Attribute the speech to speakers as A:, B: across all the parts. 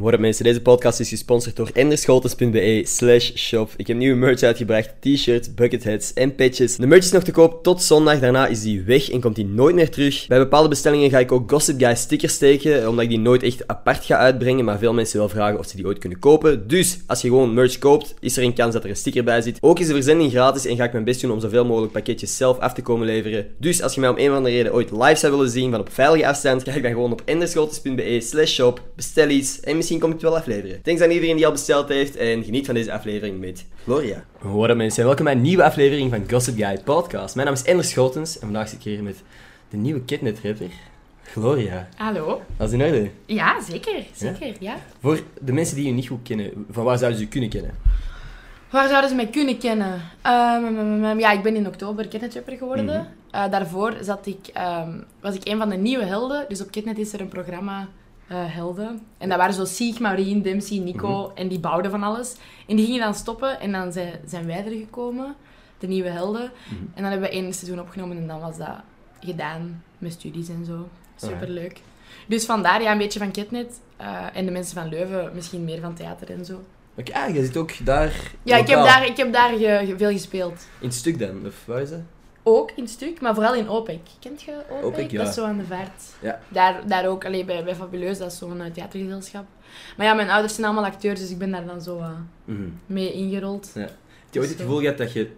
A: Worden mensen, deze podcast is gesponsord door enderscholtes.be slash shop. Ik heb nieuwe merch uitgebracht, t-shirts, bucketheads en patches. De merch is nog te koop tot zondag, daarna is die weg en komt die nooit meer terug. Bij bepaalde bestellingen ga ik ook Gossip Guy stickers steken, omdat ik die nooit echt apart ga uitbrengen, maar veel mensen wel vragen of ze die ooit kunnen kopen. Dus, als je gewoon merch koopt, is er een kans dat er een sticker bij zit. Ook is de verzending gratis en ga ik mijn best doen om zoveel mogelijk pakketjes zelf af te komen leveren. Dus, als je mij om een of andere reden ooit live zou willen zien van op veilige afstand, kijk dan gewoon op enderscholtes.be slash shop, bestel iets en misschien kom ik het wel afleveren. Thanks aan iedereen die al besteld heeft en geniet van deze aflevering met Gloria. Hoi mensen, en welkom bij een nieuwe aflevering van Gossip Guy Podcast. Mijn naam is Ender Schotens en vandaag zit ik hier met de nieuwe kidnet rapper, Gloria.
B: Hallo?
A: Dat is in orde.
B: Ja, zeker. Zeker, ja.
A: Voor de mensen die je niet goed kennen, van waar zouden ze je kunnen kennen?
B: Waar zouden ze mij kunnen kennen? Ehm, mm, mm, mm, ja, ik ben in oktober kidnetrapper geworden. Eh, daarvoor zat ik, ehm, was ik een van de nieuwe helden. Dus op Kidnet is er een programma eh, helden. En dat waren zo Sieg, Maureen, Dempsey, Nico. En die bouwden van alles. En die gingen dan stoppen. En dan zijn, zijn wij er gekomen. De nieuwe helden. En dan hebben we één seizoen opgenomen. En dan was dat gedaan. Met studies en zo. Superleuk. Dus vandaar ja, een beetje van Kidnet. eh, en de mensen van Leuven misschien meer van theater en zo.
A: Oké, ah, jij zit ook daar.
B: Ja, ik heb
A: lokaal.
B: daar, ik heb daar ge- ge- veel gespeeld.
A: In het stuk dan, of waar is dat?
B: Ook in stuk, maar vooral in OPEC. Kent je OPEC?
A: OPEC, ja.
B: Dat is zo aan de vaart.
A: Ja.
B: Daar, daar ook, alleen bij, bij Fabuleus, dat is zo'n eh, theatergezelschap. Maar ja, mijn ouders zijn allemaal acteurs, dus ik ben daar dan zo eh,
A: Mhm.
B: mee ingerold.
A: Heb je ooit het gevoel gehad dat je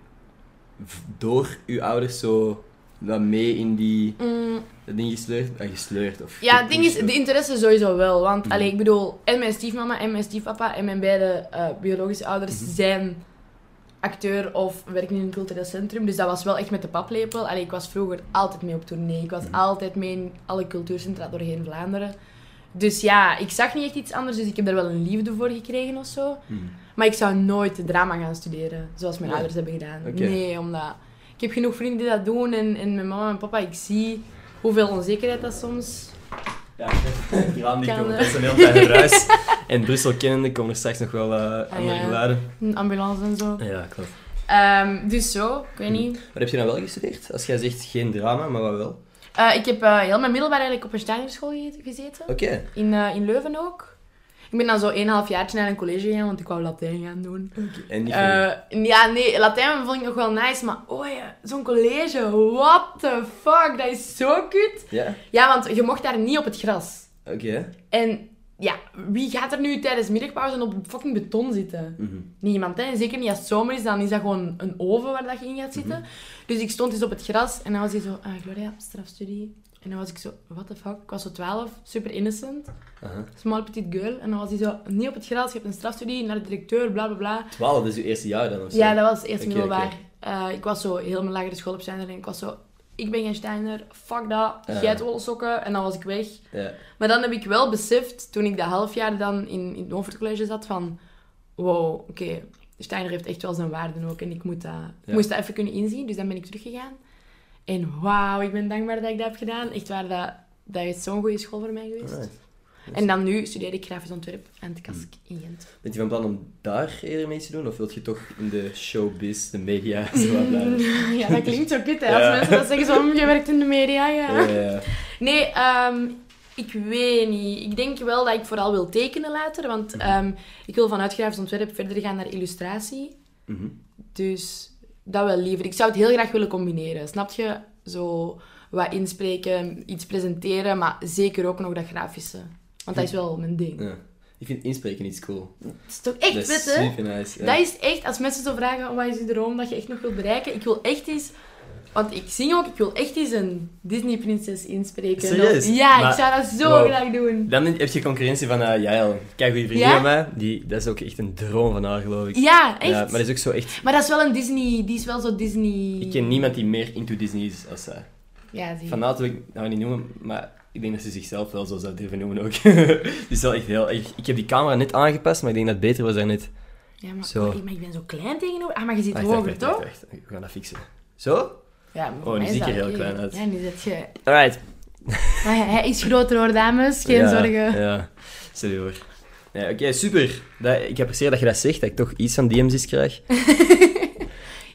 A: v- door je ouders zo wat mee in die
B: Mm,
A: dat ding gesleurd, ah, gesleurd of
B: ja, het ding is,
A: gepusht
B: de
A: wordt?
B: interesse sowieso wel. Want
A: Mm.
B: allee, ik bedoel, en mijn stiefmama en mijn stiefpapa en mijn beide eh, biologische ouders
A: Mhm.
B: zijn acteur of werken in een cultureel centrum. Dus dat was wel echt met de paplepel. Allee, ik was vroeger altijd mee op tournee. Ik was
A: Mhm.
B: altijd mee in alle cultuurcentra doorheen Vlaanderen. Dus ja, ik zag niet echt iets anders, dus ik heb daar wel een liefde voor gekregen of zo.
A: Mhm.
B: Maar ik zou nooit drama gaan studeren, zoals mijn
A: Nee.
B: ouders hebben gedaan.
A: Oké.
B: Nee, omdat ik heb genoeg vrienden die dat doen en, en mijn mama en papa, ik zie hoeveel onzekerheid dat soms
A: Ja, het raam dicht
B: Kan,
A: door
B: eh.
A: personeel bij het ruis. En Brussel kennende komen er straks nog wel eh,
B: Ah,
A: andere
B: ja.
A: geluiden.
B: Een ambulance en zo.
A: Ja, klopt.
B: Ehm, dus zo, ik weet niet.
A: Wat heb je dan wel gestudeerd? Als jij zegt geen drama, maar wat wel?
B: Eh, ik heb eh, heel mijn middelbaar eigenlijk op een steinerschool ge- gezeten.
A: Oké.
B: In, eh, in Leuven ook. Ik ben dan zo een half jaartje naar een college gegaan, want ik wou Latijn gaan doen.
A: En niet van-
B: Eh, ja, nee, Latijn vond ik nog wel nice, maar oh ja, zo'n college, what the fuck, dat is zo kut.
A: Ja?
B: Ja, want je mocht daar niet op het gras.
A: Oké.
B: En ja, wie gaat er nu tijdens middagpauze op fucking beton zitten?
A: Mhm.
B: Niemand, hè. En zeker niet als het zomer is, dan is dat gewoon een oven waar dat je in gaat zitten.
A: Mhm.
B: Dus ik stond eens op het gras en dan was hij zo, ah, Gloria, strafstudie. En dan was ik zo, what the fuck? Ik was zo 12, super innocent,
A: Aha.
B: small petite girl. En dan was hij zo, niet op het gras, je hebt een strafstudie, naar de directeur, bla bla bla.
A: 12, dat is je eerste jaar dan of zo?
B: Ja, dat was eerst
A: Oké,
B: middelbaar.
A: oké.
B: Eh, ik was zo heel mijn lagere school op Steiner en ik was zo, ik ben geen Steiner, fuck dat,
A: Ja.
B: jij hebt wollen sokken. En dan was ik weg.
A: Ja.
B: Maar dan heb ik wel beseft, toen ik dat half jaar dan in, in het Noordcollege zat, van... Wow, oké, Steiner heeft echt wel zijn waarden ook. En ik, moet dat, ik
A: Ja.
B: moest dat even kunnen inzien, dus dan ben ik teruggegaan. En wauw, ik ben dankbaar dat ik dat heb gedaan. Echt waar, dat, dat is zo'n goede school voor mij geweest.
A: Alright.
B: En dan nu studeer ik grafisch ontwerp aan het KASK
A: Hmm.
B: in Gent.
A: Bent je van plan om daar eerder mee te doen? Of wilt je toch in de showbiz, de media, zo wat blijven?
B: Ja, dat klinkt zo kut, hè.
A: Ja.
B: Als mensen dat zeggen, zo, "Mm, je werkt in de media, ja.
A: Ja, ja, ja.
B: Nee, ehm, ik weet niet. Ik denk wel dat ik vooral wil tekenen later. Want
A: Mhm.
B: ehm, ik wil vanuit grafisch ontwerp verder gaan naar illustratie.
A: Mhm.
B: Dus dat wel liever. Ik zou het heel graag willen combineren. Snap je? Zo wat inspreken, iets presenteren, maar zeker ook nog dat grafische. Want dat is wel mijn ding.
A: Ja. Ik vind inspreken iets cool.
B: Het is toch echt
A: dat
B: vet,
A: is
B: hè?
A: super nice. ja.
B: Dat is echt, als mensen zo vragen, "Oh, wat is je droom dat je echt nog wilt bereiken? Ik wil echt eens, want ik zing ook, ik wil echt eens een Disney-prinses inspreken.
A: Serieus?
B: Ja,
A: Maar-
B: ik zou dat zo
A: Wow.
B: graag doen.
A: Dan heb je concurrentie van eh Jael. Kijk, goede vriendin
B: Ja?
A: van mij. Die, dat is ook echt een droom van haar, geloof ik.
B: Ja, echt.
A: Ja, maar dat is ook zo echt...
B: is wel een Disney, die is wel zo Disney...
A: Ik ken niemand die meer into Disney is als zij.
B: Ja, zie je.
A: Fanaat wil ik nou niet noemen, maar ik denk dat ze zichzelf wel zo zou durven noemen ook. dus wel echt heel... echt- Ik heb die camera net aangepast, maar ik denk dat het beter was daarnet.
B: Ja, maar, Oh,
A: Zo.
B: maar ik, maar ik ben zo klein tegenover. Ah, maar je zit
A: net.
B: hoger, toch?
A: We gaan dat fixen. Zo?
B: Ja, maar voor
A: Oh, nu
B: mij is
A: zie ik
B: dat
A: er heel
B: oké.
A: klein uit.
B: Ja, nu zit je...
A: Alright.
B: Maar ja, hij is groter hoor, dames. Geen
A: Ja,
B: zorgen.
A: Ja, sorry hoor. Nee, Oké, super. Dat, ik apprecieer dat je dat zegt, dat ik toch iets van DM's krijg.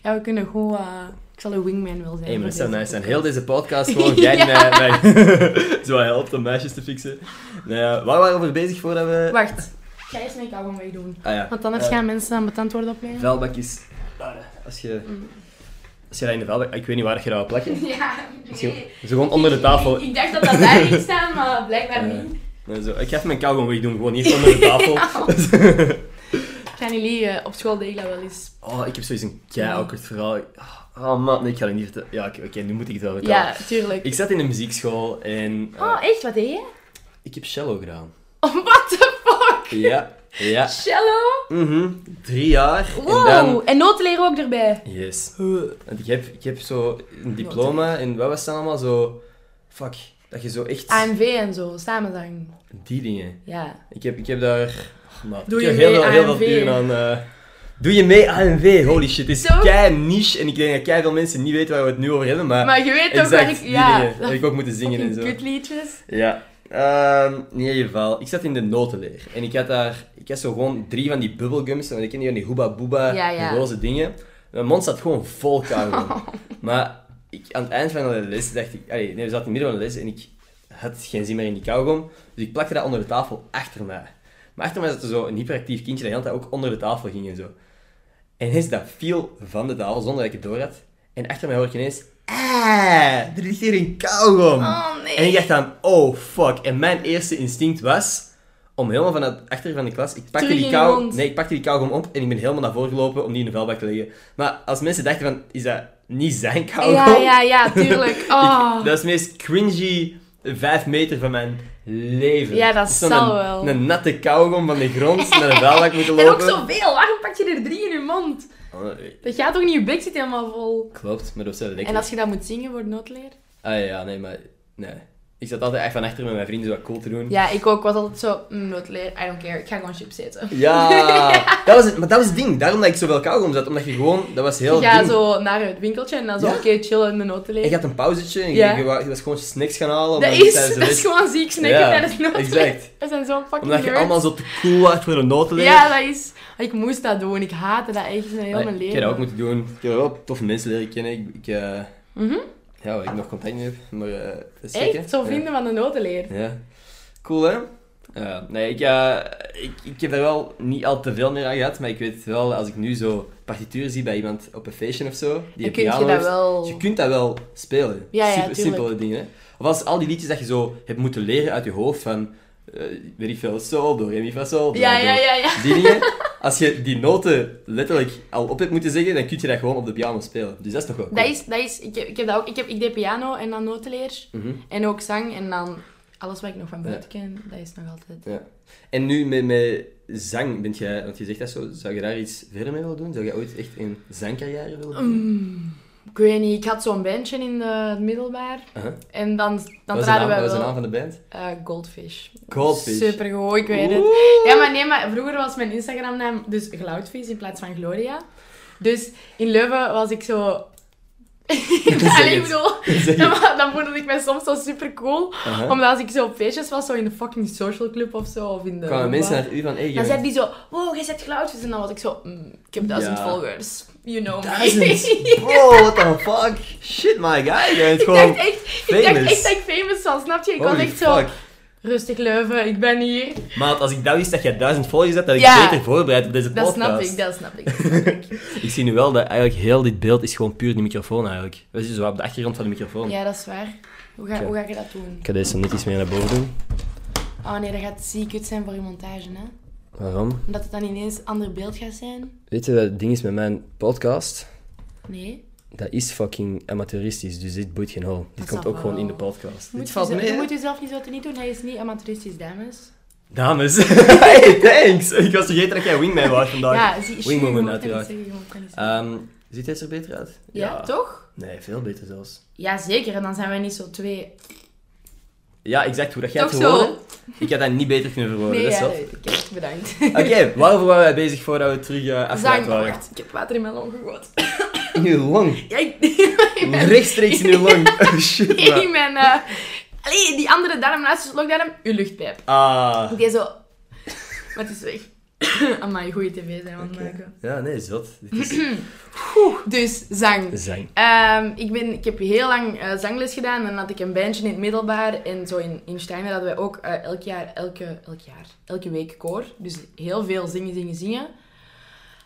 B: Ja, we kunnen gewoon... eh, ik zal een wingman wel zijn.
A: Hey, maar dat
B: voor
A: zou
B: deze
A: nice zijn. Heel
B: podcast.
A: deze podcast gewoon jij die
B: Ja.
A: mij, mij zo helpt om meisjes te fixen. Nou ja, waar waren we bezig voordat we...
B: Wacht. ga eerst mijn kauwgom wegdoen.
A: Ah ja.
B: Want anders
A: Eh,
B: gaan mensen aan betand worden opleggen.
A: Vuilbak is... daar, hè. Als je...
B: Mhm.
A: Als je dat in de vuilbak... Ah, Ik weet niet waar dat je dat wil plakken.
B: Ja,
A: Misschien... Zo gewoon onder de tafel.
B: Ik, dacht dat dat daar ging staan, maar blijkbaar
A: Eh.
B: niet.
A: Nee, zo. Ik ga even mijn kauwgom wegdoen. Gewoon hier Eh, onder de tafel.
B: Gaan jullie eh, op school delen wel eens?
A: Oh, ik heb sowieso een kei-awkward verhaal. Oh man, nee, ik ga het niet vertellen. Ja, oké, oké, nu moet ik het wel vertellen.
B: Ja, tuurlijk.
A: Ik zat in een muziekschool en eh,
B: Oh, echt? Wat deed je?
A: ik heb cello gedaan.
B: Oh, what the fuck?
A: Ja, ja.
B: Cello?
A: Mhm. Drie jaar.
B: Wow.
A: En dan...
B: En noten leren ook erbij.
A: Yes. Want ik heb, ik heb zo een diploma en wat was dat allemaal zo... Fuck, dat je zo echt...
B: AMV en zo, samenzang.
A: Die dingen.
B: Ja.
A: Ik heb, ik heb daar... Oh, maat,
B: Doe
A: ik
B: je
A: heb heel
B: mee
A: veel, heel
B: AMV?
A: veel uren aan... eh, Doe je mee AMV? Holy shit, dit is
B: Zo?
A: kei niche en ik denk dat kei veel mensen niet weten waar we het nu over hebben, maar...
B: Maar je weet toch
A: exact,
B: waar ik...
A: die
B: Ja,
A: dingen. Heb ik ook moeten zingen en zo.
B: kutliedjes.
A: Ja. Ehm, in ieder geval, ik zat in de notenleer. En ik had daar, ik had zo gewoon drie van die bubblegums, want ik ken die van die hoeba boeba,
B: Ja, ja.
A: die roze dingen. Mijn mond zat gewoon vol kauwgom. Maar ik, aan het eind van de les dacht ik, allee, nee, we zaten in het midden van de les en ik had geen zin meer in die kauwgom. Dus ik plakte dat onder de tafel achter mij. Maar achter mij zat er zo een hyperactief kindje dat de hele tijd ook onder de tafel ging en zo. En ineens dat viel van de tafel zonder dat ik het door had. En achter mij hoor ik ineens, ah, er ligt hier een kauwgom.
B: Oh, nee.
A: En ik dacht dan, oh fuck. En mijn eerste instinct was om helemaal van het achter van de klas, ik pakte,
B: Terug
A: die
B: in je
A: kou,
B: mond.
A: nee, ik pakte die kauwgom op en ik ben helemaal naar voren gelopen om die in de vuilbak te leggen. Maar als mensen dachten van, is dat niet zijn kauwgom?
B: Ja, ja, ja, tuurlijk.
A: Oh. Ik-
B: Oh.
A: dat is het meest cringy vijf meter van mijn leven.
B: Ja, dat
A: Ik zou
B: zal
A: een,
B: wel.
A: Een natte kauwgom van de grond naar de vuilbak moeten
B: En
A: lopen.
B: ook zoveel. Waarom pak je er drie in je mond?
A: Oh, nee.
B: Dat gaat toch niet? Je bek zit helemaal vol.
A: Klopt, maar dat was wel lekker.
B: En als je dat moet zingen voor noodleer?
A: Ah ja, nee, maar... Nee. Ik zat altijd echt van achter met mijn vrienden zo wat cool te doen.
B: Ja, ik ook. was altijd zo, mm, noodleer, I don't care. Ik ga gewoon chips eten.
A: Ja, dat was het, maar dat was het ding. Daarom dat ik zoveel kauwgom zat, omdat je gewoon, dat was heel
B: Je gaat
A: ding.
B: zo naar het winkeltje en dan zo,
A: Ja.
B: oké, chillen en de noodleer.
A: En je had een pauzetje en je,
B: Ja.
A: je, wa- je was gewoon snacks gaan halen.
B: Dat
A: omdat
B: is,
A: tijdens de
B: dat
A: les-
B: is gewoon ziek snacken
A: Ja,
B: tijdens noodleer.
A: exact.
B: We zijn zo fucking
A: Omdat je
B: nerds.
A: allemaal zo te cool was voor een notenleer.
B: Ja, dat is... Ik moest dat doen. Ik haatte dat echt in heel
A: Nee,
B: mijn leven.
A: Ah, Ik heb dat ook moeten doen. Ik heb wel toffe mensen leren kennen. Ik, ik, eh, Ja, waar ik nog contact mee heb. Maar eh, dat is gek, hè?
B: Mhm. Echt? Zo vrienden van de notenleer.
A: Ja. Ja. Cool, hè? Ja. Nee, ik, eh, ik, ik heb daar wel niet al te veel meer aan gehad. Maar ik weet wel, als ik nu zo partituren zie bij iemand op een feestje of zo. Die
B: Dan
A: een
B: kun je
A: piano
B: dat
A: heeft,
B: wel...
A: Je kunt dat wel spelen.
B: Ja, ja,
A: Super,
B: tuurlijk.
A: simpele dingen. hè. Of als al die liedjes dat je zo hebt moeten leren uit je hoofd van... eh, weet ik veel, sol, do, re, mi, fa, sol. bla,
B: Ja, ja,
A: bla.
B: ja, ja.
A: Die dingen. Als je die noten letterlijk al op hebt moeten zeggen, dan kun je dat gewoon op de piano spelen. Dus dat is toch wel cool.
B: Dat is... Dat is ik, heb, ik heb dat ook... Ik, heb, ik deed piano en dan notenleer.
A: Mhm.
B: En ook zang en dan... Alles wat ik nog van
A: Ja.
B: buiten ken, dat is nog altijd...
A: Ja. En nu met, met zang, bent jij, want je zegt dat zo, zou je daar iets verder mee willen doen? Zou je ooit echt een zangcarrière willen doen?
B: Mm, ik weet niet, ik had zo'n bandje in de, het middelbaar.
A: Uh-huh.
B: En dan, dan
A: Wat was de naam-
B: traden wij
A: wat was de
B: wel...
A: naam van de band?
B: eh, Goldfish.
A: Goldfish.
B: Supergoed, ik weet het.
A: Oeh.
B: Ja, maar nee, maar vroeger was mijn Instagram-naam dus Gloudvis in plaats van Gloria. Dus in Leuven was ik zo... Allee, ik
A: het.
B: bedoel,
A: Zeg
B: ja,
A: je-
B: maar dan voelde ik mij soms zo super cool.
A: Aha.
B: Omdat als ik zo op feestjes was, zo in de fucking social club of zo, of in de...
A: Kwamen mensen
B: Wat?
A: naar u van, hey,
B: Dan
A: jij
B: zei
A: bent-
B: die zo, wow, jij zet Gloudvis. En dan was ik zo, "Mm, ik heb duizend
A: Ja.
B: volgers. You know me.
A: Duizend? Bro, what the fuck? Shit, my guy, jij bent
B: Ik
A: gewoon...
B: dacht, echt, ik dacht
A: famous.
B: echt dat ik famous was, snap je? Ik was
A: Holy
B: echt zo,
A: fuck.
B: rustig Leuven, ik ben hier.
A: Maat, als ik dat wist dat jij duizend volgers had, dat ik
B: Ja.
A: beter voorbereid op deze
B: Dat
A: podcast.
B: snap ik, dat snap ik. dat snap ik.
A: Ik zie nu wel dat eigenlijk heel dit beeld is gewoon puur die microfoon eigenlijk. We zitten zo op de achtergrond van de microfoon.
B: Ja, dat is waar. Hoe ga,
A: Oké.
B: hoe ga je dat doen?
A: Ik ga deze net iets meer naar boven doen.
B: Oh nee, dat gaat ziek kut zijn voor je montage, hè?
A: Waarom?
B: Omdat het dan ineens een ander beeld gaat zijn.
A: Weet je wat het ding is met mijn podcast?
B: Nee.
A: Dat is fucking amateuristisch, dus dit boeit geen hol. Dit
B: Dat
A: komt
B: zal
A: ook gewoon
B: wel.
A: in de podcast.
B: Je moet
A: dit valt
B: jezelf-
A: mee.
B: Je moet
A: hè?
B: jezelf niet zo te niet doen, hij is niet amateuristisch, dames.
A: Dames, hey, thanks! Ik was vergeten dat jij wingman was vandaag.
B: Ja, zie
A: Wingwoman,
B: je mag dat niet
A: uiteraard.
B: zeggen, je mag dat niet zeggen.
A: Ehm, ziet hij er beter uit?
B: Ja, toch?
A: Nee, veel beter zelfs.
B: Ja, zeker. En dan zijn wij niet zo twee.
A: Ja, exact. Hoe dat jij het
B: Toch zo?
A: verwoordde, ik had dat niet beter kunnen verwoorden.
B: Nee,
A: dat is
B: ja,
A: wel-
B: dat weet ik. Echt, bedankt.
A: Oké, waarover waren wij bezig voordat we terug eh afgeleid
B: Zang. Oh,
A: waren?
B: wacht, ik heb water in mijn long gegooid.
A: In uw long.
B: Ja, ik, ik ben-
A: Rechtstreeks in uw long. Oh, shit, man.
B: in mijn... eh, Allee, die andere darm naast je slokdarm, uw luchtpijp.
A: Ah.
B: Ik deed zo... Maar het is weg. Amai, goede tv zijn we aan het
A: Oké.
B: maken.
A: Ja, nee, zot. Dit is
B: Dus, zang.
A: zang.
B: Ehm, ik, ben, ik heb heel lang eh, zangles gedaan. En dan had ik een bandje in het middelbaar. En zo in, in Steiner hadden wij ook eh, elk jaar, elke, elk jaar, elke week koor. Dus heel veel zingen, zingen, zingen.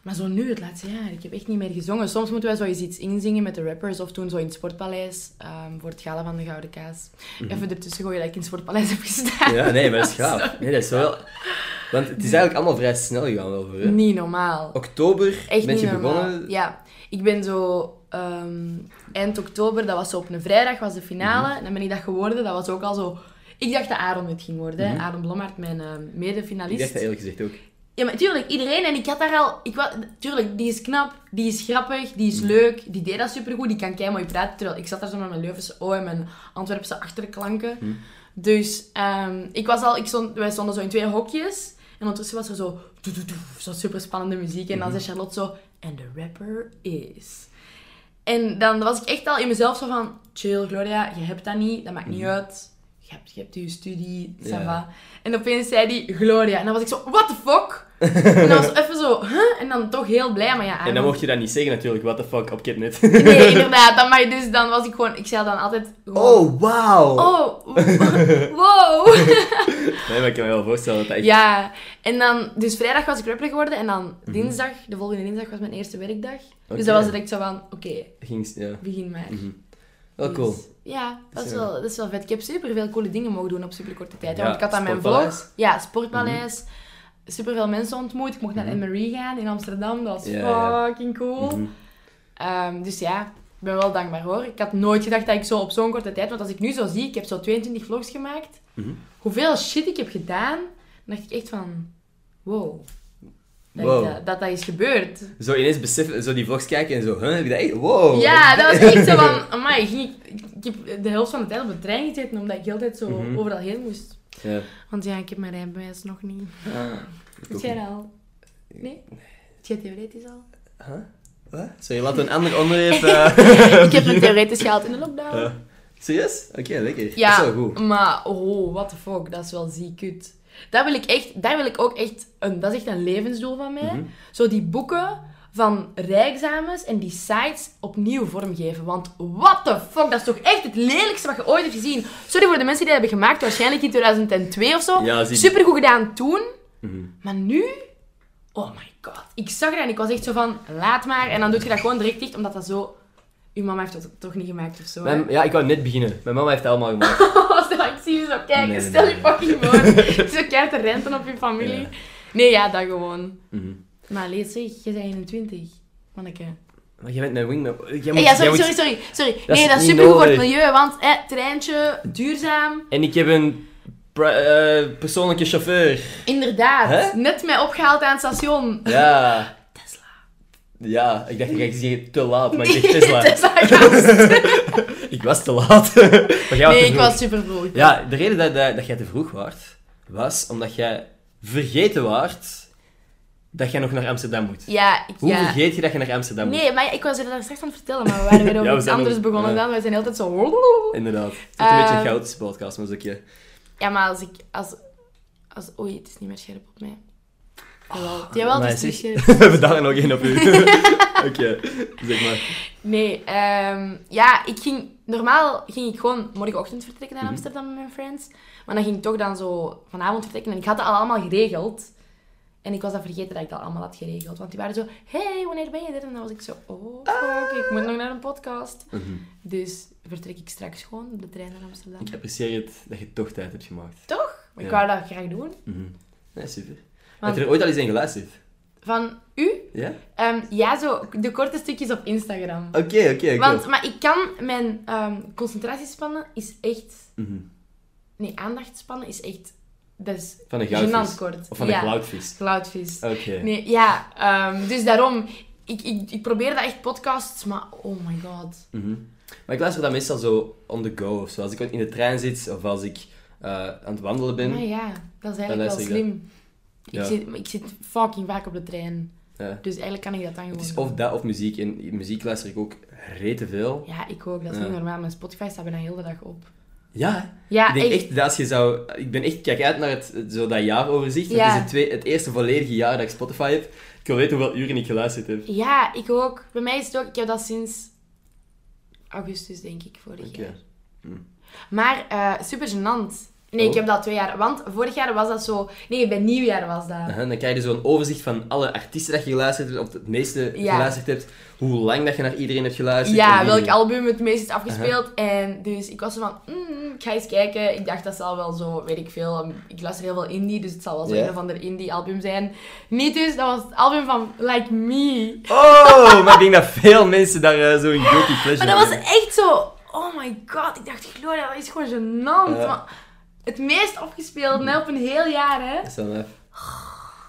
B: Maar zo nu, het laatste jaar, ik heb echt niet meer gezongen. Soms moeten wij zoiets iets inzingen met de rappers. Of toen zo in het Sportpaleis, ehm, voor het gala van de Gouden Kaas. Even ertussen gooien dat ik in het Sportpaleis heb gestaan.
A: Mhm. Ja, nee, maar dat is gaaf. Nee, dat is wel... Want het is eigenlijk allemaal vrij snel gegaan wel voor u.
B: Niet normaal.
A: Oktober
B: Echt
A: ben
B: niet
A: je
B: normaal.
A: begonnen.
B: Ja, ik ben zo ehm, eind oktober, dat was zo op een vrijdag, was de finale.
A: Mhm.
B: Dan ben ik dat geworden. Dat was ook al zo. Ik dacht dat Aaron het ging worden. hè. Aaron Blommaert, mijn ehm,
A: Mhm. Ik dacht
B: medefinalist.
A: dat eerlijk gezegd ook.
B: Ja, maar tuurlijk, iedereen. En ik had daar al... Ik wa- tuurlijk, die is knap, die is grappig, die is leuk, die deed dat supergoed, die kan keimooi mooi praten. Terwijl ik zat daar zo met mijn Leuvense O en mijn Antwerpse achterklanken. Dus ehm, ik was al... Ik stond, wij stonden zo in twee hokjes. En ondertussen was er zo... doe, doe, doe, Zo super spannende muziek. En dan zei Charlotte zo... En de rapper is... En dan was ik echt al in mezelf zo van... Chill, Gloria, je hebt dat niet. Dat maakt niet uit. Je hebt, je hebt je studie, ça
A: Ja.
B: va. En opeens zei die Gloria. En dan was ik zo... What the fuck? en dan was het even zo... Huh? En dan toch heel blij. Maar ja,
A: En dan
B: Aaron-
A: mocht je dat niet zeggen natuurlijk, what the fuck, op Kidnet.
B: Nee, inderdaad. Dan, maar dus dan was ik gewoon... Ik zei dan altijd gewoon...
A: Oh, wauw!
B: Oh, wow.
A: Nee, maar ik kan me wel voorstellen dat dat echt...
B: ja. En dan... Dus vrijdag was ik rapper geworden. En dan dinsdag, de volgende dinsdag, was mijn eerste werkdag. Dus
A: Mhm. Oké.
B: dat was direct zo van... Oké,
A: Ging, ja.
B: begin maar.
A: Wel
B: Dus,
A: Oh, cool.
B: Ja, dat is,
A: Ja.
B: wel, dat is wel vet. Ik heb superveel coole dingen mogen doen op superkorte tijd.
A: Ja,
B: hè. Want ik had aan mijn
A: sportpaleis. Mhm.
B: vlog. Ja, sportpaleis. Superveel mensen ontmoet. Ik mocht naar Emery gaan in Amsterdam. Dat was
A: Ja, ja.
B: fucking cool.
A: Mhm.
B: Ehm, dus ja, ik ben wel dankbaar hoor. Ik had nooit gedacht dat ik zo op zo'n korte tijd... Want als ik nu zo zie, ik heb zo 22 vlogs gemaakt.
A: Mhm.
B: Hoeveel shit ik heb gedaan. Dan dacht ik echt van... Wow. Dat ik
A: Wow.
B: dat, dat, dat is gebeurd.
A: Zo ineens beseffen, zo die vlogs kijken en zo, huh, heb je dat echt? Wow!
B: Ja, dat was echt zo van... Amai, ging ik, ik heb de helft van de tijd op de trein gezeten, omdat ik de hele tijd zo
A: Mhm.
B: overal heen moest.
A: Ja.
B: Want ja, ik heb mijn rijbewijs nog niet.
A: Ah, ik ook
B: Heb jij dat al? Nee? Heb jij theoretisch al?
A: niet. Huh? Wat? Sorry, laten we een ander onderwerp... eh,
B: ik heb mijn theoretisch gehaald in de lockdown.
A: eh, Serieus? Oké, lekker.
B: Ja,
A: Dat is wel goed.
B: maar oh, what the fuck, dat is wel ziek kut. Dat wil ik echt, daar wil ik ook echt, een, dat is echt een levensdoel van mij.
A: Mhm.
B: Zo die boeken van rijexamens en die sites opnieuw vormgeven. Want what the fuck, dat is toch echt het lelijkste wat je ooit hebt gezien. Sorry voor de mensen die dat hebben gemaakt, waarschijnlijk in 2002 of zo.
A: Ja, zie-
B: Supergoed gedaan toen,
A: Mhm.
B: maar nu... Oh my god. Ik zag dat en ik was echt zo van, laat maar. En dan doe je dat gewoon direct dicht, omdat dat zo... Uw mama heeft dat toch niet gemaakt of zo. hè?
A: Mijn- ja, ik wou net beginnen. Mijn mama heeft het allemaal gemaakt.
B: Als dat ik zie je zo kijken,
A: Nee, nee,
B: stel je
A: nee,
B: fucking voor. zo kijkt te renten op je familie.
A: Ja.
B: Nee, ja, dat gewoon.
A: Mhm.
B: Maar lees zeg, je bent 21. Manneke.
A: Maar jij bent mijn wingman. Jij moet,
B: Eh, ja,
A: jij
B: sorry,
A: moet-
B: sorry, sorry, sorry.
A: Dat
B: nee,
A: is
B: dat is
A: niet
B: supergoed voor het
A: nodig.
B: milieu, want eh, treintje, duurzaam.
A: En ik heb een pri- eh, persoonlijke chauffeur.
B: Inderdaad.
A: Hè?
B: Net mij opgehaald aan het station.
A: Ja.
B: Tesla.
A: Ja, ik dacht, ik ga zeggen te laat, maar ik zeg Tesla.
B: Tesla gast.
A: Ik was te laat. maar jij was te
B: Nee, ik
A: vroeg.
B: was super vroeg.
A: Ja, de reden dat, dat, dat jij te vroeg waart, was omdat jij vergeten waart dat jij nog naar Amsterdam moet.
B: Ja, ik,
A: Hoe
B: ja.
A: vergeet je dat je naar Amsterdam moet?
B: Nee, maar ja, ik was er daar straks aan het vertellen, maar we waren weer
A: Ja,
B: over
A: we
B: iets
A: zijn
B: anders
A: nog-
B: begonnen
A: ja.
B: dan. We zijn heel tijd zo...
A: Inderdaad. Het is een beetje een
B: Ehm.
A: chaotische podcast, maar dat is oké.
B: Ja, maar als ik... Als, als, oei, het is niet meer scherp op mij. Jawel, jawel
A: maar
B: het Oh, is
A: zeg-
B: niet scherp.
A: We hebben daar nog één op u. oké, zeg maar.
B: Nee, ehm, ja, ik ging... Normaal ging ik gewoon morgenochtend vertrekken naar Amsterdam met mijn friends. Maar dan ging ik toch dan zo vanavond vertrekken. En ik had dat al allemaal geregeld. En ik was dat vergeten dat ik dat allemaal had geregeld. Want die waren zo... hey, wanneer ben je er? En dan was ik zo... Oh, fuck, ik moet nog naar een podcast. Dus vertrek ik straks gewoon op de trein naar Amsterdam.
A: Ik apprecieer het dat je toch tijd hebt gemaakt.
B: Toch? Maar ik
A: Ja.
B: wou dat graag doen.
A: Nee, super. Heb
B: Want-
A: je er ooit al eens in geluisterd?
B: Van u?
A: Ja?
B: Ehm, ja, zo de korte stukjes op Instagram.
A: Oké, oké, oké.
B: Want, maar ik kan, mijn ehm, concentratiespannen is echt,
A: Mhm.
B: nee, aandachtspannen is echt, dat is
A: Van een
B: gênant
A: goudvis.
B: kort.
A: Of van
B: ja,
A: een klauwvis.
B: cloudvis.
A: Oké.
B: Nee, ja, ehm, dus daarom, ik, ik, ik probeer dat echt podcasts, maar oh my god.
A: Mhm. Maar ik luister dat meestal zo on the go of zo. Als ik in de trein zit of als ik eh, aan het wandelen ben.
B: Maar ja, dat is
A: Dan
B: eigenlijk wel
A: luister ik
B: slim. Ik,
A: Ja.
B: zit, ik zit fucking vaak op de trein,
A: Ja.
B: dus eigenlijk kan ik dat dan gewoon
A: Het is
B: doen.
A: of dat of muziek. En muziek luister ik ook rete veel.
B: Ja, ik ook, dat is
A: Ja.
B: niet normaal. Mijn Spotify staat bijna heel de dag op.
A: Ja. Ja, hè?
B: Ja,
A: ik denk
B: echt.
A: echt, dat als je zou... Ik ben echt, kijk uit naar het, het- zo dat jaaroverzicht. want
B: Ja.
A: Het is het, twee- het eerste volledige jaar dat ik Spotify heb. Ik wil weten hoeveel uren ik geluisterd heb.
B: Ja, ik ook. Bij mij is het ook... Ik heb dat sinds augustus, denk ik, vorig
A: Oké.
B: jaar. Maar eh, super gênant. Nee,
A: Oh.
B: ik heb dat twee jaar. Want vorig jaar was dat zo... Nee, bij nieuwjaar was dat.
A: Aha, dan krijg je zo'n overzicht van alle artiesten dat je geluisterd hebt, of het meeste
B: Ja.
A: geluisterd hebt, hoe lang dat je naar iedereen hebt geluisterd.
B: Ja,
A: en wie-
B: welk album het meest is afgespeeld. En dus ik was zo van, mm, ik ga eens kijken. Ik dacht, dat zal wel zo, weet ik veel. um, Ik luister heel veel indie, dus het zal wel zo
A: Ja.
B: een of ander indie album zijn. Niet dus, dat was het album van Like Me.
A: Oh, maar ik denk dat veel mensen daar eh, zo'n guilty pleasure
B: Maar dat was
A: hebben.
B: echt zo, oh my god. Ik dacht, Gloria, dat is gewoon gênant.
A: Ja.
B: Maar het meest afgespeeld hè, op een heel jaar, hè.
A: Dat is wel maf.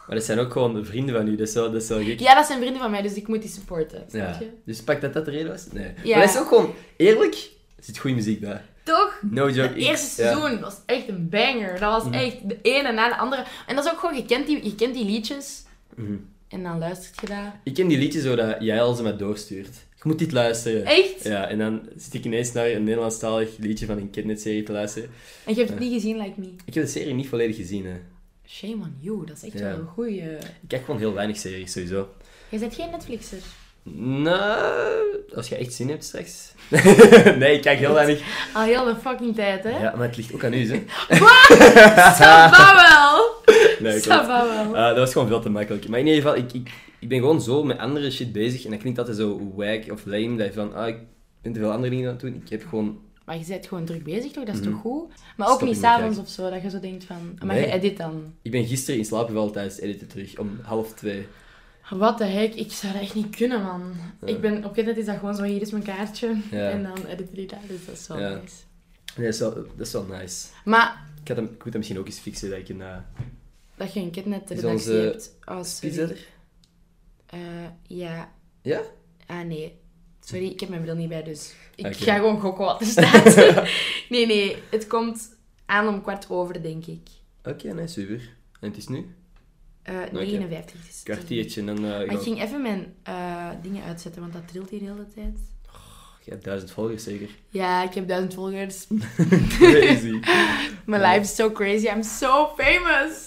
A: Maar dat zijn ook gewoon de vrienden van u, dat is wel, dat is wel gek.
B: Ja, dat zijn vrienden van mij, dus ik moet die supporten. Snap
A: Ja.
B: je?
A: Dus pak dat dat de reden was? Nee.
B: Ja.
A: Maar dat is ook gewoon, eerlijk, er zit goede muziek bij.
B: Toch?
A: No joke.
B: Het
A: ik-
B: eerste
A: ja. Mhm.
B: seizoen was echt een banger. Dat was echt de ene na de andere. En dat is ook gewoon, je kent die, je kent die liedjes.
A: Mhm.
B: En dan luistert je dat.
A: Ik ken die liedjes zo dat jij al ze maar doorstuurt. Je moet dit luisteren.
B: Echt?
A: Ja, en dan zit ik ineens naar een Nederlandstalig liedje van een kindnetserie te luisteren.
B: En je hebt het niet gezien, like me.
A: Ik heb de serie niet volledig gezien, hè.
B: Shame on you, dat is echt
A: Ja.
B: wel een goeie.
A: Ik kijk gewoon heel weinig series, sowieso.
B: Jij bent geen Netflixer.
A: Nou, als je echt zin hebt straks. nee, ik kijk heel weinig.
B: Al heel de fucking tijd, hè?
A: Ja, maar het ligt ook aan u, hè.
B: Ça va wel!
A: Nee,
B: Ça
A: klopt.
B: va wel.
A: Ah, dat was gewoon veel te makkelijk. Maar in ieder geval, ik, ik, ik ben gewoon zo met andere shit bezig. En dat klinkt altijd zo wack of lame. Dat je van, ah, ik ben te veel andere dingen aan het doen. Ik heb gewoon...
B: Maar je bent gewoon druk bezig, toch? Dat is
A: Mhm.
B: toch goed? Maar ook
A: Stop
B: niet
A: in mijn
B: s'avonds of zo, dat je zo denkt van... "Ah, Maar
A: Nee.
B: je edit dan.
A: Ik ben gisteren in slaap gevallen tijdens het editen terug. Om half twee.
B: Wat de heck, ik zou dat echt niet kunnen, man. Ik ben... Op internet is dat gewoon zo, hier is mijn kaartje.
A: Ja.
B: En dan edit je dat, dus dat is wel
A: Ja.
B: nice.
A: Nee, dat is wel, dat is wel nice.
B: Maar
A: Ik, had hem, ik moet hem misschien ook eens fixen dat ik een... eh,
B: dat je een
A: Is
B: kidnetredactie
A: onze
B: hebt als...
A: Is dat er?
B: Eh, ja.
A: Ja?
B: Ah, nee. Sorry, ik heb mijn bril niet bij, dus ik
A: Oké.
B: ga gewoon gokken wat er staat. nee, nee, het komt aan om kwart over, denk ik.
A: Oké, nee, super. En het is nu?
B: Eh 59. is het.
A: Kwartiertje en dan... eh,
B: Maar ik
A: gaan we-
B: ging even mijn eh, dingen uitzetten, want dat trilt hier de hele tijd.
A: Je hebt duizend volgers zeker.
B: Ja, ik heb duizend volgers.
A: Crazy.
B: Mijn life is so crazy, I'm so famous.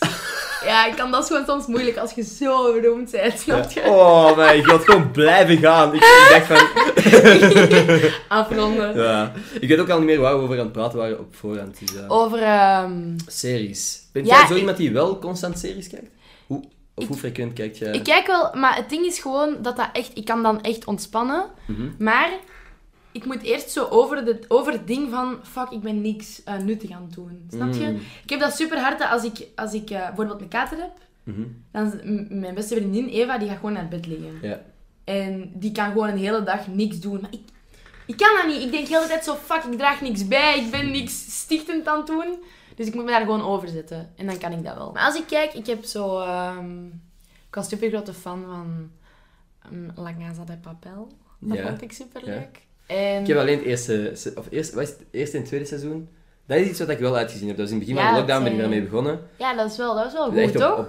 B: ja, ik kan dat is gewoon soms moeilijk als je zo beroemd bent, snap je?
A: Oh mijn god, gewoon blijven gaan. Ik, ik dacht van...
B: Afronden.
A: Ja. Ik weet ook al niet meer waar we over aan het praten waren op voorhand. Dus, eh,
B: Over... ehm,
A: Series. Ben
B: Oh. Ja,
A: jij zo
B: ik-
A: iemand die wel constant series kijkt? Hoe, of
B: Ik-
A: hoe frequent kijkt jij?
B: Ik kijk wel, maar het ding is gewoon dat dat echt... Ik kan dan echt ontspannen.
A: Mhm.
B: Maar ik moet eerst zo over, de, over het ding van... Fuck, ik ben niks eh, nuttig aan het doen. Snap je?
A: Mm.
B: Ik heb dat super hard dat als ik, als ik eh, bijvoorbeeld een kater heb...
A: Mhm.
B: Dan is- m- mijn beste vriendin Eva, die gaat gewoon naar bed liggen.
A: Ja.
B: En die kan gewoon een hele dag niks doen. Maar ik, ik kan dat niet. Ik denk de hele tijd zo... Fuck, ik draag niks bij. Ik ben niks stichtend aan het doen. Dus ik moet me daar gewoon over zetten. En dan kan ik dat wel. Maar als ik kijk, ik heb zo... ehm, ik was super grote fan van ehm, La Casa de Papel. Dat
A: Ja.
B: vond ik super leuk. En...
A: Ik heb alleen het eerste, se- of eerst, wat is het eerste en tweede seizoen. Dat is iets wat ik wel uitgezien heb. Dat was in het begin
B: Ja,
A: van de
B: dat,
A: lockdown ben ik
B: eh,
A: daarmee begonnen.
B: Ja, dat is wel, dat is wel
A: Dus
B: goed,
A: echt op,
B: toch?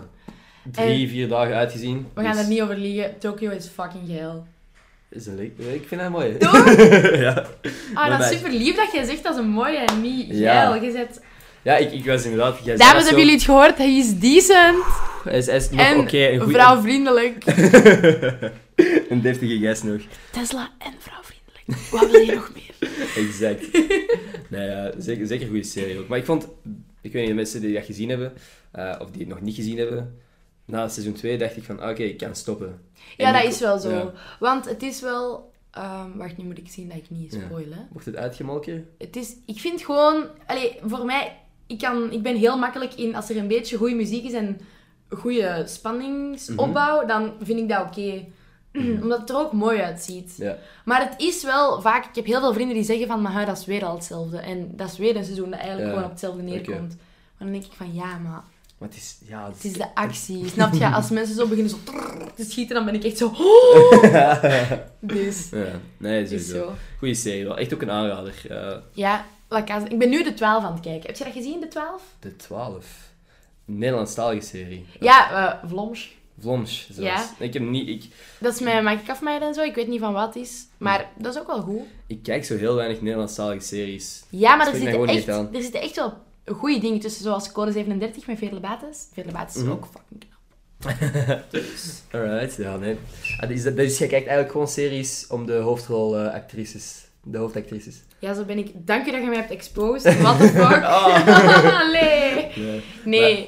A: op drie, vier dagen uitgezien.
B: We gaan
A: Dus
B: er niet over liegen. Tokyo is fucking geil.
A: is een leuk- ik vind dat mooi.
B: Toch?
A: ja.
B: Ah, dat is
A: Daarbij-
B: super lief dat jij zegt dat is een mooie en niet
A: Ja.
B: geil. Je zegt,
A: Ja, ik, ik was inderdaad... jij zei dat
B: Dames,
A: zo.
B: hebben jullie het gehoord? Hij is decent
A: Hij is, hij is nog
B: en
A: oké. een goeie-
B: vrouwvriendelijk.
A: een deftige gast nog.
B: Tesla en vrouwvriendelijk. Wat wil je nog meer?
A: Exact. nee, ja, zeker, zeker een goede serie ook. Maar ik vond, ik weet niet, de mensen die dat gezien hebben, eh, of die het nog niet gezien hebben, na seizoen 2 dacht ik van, ah, oké, ik kan stoppen.
B: Ja,
A: En
B: dat
A: ik-
B: is wel zo.
A: ja.
B: Want het is wel... ehm, wacht, nu moet ik zien dat ik niet
A: Ja.
B: spoil, hè.
A: Wordt het uitgemolken?
B: Het is... Ik vind gewoon... Allee, voor mij... Ik, kan, ik ben heel makkelijk in... Als er een beetje goede muziek is en goede spanningsopbouw,
A: Mhm.
B: dan vind ik dat oké. Omdat het er ook mooi uitziet.
A: Ja.
B: Maar het is wel vaak... Ik heb heel veel vrienden die zeggen van... Maar hè, dat is weer al hetzelfde. En dat is weer een seizoen dat eigenlijk
A: Ja.
B: gewoon op hetzelfde neerkomt. Maar dan denk ik van... Ja, maar
A: Maar het is, ja...
B: het is de actie. Snap je? Als mensen zo beginnen zo trrr te schieten, dan ben ik echt zo... "Oh." Dus...
A: Ja, nee,
B: Het is
A: sowieso.
B: zo.
A: Goeie serie wel. Echt ook een aanrader. Eh,
B: Ja, La Casa- ik ben nu de 12 aan het kijken. Heb je dat gezien, de 12?
A: de 12. Nederlandstalige serie.
B: Ja, eh Vlaams.
A: Vloms zelfs. Ik heb niet... Ik,
B: Dat is met Maak ik afmeiden en zo. Ik weet niet van wat het is.
A: Hm.
B: Maar dat is ook wel goed.
A: ik kijk zo heel weinig Nederlandstalige series.
B: Ja, maar
A: Dat
B: er
A: spreekt mij
B: zitten,
A: gewoon
B: echt,
A: niet aan.
B: er zitten echt wel goede dingen tussen. Zoals Code 37 met Veerle Bates. Veerle Bates is
A: Mhm.
B: ook fucking knap.
A: Alright, ja, nee. Ah, dus, dat- dus jij kijkt eigenlijk gewoon series om de hoofdrolactrices. de hoofdactrices.
B: Ja, zo ben ik. Dank je dat je mij hebt exposed. What the fuck?
A: Oh.
B: Allee.
A: Nee.
B: Nee.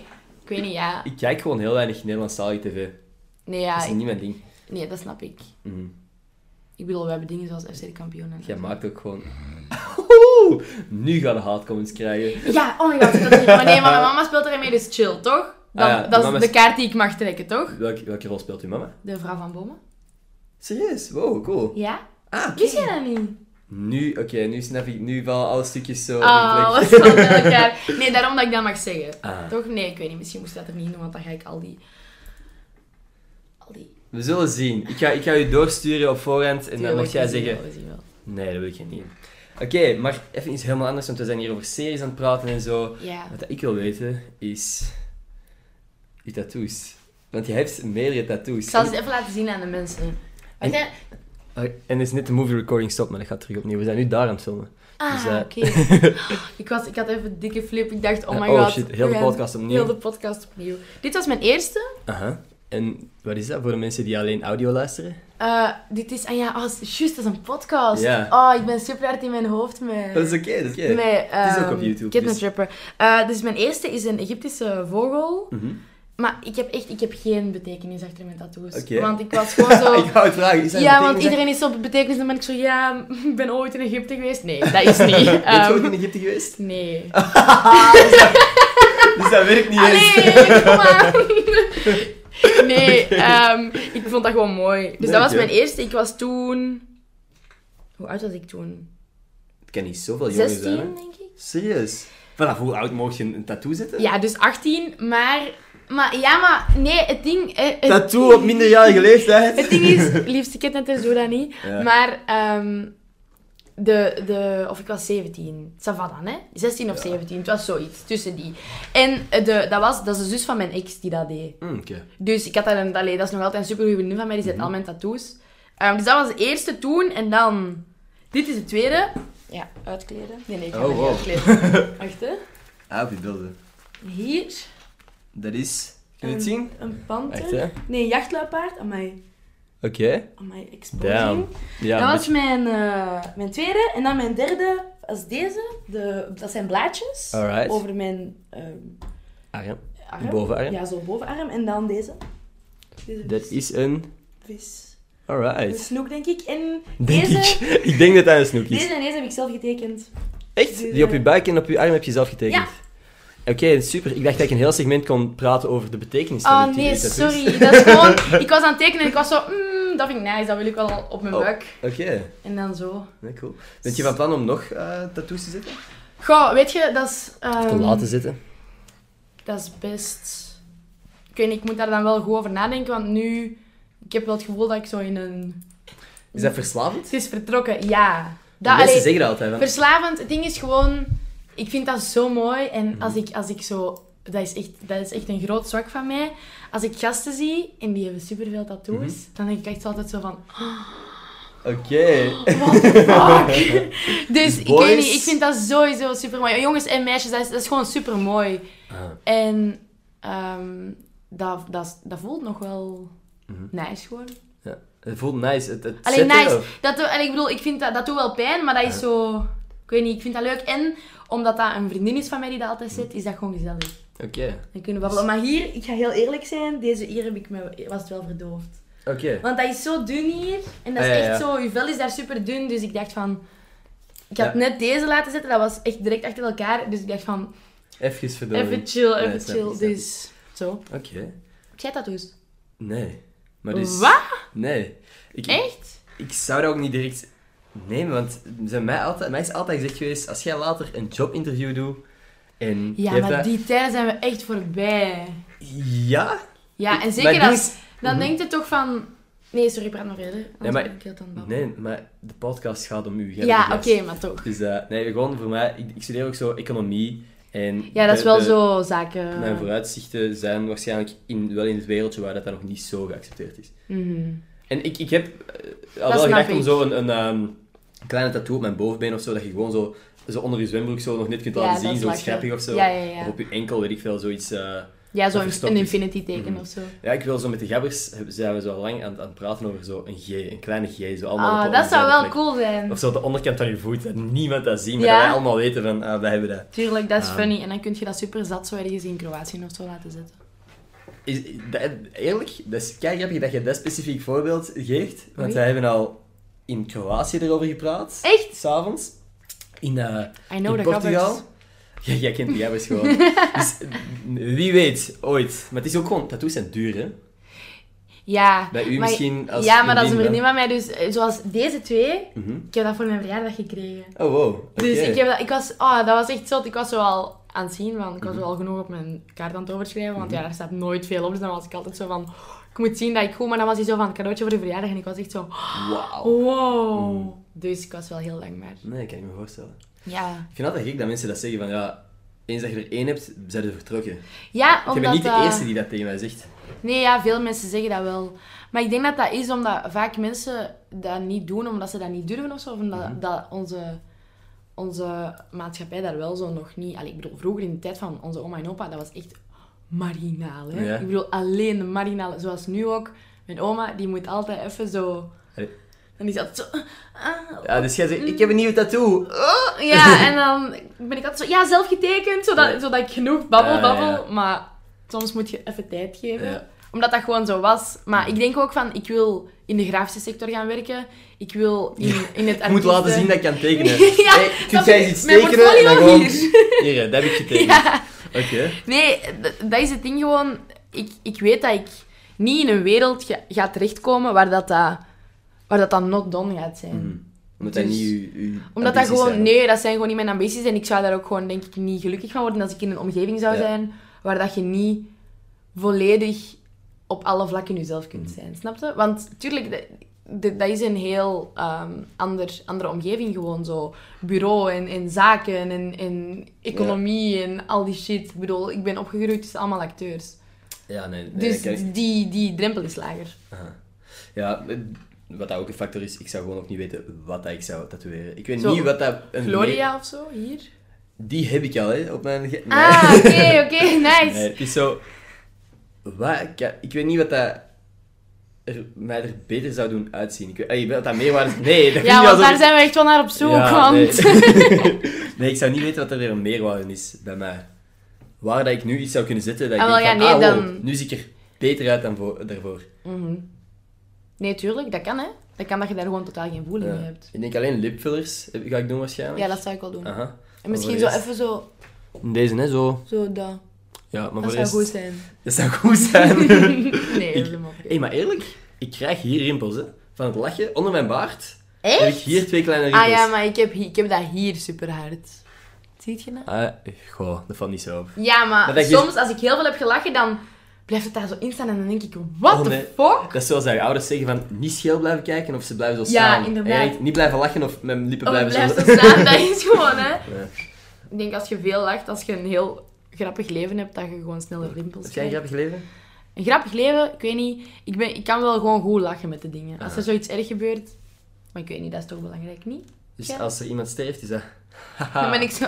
B: Ik weet niet, ja.
A: Ik kijk gewoon heel weinig Nederlandstalige tv.
B: Nee,
A: Dat
B: ja.
A: is niet mijn ding.
B: Ah, ik- Nee, dat snap ik.
A: Mhm.
B: Ik bedoel, we hebben dingen zoals FC de Kampioen en
A: Jij maakt ook gewoon... Oeh, nu gaan de haatcomments krijgen.
B: Ja, oh my god. ik had het- Maar nee, maar mijn mama speelt ermee, dus chill, toch? Dan,
A: Ah ja,
B: dat
A: mama
B: is
A: is-
B: de kaart die ik mag trekken, toch?
A: Welke, welke rol speelt uw mama?
B: De vrouw van Bomen.
A: Serieus? Wow, cool.
B: Ja?
A: Ah, oké.
B: Wist jij dat niet?
A: Nu, oké, nu snap ik, nu vallen alle stukjes zo op
B: Ah,
A: hun
B: wat
A: plek.
B: zat met elkaar. Nee, daarom dat ik dat mag zeggen.
A: Ah.
B: Toch? Nee, ik weet niet. Misschien moest ik dat er niet doen, want dan ga ik al die... Al die...
A: We zullen zien. Ik ga, ik ga u doorsturen op voorhand en dan
B: Tuurlijk,
A: mocht jij
B: we zien
A: zeggen...
B: wel, we zien wel.
A: Nee, dat wil ik niet. Oké, maar even iets helemaal anders, want we zijn hier over series aan het praten en zo.
B: Ja.
A: Wat ik wil weten is... Je tattoos. Want je hebt meerdere tattoos.
B: Ik zal het even laten zien aan de mensen.
A: En-
B: Wacht, hè.
A: Oh, En is net de movie recording stopt, maar dat gaat terug opnieuw. We zijn nu daar aan het filmen.
B: Ah,
A: eh,
B: oké. ik, was, ik had even een dikke flip. Ik dacht, oh
A: Eh,
B: my god.
A: shit, heel de
B: we gaan-
A: podcast opnieuw.
B: Heel de podcast opnieuw. Dit was mijn eerste.
A: Aha. En wat is dat voor de mensen die alleen audio luisteren?
B: Eh, dit is... Ah ja, oh, het is juist, dat is een podcast.
A: Ja.
B: Oh, ik ben super hard in mijn hoofd met...
A: Dat is oké, dat is oké.
B: met,
A: Het is ook op
B: ehm,
A: YouTube,
B: Kidnap
A: dus-
B: Trapper. Eh, dus mijn eerste is een Egyptische vogel.
A: Mhm.
B: Maar ik heb echt ik heb geen betekenis achter mijn tattoos.
A: Oké.
B: Want ik was gewoon zo...
A: ik wou het vragen. Is dat
B: ja,
A: een
B: want
A: betekenis-
B: iedereen is zo op betekenis. Dan ben ik zo, ja, ik ben ooit in Egypte geweest. Nee, dat is niet.
A: Ben je Ah,
B: Ehm,
A: ooit in Egypte geweest?
B: nee.
A: Dus dat werkt niet eens.
B: Allee, kom aan. Nee, ehm, ik vond dat gewoon mooi. Dus dat
A: Leuk,
B: was
A: hè?
B: mijn eerste. Ik was toen... Hoe oud was ik toen?
A: Het kan niet zoveel jonger zijn.
B: 16,
A: hè?
B: denk ik.
A: Serieus? Vanaf hoe oud mocht je een tattoo zetten?
B: Ja, dus 18. Maar... maar ja, maar... Nee, het ding... eh, het-
A: Tattoo op minderjarige leeftijd?
B: Het ding is, liefste kindnetters doe dat niet.
A: Ja.
B: Maar, ehm, de, de, of ik was 17. Ça va dan, hè? 16 of 17, het was zoiets. Tussen die. En eh, de, dat, was, dat is de zus van mijn ex die dat deed.
A: Mm, Oké.
B: Dus ik had daar een, allee, dat is nog altijd een supergoeie vriendin van mij, die zet
A: Mhm.
B: al mijn tattoos. Ehm, dus dat was de eerste toen. En dan, dit is de tweede. Ja, uitkleden. Nee, nee, ik ga
A: Oh,
B: dat
A: wow.
B: niet uitkleden. Wacht, hè.
A: Ah, op je beelden.
B: Hier.
A: Dat is... Kun je
B: een,
A: het zien?
B: Een panter.
A: Echt, hè?
B: Nee, een jachtluipaard. Amai,
A: Oké.
B: amai, exposing.
A: Damn. Ja,
B: dat
A: maar-
B: was mijn, eh, mijn tweede. En dan mijn derde als deze. De, dat zijn blaadjes.
A: Alright.
B: Over mijn ehm,
A: Arm.
B: arm.
A: Bovenarm.
B: Ja, zo bovenarm. En dan deze. Deze
A: Dat
B: vis.
A: is een...
B: vis. Een
A: Alright.
B: snoek, denk ik. En
A: Denk
B: deze,
A: ik. Ik denk dat hij een snoek is.
B: deze en deze heb ik zelf getekend.
A: Echt? Die op je buik en op je arm heb je zelf getekend?
B: Ja.
A: Oké, super. Ik dacht dat ik een heel segment kon praten over de betekenis van
B: Oh
A: die
B: nee,
A: tattoos.
B: sorry. Dat is gewoon... Ik was aan het tekenen en ik was zo... Mm, dat vind ik nice, dat wil ik wel op mijn
A: Oh.
B: buik.
A: Oké,
B: En dan zo.
A: nee, cool. Bent je van plan om nog eh, tattoos te zetten?
B: Ehm, Goh, weet je, dat is... ehm,
A: te laten zitten?
B: Dat is best... Ik weet niet, ik moet daar dan wel goed over nadenken, want nu... Ik heb wel het gevoel dat ik zo in een...
A: Is dat verslavend?
B: Het is vertrokken, ja.
A: Dat,
B: mm. Dat,
A: mensen
B: allee,
A: zeggen dat altijd. want-
B: Verslavend, het ding is gewoon... Ik vind dat zo mooi. En als ik, als ik zo... Dat is, echt, dat is echt een groot zwak van mij. Als ik gasten zie en die hebben superveel tattoos,
A: Mhm.
B: dan denk ik echt altijd zo van...
A: Oké.
B: What the fuck? dus ik
A: Boys.
B: weet niet, ik vind dat sowieso super mooi. Jongens en meisjes, dat is, dat is gewoon super mooi.
A: Ah.
B: En ehm, dat, dat, dat voelt nog wel
A: Mhm.
B: nice gewoon.
A: Ja. Het voelt nice. Het, het
B: Alleen
A: zetten,
B: nice.
A: of-
B: Dat, doe- allee, ik bedoel, ik vind dat, dat doet wel pijn, maar dat is zo. Ik weet niet, ik vind dat leuk. En omdat dat een vriendin is van mij die dat altijd
A: Mhm.
B: zit, is dat gewoon gezellig.
A: Oké.
B: Dan kunnen we babbelen.
A: Dus-
B: Maar hier, ik ga heel eerlijk zijn, deze hier heb ik me, was het wel verdoofd.
A: Oké.
B: Want dat is zo dun hier. En dat is
A: Ah, ja, ja.
B: echt zo, je vel is daar super dun. Dus ik dacht van. Ik had
A: Ja.
B: net deze laten zetten, dat was echt direct achter elkaar. Dus ik dacht van,
A: Even verdoven.
B: even chill,
A: Nee,
B: even
A: snap ik,
B: chill.
A: snap ik.
B: Dus zo.
A: Oké.
B: Heb jij tattoos?
A: Nee. Maar dus...
B: Wat?
A: Nee. Ik,
B: Echt?
A: Ik zou dat ook niet direct nemen, want ze hebben mij, altijd, mij is altijd gezegd geweest, als jij later een jobinterview doet en je
B: Ja,
A: hebt
B: maar
A: dat-
B: die tijden zijn we echt voorbij.
A: Ja?
B: Ja, en
A: maar
B: zeker
A: die
B: als...
A: is-
B: Dan
A: Mhm.
B: denkt het toch van... Nee, sorry, praat nog verder.
A: Nee, maar-
B: Nee, maar... Ik heel aan het babbelen.
A: Nee, maar de podcast gaat om u. jij bent
B: ja,
A: de
B: oké,
A: gast.
B: maar toch.
A: Dus eh, nee, gewoon voor mij, ik, ik studeer ook zo economie En
B: Ja, dat is
A: de-
B: wel
A: de-
B: zo eh. zaken.
A: Mijn vooruitzichten zijn waarschijnlijk in, wel in het wereldje waar dat, dan nog niet zo geaccepteerd is.
B: Mhm.
A: En ik, ik heb eh, al wel
B: Dat snap
A: gedacht om
B: ik.
A: zo een, een ehm, kleine tattoo op mijn bovenbeen of zo, dat je gewoon zo, zo onder je zwembroek zo nog net kunt
B: Ja,
A: laten
B: dat
A: zien,
B: is
A: zoiets
B: lachen.
A: grappig of zo.
B: Ja, ja, ja.
A: Of op je enkel, weet ik veel, zoiets... eh,
B: Ja,
A: Dat
B: zo'n
A: verstopt
B: een
A: is.
B: infinity teken
A: Mhm.
B: of zo.
A: Ja, ik wil zo met de gabbers, heb- zijn we zo al lang aan, aan het praten over zo een G, een kleine G, zo allemaal op-
B: Ah,
A: op
B: dat zou
A: dezelfde
B: wel
A: plek.
B: cool zijn.
A: Of zo de onderkant van je voet, dat niemand dat ziet, maar
B: Ja.
A: dat wij allemaal weten van, ah, wij hebben dat.
B: Tuurlijk, dat is
A: Ah.
B: funny. En dan kun je dat super zat zo ergens in Kroatië of zo laten zitten.
A: Is, dat- eerlijk, dat is keigrappig dat je dat specifiek voorbeeld geeft. Want
B: Oei.
A: wij hebben al in Kroatië erover gepraat.
B: Echt?
A: S'avonds. In, eh,
B: I know
A: in
B: the
A: Portugal.
B: gabbers.
A: Ja, jij kent die gabbers gewoon. dus wie weet, ooit. Maar het is ook gewoon, tattoos zijn duur hè.
B: Ja.
A: Bij u
B: maar-
A: misschien als
B: Ja, maar dat is een
A: vriendin,
B: vriendin van mij. Dus eh, zoals deze twee,
A: hè. Mhm.
B: ik heb dat voor mijn verjaardag gekregen.
A: Oh wow, oké.
B: Dus ik, heb dat, ik was... Oh, dat was echt zot. Ik was zo al aan het zien, want ik
A: Mhm.
B: was wel genoeg op mijn kaart aan het overschrijven. Want ja, daar staat nooit veel op. Dus dan was ik altijd zo van... "Oh, Ik moet zien dat ik goed... Maar dan was hij zo van, cadeautje voor je verjaardag. En ik was echt zo... oh,
A: Wauw.
B: Wow.
A: Mhm.
B: Dus ik was wel heel dankbaar.
A: Nee, kan ik me voorstellen.
B: Ja.
A: Ik vind altijd gek dat mensen dat zeggen van ja, eens dat je er één hebt, zijn ze vertrokken.
B: Ja,
A: ik
B: omdat...
A: ben niet de
B: eh,
A: eerste die dat tegen mij zegt.
B: Nee, ja, veel mensen zeggen dat wel. Maar ik denk dat dat is omdat vaak mensen dat niet doen omdat ze dat niet durven of zo. Of omdat
A: Mhm.
B: dat onze, onze maatschappij daar wel zo nog niet... Allee, ik bedoel, vroeger in de tijd van onze oma en opa, dat was echt marginaal. Hè?
A: Ja.
B: Ik bedoel, alleen de marginale. Zoals nu ook. Mijn oma, die moet altijd even zo...
A: Allee.
B: Dan is dat zo... ah,
A: Ja, dus jij zegt, ik heb een nieuwe tattoo.
B: oh, ja, en dan ben ik altijd zo... Ja, zelf getekend, zodat,
A: Ja.
B: zodat ik genoeg babbel,
A: Ja, ja, ja.
B: babbel. Maar soms moet je even tijd geven
A: Ja.
B: omdat dat gewoon zo was. Maar ik denk ook van, ik wil in de grafische sector gaan werken. Ik wil in, in het
A: Ik moet laten zien dat ik kan tekenen.
B: Ja,
A: hey, kun
B: dat
A: jij
B: is-
A: eens iets
B: mijn
A: tekenen? En dan
B: portfolio
A: gewoon...
B: hier.
A: Hier, hè, dat heb ik getekend.
B: Ja.
A: Oké.
B: Nee, d- dat is het ding gewoon. Ik, ik weet dat ik niet in een wereld ga, ga terechtkomen waar dat, dat, waar dat dan not done gaat zijn.
A: Mhm. Omdat dat
B: Dus-
A: niet uw, uw
B: Omdat dat
A: ambities
B: gewoon...
A: zijn.
B: Nee, dat zijn gewoon niet mijn ambities. En ik zou daar ook gewoon, denk ik, niet gelukkig van worden als ik in een omgeving zou
A: Ja.
B: zijn waar dat je niet volledig op alle vlakken jezelf kunt
A: Mm.
B: zijn. Snap je? Want tuurlijk, de- de- dat is een heel ehm, ander, andere omgeving gewoon zo. Bureau en, en zaken en, en economie en al die shit. Ik bedoel, ik ben opgegroeid tussen allemaal acteurs.
A: Ja, nee. nee, dat
B: Dus
A: kan ik-
B: die, die drempel is lager.
A: Ja, wat dat ook een factor is, ik zou gewoon ook niet weten wat dat ik zou tatoeëren. Ik weet
B: Zo,
A: niet wat dat... Een
B: Gloria of zo, hier.
A: Die heb ik al, hè, op mijn... ge- Nee.
B: Ah, oké, oké, nice.
A: Nee, het is zo... Wat? Ik, ik weet niet wat dat... Er, mij er beter zou doen uitzien. Ik weet, ey, wat dat meerwaarde... is- Nee, dat
B: Ja,
A: niet
B: want
A: alsof
B: daar
A: ik-
B: zijn we echt wel naar op zoek,
A: Ja,
B: want...
A: Nee. nee, ik zou niet weten wat er weer een meerwaarde is bij mij. Waar dat ik nu iets zou kunnen zetten, dat ik
B: Ah, wel,
A: denk
B: ja,
A: van,
B: nee,
A: ah, wow,
B: dan-
A: nu zie ik er beter uit dan voor, daarvoor.
B: Mhm. Nee, tuurlijk, dat kan hè. Dat kan dat je daar gewoon totaal geen voeling
A: Ja.
B: mee hebt.
A: Ik denk alleen lipfillers heb- ga ik doen waarschijnlijk.
B: Ja, dat zou ik wel doen.
A: Aha.
B: En misschien zo
A: voor de
B: even zo,
A: even... Deze, hè, zo.
B: zo dat.
A: Ja, maar
B: Dat
A: voor
B: zou
A: de
B: goed
A: rest...
B: zijn.
A: Dat zou goed zijn.
B: nee, dat is
A: Ik-
B: helemaal
A: Hé, maar eerlijk, ik krijg hier rimpels, hè. Van het lachen, onder mijn baard, heb ik
B: Echt?
A: hier twee kleine rimpels.
B: Ah ja, maar ik heb, hi- ik heb dat hier super hard. Ziet je dat?
A: Ah, goh, dat valt niet zo op.
B: Ja, maar
A: Maar dat je-
B: soms als ik heel veel heb gelachen, dan blijft het daar zo in staan en dan denk ik, what
A: Oh,
B: the
A: nee.
B: fuck?
A: Dat is zoals dat je ouders zeggen van niet scheel blijven kijken of ze blijven zo
B: Ja,
A: staan.
B: inderdaad.
A: En je denkt, niet blijven lachen of mijn lippen
B: Oh, het
A: blijven
B: blijft
A: zo.
B: zo staan, dat is gewoon hè.
A: Ja.
B: Ik denk als je veel lacht, als je een heel grappig leven hebt, dat je gewoon sneller rimpels
A: Heb jij een
B: krijgt.
A: grappig leven?
B: Een grappig leven, ik weet niet. Ik, ben, ik kan wel gewoon goed lachen met de dingen. Als er zoiets erg gebeurt, maar ik weet niet, dat is toch belangrijk, niet?
A: Dus
B: Ja.
A: als er iemand sterft, is dat...
B: Dan ben ik zo...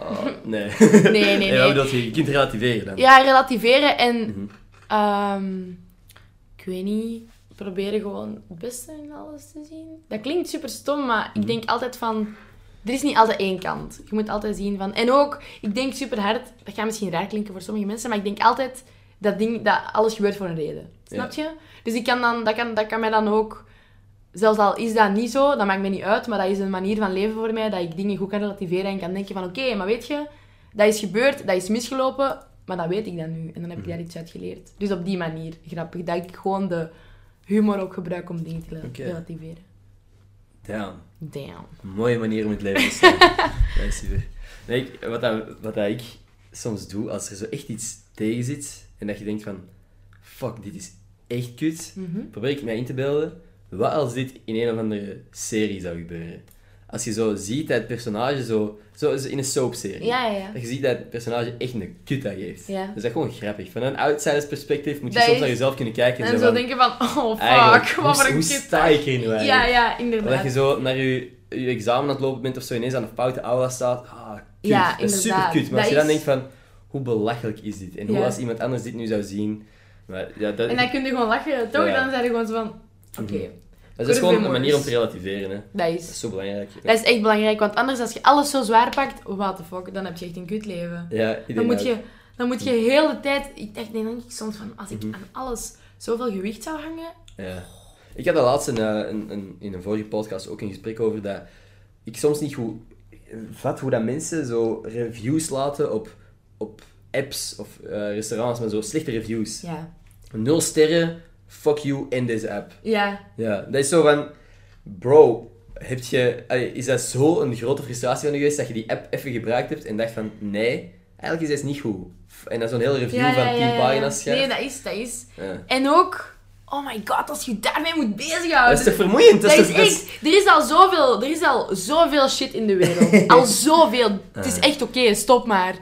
A: Oh, nee.
B: nee, nee.
A: dat je je kunt relativeren dan.
B: Ja, relativeren en...
A: Mhm.
B: ehm, ik weet niet, proberen gewoon het beste in alles te zien. Dat klinkt super stom, maar ik denk altijd van... Er is niet altijd één kant. Je moet altijd zien van... En ook, ik denk super hard... Dat gaat misschien raar klinken voor sommige mensen, maar ik denk altijd dat, ding, dat alles gebeurt voor een reden. Snap je? Dus ik kan dan, dat, kan, dat kan mij dan ook... Zelfs al is dat niet zo, dat maakt me niet uit, maar dat is een manier van leven voor mij, dat ik dingen goed kan relativeren en kan denken van, oké, maar weet je, dat is gebeurd, dat is misgelopen, maar dat weet ik dan nu. En dan heb ik daar iets uit geleerd. Dus op die manier, grappig, dat ik gewoon de humor ook gebruik om dingen te rela-
A: Oké.
B: relativeren.
A: Damn.
B: Damn.
A: Een mooie manier om het leven te staan. dat is super. Nee, ik- wat, dat, wat dat ik soms doe, als er zo echt iets tegen zit, en dat je denkt van... Fuck, dit is echt kut.
B: Mhm.
A: Probeer ik mij in te beelden. Wat als dit in een of andere serie zou gebeuren? als je zo ziet dat het personage zo... Zo is in een soapserie.
B: Ja, ja, ja.
A: Dat je ziet dat het personage echt een kut aan geeft.
B: Ja.
A: Dat is echt gewoon grappig. Van een outsidersperspectief moet je
B: Dat
A: soms
B: is-
A: naar jezelf kunnen kijken.
B: En zo
A: van,
B: denken van, oh
A: eigenlijk,
B: fuck,
A: hoe,
B: wat voor een
A: hoe
B: kut.
A: sta ik hier nu eigenlijk?
B: Ja, ja,
A: Dat
B: inderdaad.
A: je zo naar je, je examen aan het lopen bent of zo ineens aan een foute aula staat. Ah, kut.
B: Ja,
A: dat is super
B: inderdaad.
A: kut. Maar
B: Dat
A: als je dan denkt
B: is-
A: van, hoe belachelijk is dit? En hoe
B: Ja.
A: als iemand anders dit nu zou zien. Maar ja, dat,
B: En dan kun je gewoon lachen, toch?
A: Ja. Mhm.
B: Dan zijn je gewoon zo van, oké,
A: dat is dus gewoon een manier om te
B: humor.
A: relativeren. Hè.
B: dat
A: Dat
B: is...
A: is zo belangrijk.
B: Dat is echt belangrijk, want anders als je alles zo zwaar pakt, what the fuck, dan heb je echt een kut leven.
A: Ja, ik
B: Dan
A: denk
B: moet
A: ook.
B: je, dan moet je heel de tijd... Ik denk, denk ik soms van, als ik
A: Mhm.
B: aan alles zoveel gewicht zou hangen...
A: Ja. Ik had daar laatst een, eh, een, een, in een vorige podcast ook een gesprek over dat ik soms niet goed vat hoe dat mensen zo reviews laten op, op apps of eh, restaurants, maar zo slechte reviews.
B: Ja.
A: Nul sterren, fuck you en deze app.
B: Ja.
A: Ja, dat is zo van, bro, heb je, allee, is dat zo een grote frustratie van je geweest dat je die app even gebruikt hebt en dacht van, nee, eigenlijk is dat niet goed. En dan zo'n hele review
B: ja,
A: van
B: ja,
A: 10
B: ja, ja.
A: pagina's schrijft.
B: Nee, dat is, dat is.
A: Ja.
B: En ook... Oh my god, als je daarmee moet bezighouden...
A: Dat is te vermoeiend.
B: Dat is
A: te- dat is-
B: echt, er is al zoveel, er is al zoveel shit in de wereld. Al zoveel. Het is echt oké, stop maar.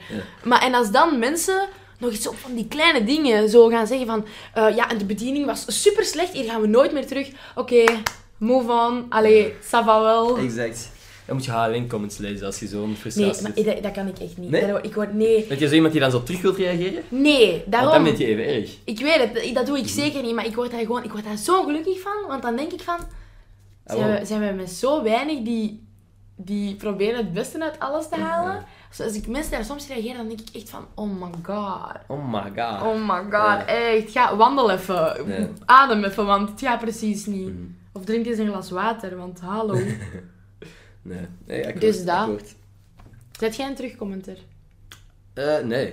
B: Maar en als dan mensen nog iets op van die kleine dingen zo gaan zeggen van, eh, ja, en de bediening was super slecht, hier gaan we nooit meer terug. Oké, move on. Allee, ça va wel.
A: Exact. Dan moet je haar alleen comments lezen als je zo'n
B: Nee,
A: frustratie
B: maar
A: hebt.
B: dat, dat kan ik echt niet.
A: Nee?
B: Daar- ik word, nee,
A: Ben je zo iemand die dan zo terug wilt reageren?
B: nee,
A: Want dan
B: daarom.
A: ben je even erg.
B: Ik weet het, dat- dat doe ik zeker niet, maar ik word daar gewoon, ik word daar zo gelukkig van, want dan denk ik van,
A: Ah,
B: Zijn
A: wel.
B: we, zijn we met zo weinig die, die proberen het beste uit alles te halen? Dus als ik mensen daar soms reageer, dan denk ik echt van, oh my god.
A: Oh my god.
B: Oh my god,
A: Ja.
B: echt. Ga wandel even.
A: Ja.
B: Adem even, want het gaat precies niet. Of drink eens een glas water, want hallo.
A: Nee, nee akkoord,
B: Dus dat.
A: akkoord.
B: Zet jij een terugcommenter?
A: Eh, nee.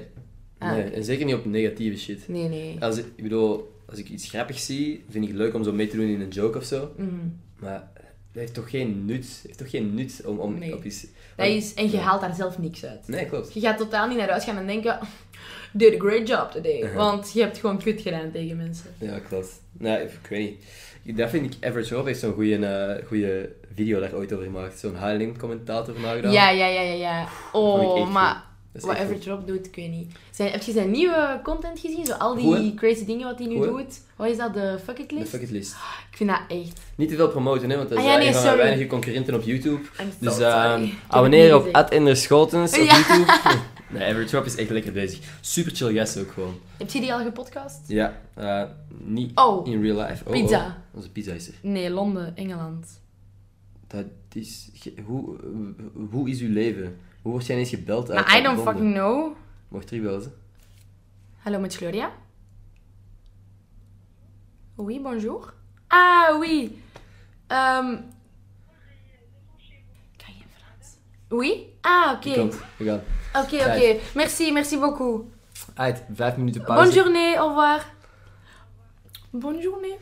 B: Ah,
A: nee.
B: oké.
A: En zeker niet op negatieve shit.
B: Nee, nee.
A: Als ik, ik bedoel, als ik iets grappigs zie, vind ik het leuk om zo mee te doen in een joke of zo.
B: Mhm.
A: Maar dat heeft toch geen nut. Het heeft toch geen nut om, om
B: Nee.
A: op iets...
B: Dat is, en je
A: Ja.
B: haalt daar zelf niks uit.
A: Nee, klopt.
B: Je gaat totaal niet naar huis gaan en denken, did a great job today. Want je hebt gewoon kut gedaan tegen mensen.
A: Ja, klopt. Nee, ik weet niet. Ik- Dat vind ik, Average Rob heeft zo'n goede eh goede video daar ooit over gemaakt. Zo'n Highland commentator nagedaan.
B: Ja, ja, ja, ja, ja.
A: vond ik
B: Oh,
A: echt
B: maar
A: goed. Dat is
B: Wat
A: echt goed.
B: Average Rob doet, ik weet niet. Zijn, heb je zijn nieuwe content gezien? Zo al die
A: Goed, hè?
B: crazy dingen wat hij nu
A: Goed, hè?
B: doet. Wat is dat, de Fuck It
A: De
B: List?
A: fuck it list.
B: Ik vind dat echt...
A: Niet te veel promoten, hè, want dat is
B: Ah, ja,
A: eh,
B: nee,
A: een van mijn
B: sorry.
A: weinige concurrenten op YouTube.
B: I'm so
A: Dus
B: sorry.
A: ehm
B: Ik heb
A: abonneer
B: het
A: op
B: niet gezien.
A: Ad Schotens op
B: Ja.
A: YouTube. nee, Average Rob is echt lekker bezig. Super chill gast ook gewoon.
B: Heb je die al gepodcast?
A: Ja, eh, niet
B: Oh,
A: in real life. Oh,
B: Pizza.
A: oh. Onze pizza is er.
B: nee, Londen, Engeland.
A: Dat is... ge- Hoe, eh, hoe is uw leven? Hoe word jij ineens gebeld uit
B: Maar I don't
A: Eh, Londen?
B: fucking know.
A: Mocht er wel eens.
B: Hallo, met Gloria? Oui, bonjour. Ah, oui. Ehm Kan je in Frans? Oui? Ah, oké.
A: Ik
B: Oké,
A: Komt, we gaan.
B: oké.
A: Tijd.
B: Merci, merci beaucoup.
A: Uit, vijf minuten pauze.
B: Bonne journée, au revoir. Bonne journée.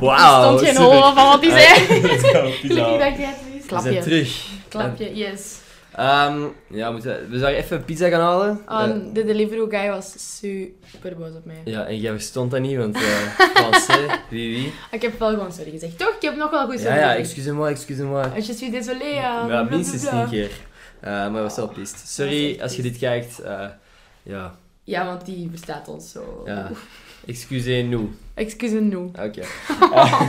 A: Wauw,
B: Stond je in
A: super.
B: horen van wat hij zei?
A: Let's go,
B: Gelukkig
A: oh, pizza.
B: dat jij het wist.
A: We zijn
B: Klapje.
A: terug.
B: Klapje, yes.
A: Ehm, ja, we, moeten, we zouden even pizza gaan halen.
B: Oh,
A: Eh,
B: de delivery guy was super boos op mij.
A: ja, en jij verstond dat niet, want eh Français, wie wie.
B: Ik heb wel gewoon sorry gezegd, toch? Ik heb nog wel goed
A: Ja,
B: sorry
A: ja,
B: gezegd.
A: excusez-moi, excusez-moi.
B: Je suis désolé. eh,
A: Ja,
B: blablabla.
A: minstens tien keer. Eh, maar we was wel pist.
B: Dat is
A: Sorry
B: echt
A: als je dit kijkt. eh, ja,
B: Ja, want die verstaat ons zo.
A: ja. Excusez-nous.
B: Excuse nous.
A: Oké. Eh,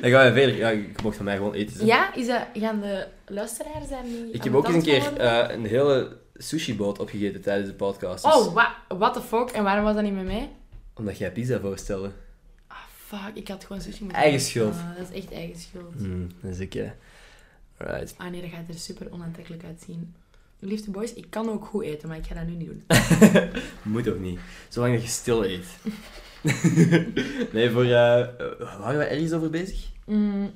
A: dan gaan we verder. Ja, je mocht van mij gewoon eten. zeg.
B: Ja, is dat, gaan de luisteraars daar
A: Ik
B: niet aan
A: heb
B: de
A: ook eens een
B: tand
A: keer
B: vallen?
A: eh, een hele sushiboot opgegeten tijdens de podcast. dus-
B: Oh, wa what the fuck? En waarom was dat niet met mij?
A: Omdat jij pizza voorstelde.
B: Ah, fuck. Ik had gewoon sushi moeten
A: Eigen
B: eten.
A: schuld.
B: Ah, dat is echt eigen schuld.
A: Hmm, dat is oké. Alright.
B: Ah nee, dat gaat er super onaantrekkelijk uitzien. Liefde boys, ik kan ook goed eten, maar ik ga dat nu niet doen.
A: Moet ook niet. Zolang dat je stil eet. nee, voor... eh, eh, waren we ergens over bezig?
B: Mm.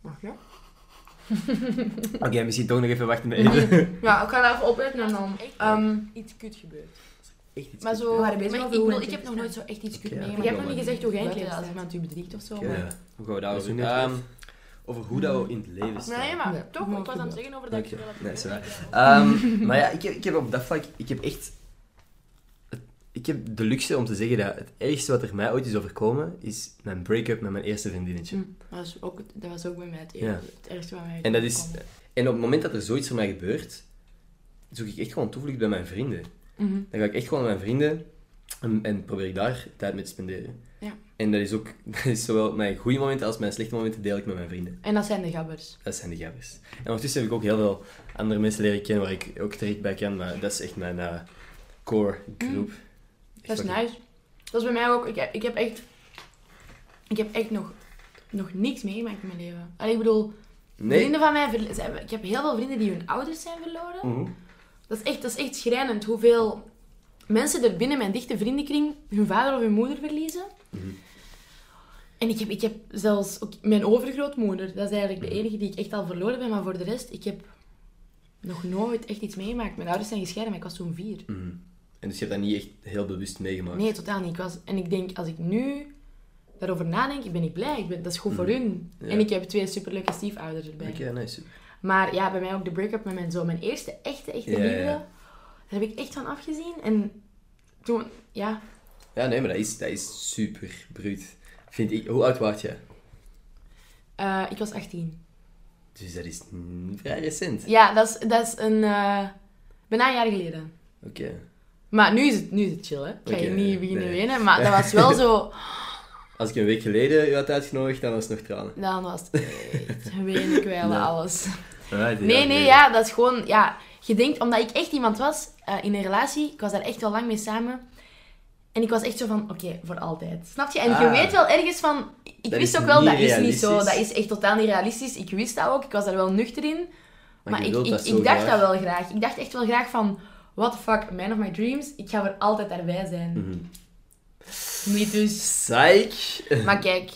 B: Mag ja?
A: Oké, misschien toch nog even wachten met eten.
B: Ja, ik ga dat even opeten en dan... Ehm, iets kut gebeurt.
A: Echt iets
B: Maar
A: goed.
B: zo...
C: waren bezig
B: maar
C: over
B: ik,
C: hoe
B: bedoel,
C: het
B: ik heb nog nooit zo echt iets
A: Oké, ja,
B: kut mee.
A: ik
B: Ik heb
A: wel,
B: nog niet
A: maar-
B: gezegd hoe jij in het leven
C: Welke
B: staat, als
C: staat?
B: iemand u bedriegt of zo.
A: Ja.
B: maar-
A: Hoe gaan we daarover
C: Dat is
A: doen?
C: net
A: Ehm, over hoe Dus dat we in het leven staan.
B: Nee, maar
C: Ja.
B: toch, ik was aan
C: Ja,
B: het
C: inderdaad.
B: zeggen over dat
A: Oké,
B: ik...
A: nee, is waar. Ehm, maar ja, ik heb, ik heb op dat vlak... Ik heb echt... Ik heb de luxe om te zeggen dat het ergste wat er mij ooit is overkomen, is mijn break-up met mijn eerste vriendinnetje.
B: Dat was ook, dat was ook bij mij het,
A: Ja.
B: het ergste wat mij
A: En, dat is,
B: overkwam.
A: en op het moment dat er zoiets voor mij gebeurt, zoek ik echt gewoon toevlucht bij mijn vrienden.
B: Mhm.
A: Dan ga ik echt gewoon naar mijn vrienden en, en probeer ik daar tijd mee te spenderen.
B: Ja.
A: En dat is ook, dat is zowel mijn goede momenten als mijn slechte momenten deel ik met mijn vrienden.
B: En dat zijn de gabbers.
A: Dat zijn de gabbers. En ondertussen heb ik ook heel veel andere mensen leren kennen waar ik ook terecht bij kan, maar dat is echt mijn eh, core groep.
B: Mm. Dat is
A: Echt
B: nice. Dat is bij mij ook. Ik, ik heb echt. Ik heb echt nog, nog niks meegemaakt in mijn leven. Allee, ik bedoel,
A: Nee.
B: vrienden van mij. verl- zijn- Ik heb heel veel vrienden die hun ouders zijn verloren.
A: Mhm.
B: Dat is echt, dat is echt schrijnend hoeveel mensen er binnen mijn dichte vriendenkring hun vader of hun moeder verliezen. En ik heb, ik heb zelfs ook mijn overgrootmoeder, dat is eigenlijk de enige die ik echt al verloren ben, maar voor de rest, ik heb nog nooit echt iets meegemaakt. Mijn ouders zijn gescheiden, maar ik was toen vier.
A: Mhm. En dus je hebt dat niet echt heel bewust meegemaakt.
B: Nee, totaal niet. Ik was, en ik denk, als ik nu daarover nadenk, ik ben ik blij. Ik ben, dat is goed voor hun.
A: Ja.
B: En ik heb twee superleuke stiefouders erbij.
A: Oké, ja, nice.
B: Maar ja, bij mij ook de break-up met mijn zoon. Mijn eerste echte, echte
A: Ja, ja.
B: liefde. Daar heb ik echt van afgezien. En toen, ja,
A: Ja, nee, maar dat is, dat is super bruut. Vind ik, hoe oud waard je?
B: eh, ik was 18.
A: Dus dat is mm, vrij recent.
B: Ja, dat is, dat is een, eh, bijna een jaar geleden.
A: Oké.
B: Maar nu is het, nu is het chill, hè. Ik ga je
A: Oké,
B: niet beginnen
A: nee.
B: wenen, maar dat was wel zo...
A: Als ik een week geleden u had uitgenodigd, dan was het nog tranen.
B: Dan was het echt wenen, kwijlen,
A: Nee.
B: alles. Nee, nee, ja, dat is gewoon, ja, je denkt, omdat ik echt iemand was eh, in een relatie, ik was daar echt wel lang mee samen. En ik was echt zo van, oké, voor altijd. Snap je? En je
A: Ah.
B: weet wel ergens van, ik
A: Dat
B: wist
A: is
B: ook wel,
A: niet
B: dat is niet zo, dat
A: realistisch.
B: is echt totaal niet realistisch. Ik wist dat ook, ik was daar wel nuchter in. Maar,
A: je
B: ik,
A: wilt
B: ik,
A: dat zo
B: ik dacht
A: graag.
B: dat wel graag. Ik dacht echt wel graag van, what the fuck, man of my dreams, ik ga er altijd daarbij zijn.
A: Mhm.
B: Niet dus.
A: Psych!
B: Maar kijk,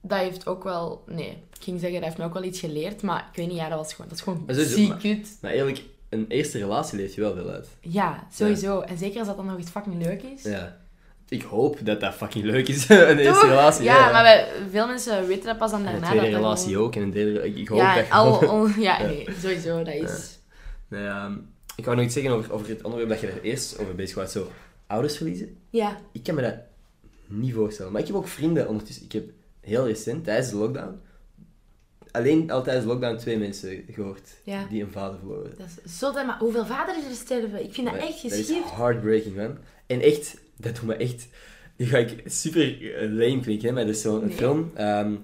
B: dat heeft ook wel, nee, ik ging zeggen, dat heeft me ook wel iets geleerd, maar ik weet niet, ja, dat was gewoon, dat is gewoon
A: Maar sowieso,
B: ziek
A: maar-
B: kut.
A: Maar eerlijk, een eerste relatie leeft je wel veel uit.
B: Ja, sowieso. En zeker als dat dan nog eens fucking leuk is.
A: Ja. Ik hoop dat dat fucking leuk is, een eerste relatie.
B: Ja, maar wij, veel mensen weten dat pas dan
A: En
B: daarna.
A: een tweede
B: dat dat
A: relatie
B: gewoon-
A: ook, en een derde... Ik, ik hoop
B: Ja,
A: dat je
B: al,
A: gewoon-
B: al- ja, nee, sowieso. Dat is...
A: Nee, ehm, ik wou nog iets zeggen over, over het onderwerp dat je er eerst over bezig was. Zo, ouders verliezen.
B: Ja.
A: Ik kan me dat niet voorstellen. Maar ik heb ook vrienden ondertussen. Ik heb heel recent, tijdens de lockdown, alleen al tijdens de lockdown twee mensen gehoord
B: Ja.
A: die een vader verloren.
B: Dat is zot, hè, maar hoeveel vaders er sterven. Ik vind dat echt
A: dat is
B: geschikt.
A: heartbreaking, man. En echt, dat doet me echt... Nu ga ik super eh, lame klinken, hè, maar dat is zo'n
B: Nee.
A: film, ehm,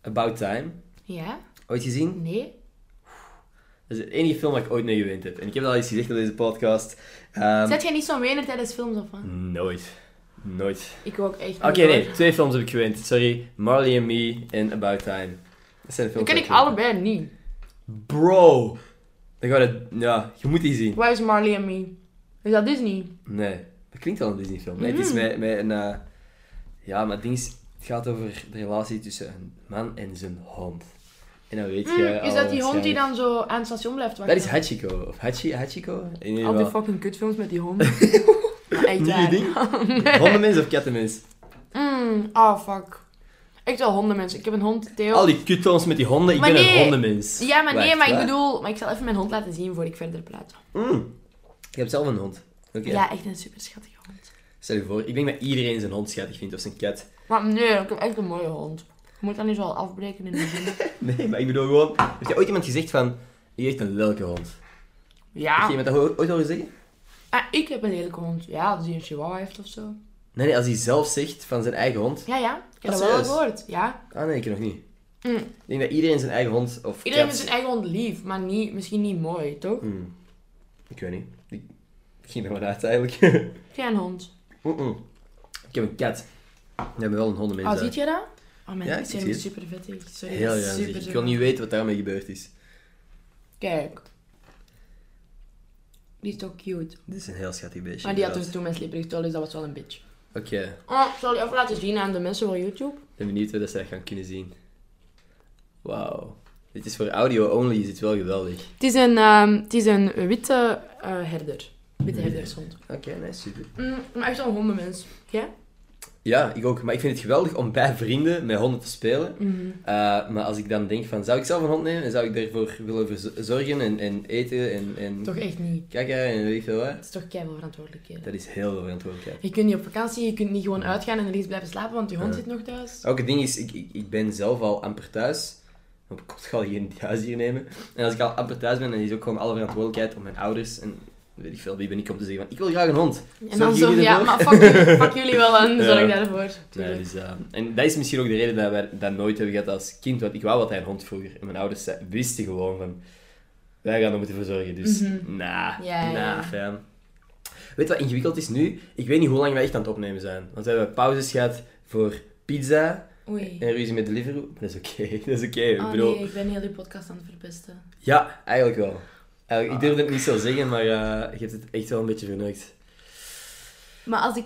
A: About Time.
B: Ja?
A: Ooit gezien?
B: Nee?
A: Dat is de enige film waar ik ooit mee gewend heb. En ik heb dat al eens gezegd op deze podcast. Ehm,
B: Zet jij niet zo'n wener tijdens films of wat?
A: Nooit. Nooit.
B: Ik ook echt
A: Oké,
B: niet,
A: nee,
B: hoor.
A: twee films heb ik gewend. Sorry, Marley and Me en About Time. Dat zijn de films.
B: Dat ken
A: die
B: ik
A: gewend
B: allebei niet.
A: heb. Bro! Dan gaat het. Ja, je moet die zien.
B: Waar is Marley en Me? Is dat Disney?
A: Nee, dat klinkt al een Disney-film. Nee, het is
B: Mm.
A: met, met een. eh, ja, maar het ding is, het gaat over de relatie tussen een man en zijn hond. En dan weet je.
B: Mm,
A: al
B: is dat die hond
A: waarschijnlijk-
B: die dan zo aan het station blijft
A: Dat
B: wachten?
A: is Hachiko. Of Hachi, Hachiko? In ieder
B: Al die
A: geval.
B: fucking kutfilms met die hond. Maar echt
A: Niet
B: waar.
A: je ding? Hondenmens of kattenmens?
B: Mm, oh fuck. Echt wel hondenmens. Ik heb een hond, Theo.
A: Al die kutfilms met die honden, ik
B: Maar
A: ben een
B: nee.
A: hondenmens.
B: Ja, maar nee,
A: Wacht,
B: maar ik
A: waar?
B: bedoel... Maar ik zal even mijn hond laten zien voor ik verder praat.
A: Mm. Ik heb zelf een hond. Oké.
B: Ja, echt een super schattige hond.
A: Stel je voor, ik denk dat iedereen zijn hond schattig vindt of zijn kat.
B: Maar nee, ik heb echt een mooie hond. Je moet dat niet zo al afbreken in de zin.
A: Nee, maar ik bedoel gewoon... Heb je ooit iemand gezegd van... Je heeft een lelijke hond? Heb je
B: Ja.
A: iemand dat ooit- ooit al zeggen?
B: Ah, ik heb een lelijke hond. Ja, als die een chihuahua heeft of zo.
A: Nee, nee, als hij zelf zegt van zijn eigen hond...
B: Ja, ja. Ik heb
A: Ah,
B: dat wel
A: serieus?
B: gehoord. Ja.
A: Ah nee, ik nog niet.
B: Mm.
A: Ik denk dat iedereen zijn eigen hond of
B: Iedereen
A: kat...
B: heeft zijn eigen hond lief, maar niet, misschien niet mooi, toch?
A: Mm.
B: e-
A: Ik weet niet. Ik, ik ging er maar uit eigenlijk.
B: Heb jij een hond?
A: Mm-mm. Ik heb een kat. We hebben wel een hondenmens
B: Oh,
A: uit.
B: ziet je dat? Oh, mijn
A: Ja, ik
B: ik
A: zie
B: zie hem
A: het.
B: super vettig. Sorry,
A: Heel
B: dat is
A: ranzig.
B: super
A: Ik wil niet weten wat daarmee gebeurd is.
B: Kijk. Die is toch cute.
A: Dit is een heel schattig beestje.
B: Maar die had
A: inderdaad.
B: dus toen mijn slipperig tool, dus dat was wel een bitch.
A: Oké,
B: Oh, ik zal je even laten zien aan de mensen van YouTube.
A: ik ben benieuwd hoe dat ze dat gaan kunnen zien. Wauw. Dit is voor audio only, is het wel geweldig.
B: Het is een, ehm, het is een witte eh, herder. Witte
A: Witte
B: herdershond.
A: Oké, nee, super.
B: Mm, maar echt zo'n hondenmens. Ja?
A: Ja, ik ook. Maar ik vind het geweldig om bij vrienden met honden te spelen.
B: Mhm.
A: Eh, maar als ik dan denk van, zou ik zelf een hond nemen? En zou ik daarvoor willen verz- zorgen en, en eten en, en
B: Toch e- echt niet.
A: kakken en weet ik veel wat?
B: Het is toch keihard verantwoordelijkheid.
A: Dat is heel veel verantwoordelijkheid.
B: Je kunt niet op vakantie, je kunt niet gewoon uitgaan en ergens blijven slapen, want je hond
A: Ja.
B: zit nog thuis.
A: Ook het ding is, ik, ik, ik ben zelf al amper thuis. Op kot ga ik geen thuis hier nemen. En als ik al amper thuis ben, dan is ook gewoon alle verantwoordelijkheid op mijn ouders. En weet ik veel, wie ben ik om te zeggen van, ik wil graag een hond.
B: En dan
A: Zorgen
B: zo,
A: jullie
B: ja,
A: ervoor?
B: maar fuck, jullie- fuck jullie wel aan,
A: Ja.
B: zorg daarvoor.
A: Nee,
B: Tuurlijk.
A: dus, eh, en dat is misschien ook de reden dat wij dat nooit hebben gehad als kind. Want ik wou altijd een hond vroeger. En mijn ouders ze- wisten gewoon van... Wij gaan er moeten voor zorgen. Dus
B: Mhm.
A: nah,
B: Ja, ja,
A: nah,
B: ja.
A: fijn. Weet je wat ingewikkeld is nu? Ik weet niet hoe lang wij echt aan het opnemen zijn. Want we hebben pauzes gehad voor pizza
B: Oei.
A: en ruzie met Deliveroo. Maar Dat is oké, dat is oké. ik
B: Oh
A: bedoel...
B: nee, ik ben heel die podcast aan het verpesten.
A: Ja, eigenlijk wel. Eigenlijk,
B: Oh.
A: ik durf het niet zo zeggen, maar eh, je hebt het echt wel een beetje verneukt.
B: Maar als ik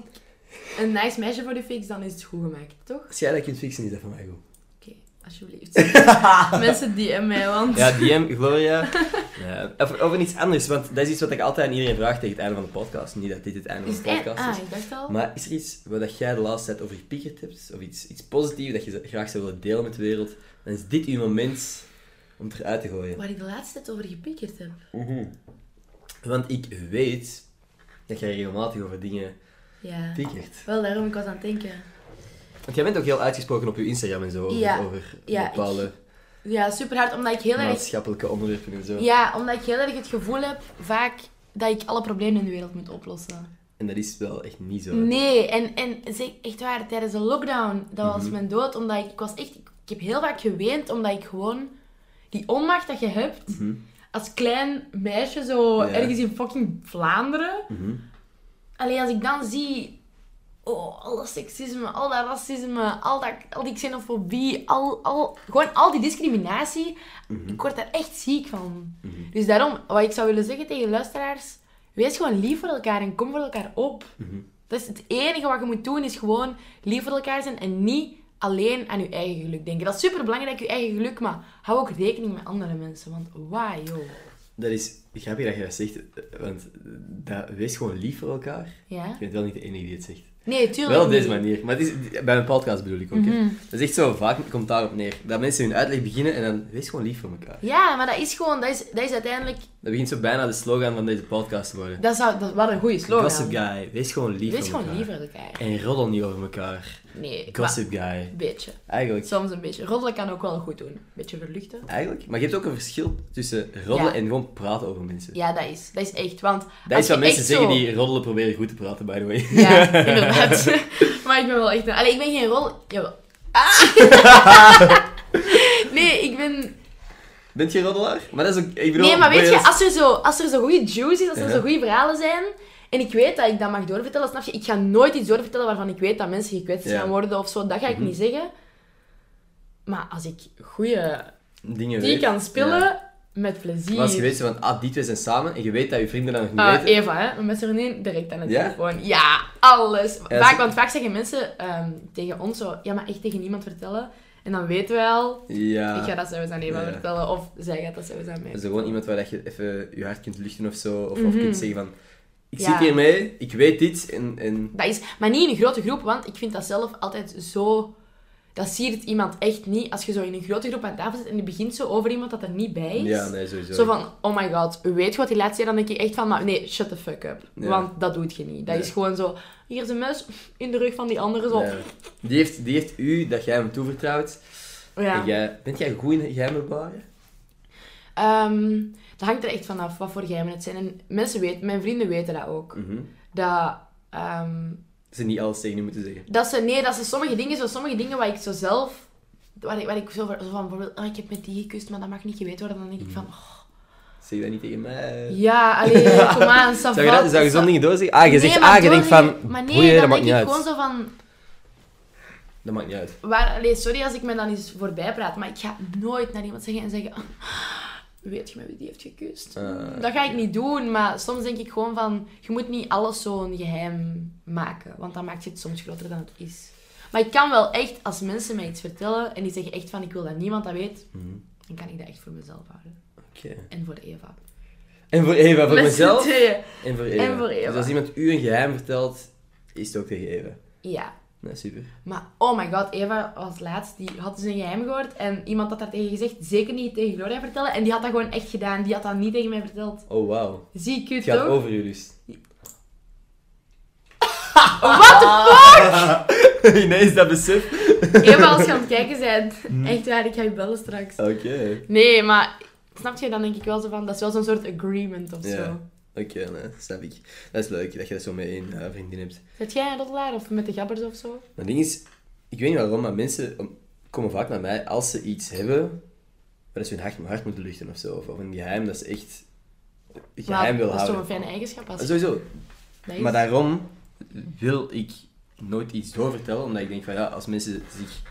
B: een nice meisje voor de fix, dan is het goed gemaakt, toch?
A: Als jij dat kunt fixen, is dat van mij goed.
B: Oké, alsjeblieft. Mensen DM mij, want...
A: Ja, DM, Gloria. Ja, of, of een iets anders, want dat is iets wat ik altijd aan iedereen vraag tegen het einde van de podcast. Niet dat dit het einde
B: Is
A: van
B: het
A: de
B: echt?
A: podcast is.
B: Ah, ik dacht al.
A: Maar is er iets wat dat jij de laatste tijd over gepikkerd hebt? Of iets, iets positiefs dat je z- graag zou willen delen met de wereld? Dan is dit uw moment om het eruit te gooien.
B: Waar ik de laatste tijd over gepikkerd heb.
A: Want ik weet dat jij regelmatig over dingen
B: Ja.
A: pikkert.
B: Wel, daarom ik was aan het denken.
A: Want jij bent ook heel uitgesproken op je Instagram en zo. Over,
B: Ja.
A: over
B: Ja,
A: bepaalde...
B: Ja, super hard, omdat ik heel erg...
A: maatschappelijke onderwerpen en zo.
B: Ja, omdat ik heel erg het gevoel heb, vaak, dat ik alle problemen in de wereld moet oplossen.
A: En dat is wel echt niet zo.
B: Nee, en, en zeg, echt waar, tijdens de lockdown, dat was
A: Mhm.
B: mijn dood, omdat ik, ik was echt... Ik heb heel vaak geweend, omdat ik gewoon... Die onmacht dat je hebt,
A: Mhm.
B: als klein meisje, zo
A: Ja.
B: ergens in fucking Vlaanderen.
A: Mhm.
B: Alleen als ik dan zie, oh, al dat seksisme, al dat racisme, al, dat, al die xenofobie, al, al, gewoon al die discriminatie, ik word daar echt ziek van.
A: Mhm.
B: Dus daarom, wat ik zou willen zeggen tegen luisteraars, wees gewoon lief voor elkaar en kom voor elkaar op.
A: Mhm.
B: Dat is het enige wat je moet doen, is gewoon lief voor elkaar zijn en niet alleen aan je eigen geluk denken. Dat is super belangrijk, je eigen geluk, maar hou ook rekening met andere mensen, want wauw, joh.
A: Dat is grappig dat je dat zegt, eh, want dat, wees gewoon lief voor elkaar.
B: Ja?
A: Ik ben wel niet de enige die het zegt.
B: Nee, tuurlijk
A: Wel op deze
B: niet.
A: manier, maar het is, bij mijn podcast bedoel ik ook. hè.
B: Mhm.
A: Dat is echt zo vaak, komt daarop neer. Dat mensen hun uitleg beginnen en dan wees gewoon lief voor elkaar.
B: Ja, maar dat is gewoon, dat is, dat is uiteindelijk,
A: Dat begint zo bijna de slogan van deze podcast te worden.
B: dat zou, dat, wat een goede slogan.
A: Gossip Guy, wees gewoon lief
B: Wees
A: voor
B: gewoon lief
A: elkaar.
B: voor elkaar.
A: En roddel niet over elkaar.
B: Nee, maar
A: Gossip Guy.
B: een beetje.
A: Eigenlijk.
B: Soms een beetje. Roddelen kan ook wel goed doen. Beetje verluchten.
A: Eigenlijk. Maar je hebt ook een verschil tussen roddelen
B: Ja.
A: en gewoon praten over mensen.
B: Ja, dat is. Dat is echt, want...
A: Dat
B: als
A: is wat
B: je
A: mensen
B: echt
A: zeggen
B: zo-
A: die roddelen proberen goed te praten, by the way.
B: Ja, inderdaad. maar ik ben wel echt... een- Allee, ik ben geen rol... Jawel. Ah! nee, ik ben...
A: Bent je roddelaar? Maar dat is ook... Ik bedoel,
B: Nee, maar weet je,
A: boeiend.
B: als er zo, als er zo goede juice is, als er
A: Ja.
B: zo goede verhalen zijn... En ik weet dat ik dat mag doorvertellen, snap je? Ik ga nooit iets doorvertellen waarvan ik weet dat mensen gekwetst
A: Ja. Mhm.
B: gaan worden of zo. Dat ga ik niet zeggen. Maar als ik goede...
A: Dingen
B: Die
A: weet.
B: kan spelen
A: Ja.
B: met plezier.
A: Maar als je weet zo van, ah, die twee zijn samen, en je weet dat je vrienden dat nog niet
B: Ah,
A: weten.
B: Eva, hè? met z'n nee direct aan het
A: Ja?
B: telefoon. Ja, alles. vaak,
A: ze-
B: want vaak zeggen mensen ehm, tegen ons zo, ja, maar echt tegen niemand vertellen. En dan weten we al,
A: Ja.
B: ik ga dat zelfs aan Eva
A: Ah. Ja.
B: vertellen, of zij gaat dat zelfs aan mij.
A: Dat is gewoon iemand waar dat je even je hart kunt luchten of zo. Of,
B: Mhm.
A: of kunt zeggen van, ik
B: Ja.
A: zit hiermee, ik weet dit, en... en...
B: Dat is, maar niet in een grote groep, want ik vind dat zelf altijd zo... Dat siert iemand echt niet als je zo in een grote groep aan tafel zit en je begint zo over iemand dat er niet bij is.
A: Ja, nee, sowieso.
B: Zo van, oh my god, weet je wat die laatste jaar? Dan denk ik echt van, maar nee, shut the fuck up.
A: Ja.
B: Want dat doet je niet. Dat
A: Nee.
B: is gewoon zo, hier is een muis in de rug van die andere. Zo.
A: Ja. Die, heeft, die heeft u, dat jij hem toevertrouwt.
B: Ja.
A: En jij, bent jij goed in geheime bewaren?
B: Ehm, dat hangt er echt vanaf wat voor geheimen het zijn. En mensen weten, mijn vrienden weten dat ook.
A: Mhm.
B: Dat, ehm,
A: Dat ze niet alles tegen je moeten zeggen.
B: dat ze, nee, dat ze sommige dingen, zo, sommige dingen waar ik zo zelf, waar ik, waar ik zo, van- zo van bijvoorbeeld, oh, ik heb met die gekust, maar dat mag niet geweten worden. Dan denk
A: Mm.
B: ik van, oh,
A: Zeg dat niet tegen mij.
B: ja, allee, kom aan, savat.
A: Zou je, dat, zou je zo'n dingen doorzeggen? Ah, je zegt A, je denkt van,
B: Maar nee,
A: broeier,
B: dan
A: dat maakt
B: denk
A: niet uit.
B: ik gewoon zo van,
A: Dat maakt niet uit.
B: Waar, allee, sorry als ik me dan eens voorbij praat, maar ik ga nooit naar iemand zeggen en zeggen... "Ah, Weet je met wie die heeft gekust?
A: Eh,
B: dat ga ik niet doen, maar soms denk ik gewoon van... Je moet niet alles zo'n geheim maken, want dan maakt je het soms groter dan het is. Maar ik kan wel echt, als mensen mij iets vertellen en die zeggen echt van... Ik wil dat niemand dat weet,
A: Mhm.
B: dan kan ik dat echt voor mezelf houden.
A: Oké.
B: En voor Eva.
A: En voor Eva, voor
B: Met z'n
A: mezelf.
B: tweeën.
A: En voor Eva.
B: En voor Eva.
A: Dus als iemand u een geheim vertelt, is het ook tegen Eva.
B: Ja.
A: Nee, super.
B: Maar oh my god, Eva was laatst, die had dus een geheim gehoord. En iemand had daar tegen gezegd, zeker niet tegen Gloria vertellen. En die had dat gewoon echt gedaan. Die had dat niet tegen mij verteld.
A: Oh, wauw.
B: Zie ik het
A: Het gaat
B: toch?
A: over jullie. dus.
B: Oh, What the
A: Ah. Ineens dat besef.
B: fuck? Eva, als je aan het kijken bent.
A: Mm.
B: Echt waar, ik ga je bellen straks.
A: Oké.
B: Nee, maar snap je? Dan denk ik wel zo van, dat is wel zo'n soort agreement of
A: Ja.
B: zo.
A: Oké, nee, snap ik. Dat is leuk, dat je dat zo met één eh, vriendin hebt.
B: Zet jij een roddelaar of met de gabbers of zo?
A: Maar het ding is, ik weet niet waarom, maar mensen um, komen vaak naar mij als ze iets hebben, dat ze hun hart, hart moeten luchten of zo. Of, of een geheim dat ze echt een geheim
B: Maar
A: wil
B: Dat is toch
A: houden.
B: een fijne eigenschap als
A: Sowieso.
B: dat is.
A: Maar daarom wil ik nooit iets doorvertellen, omdat ik denk van ja, als mensen zich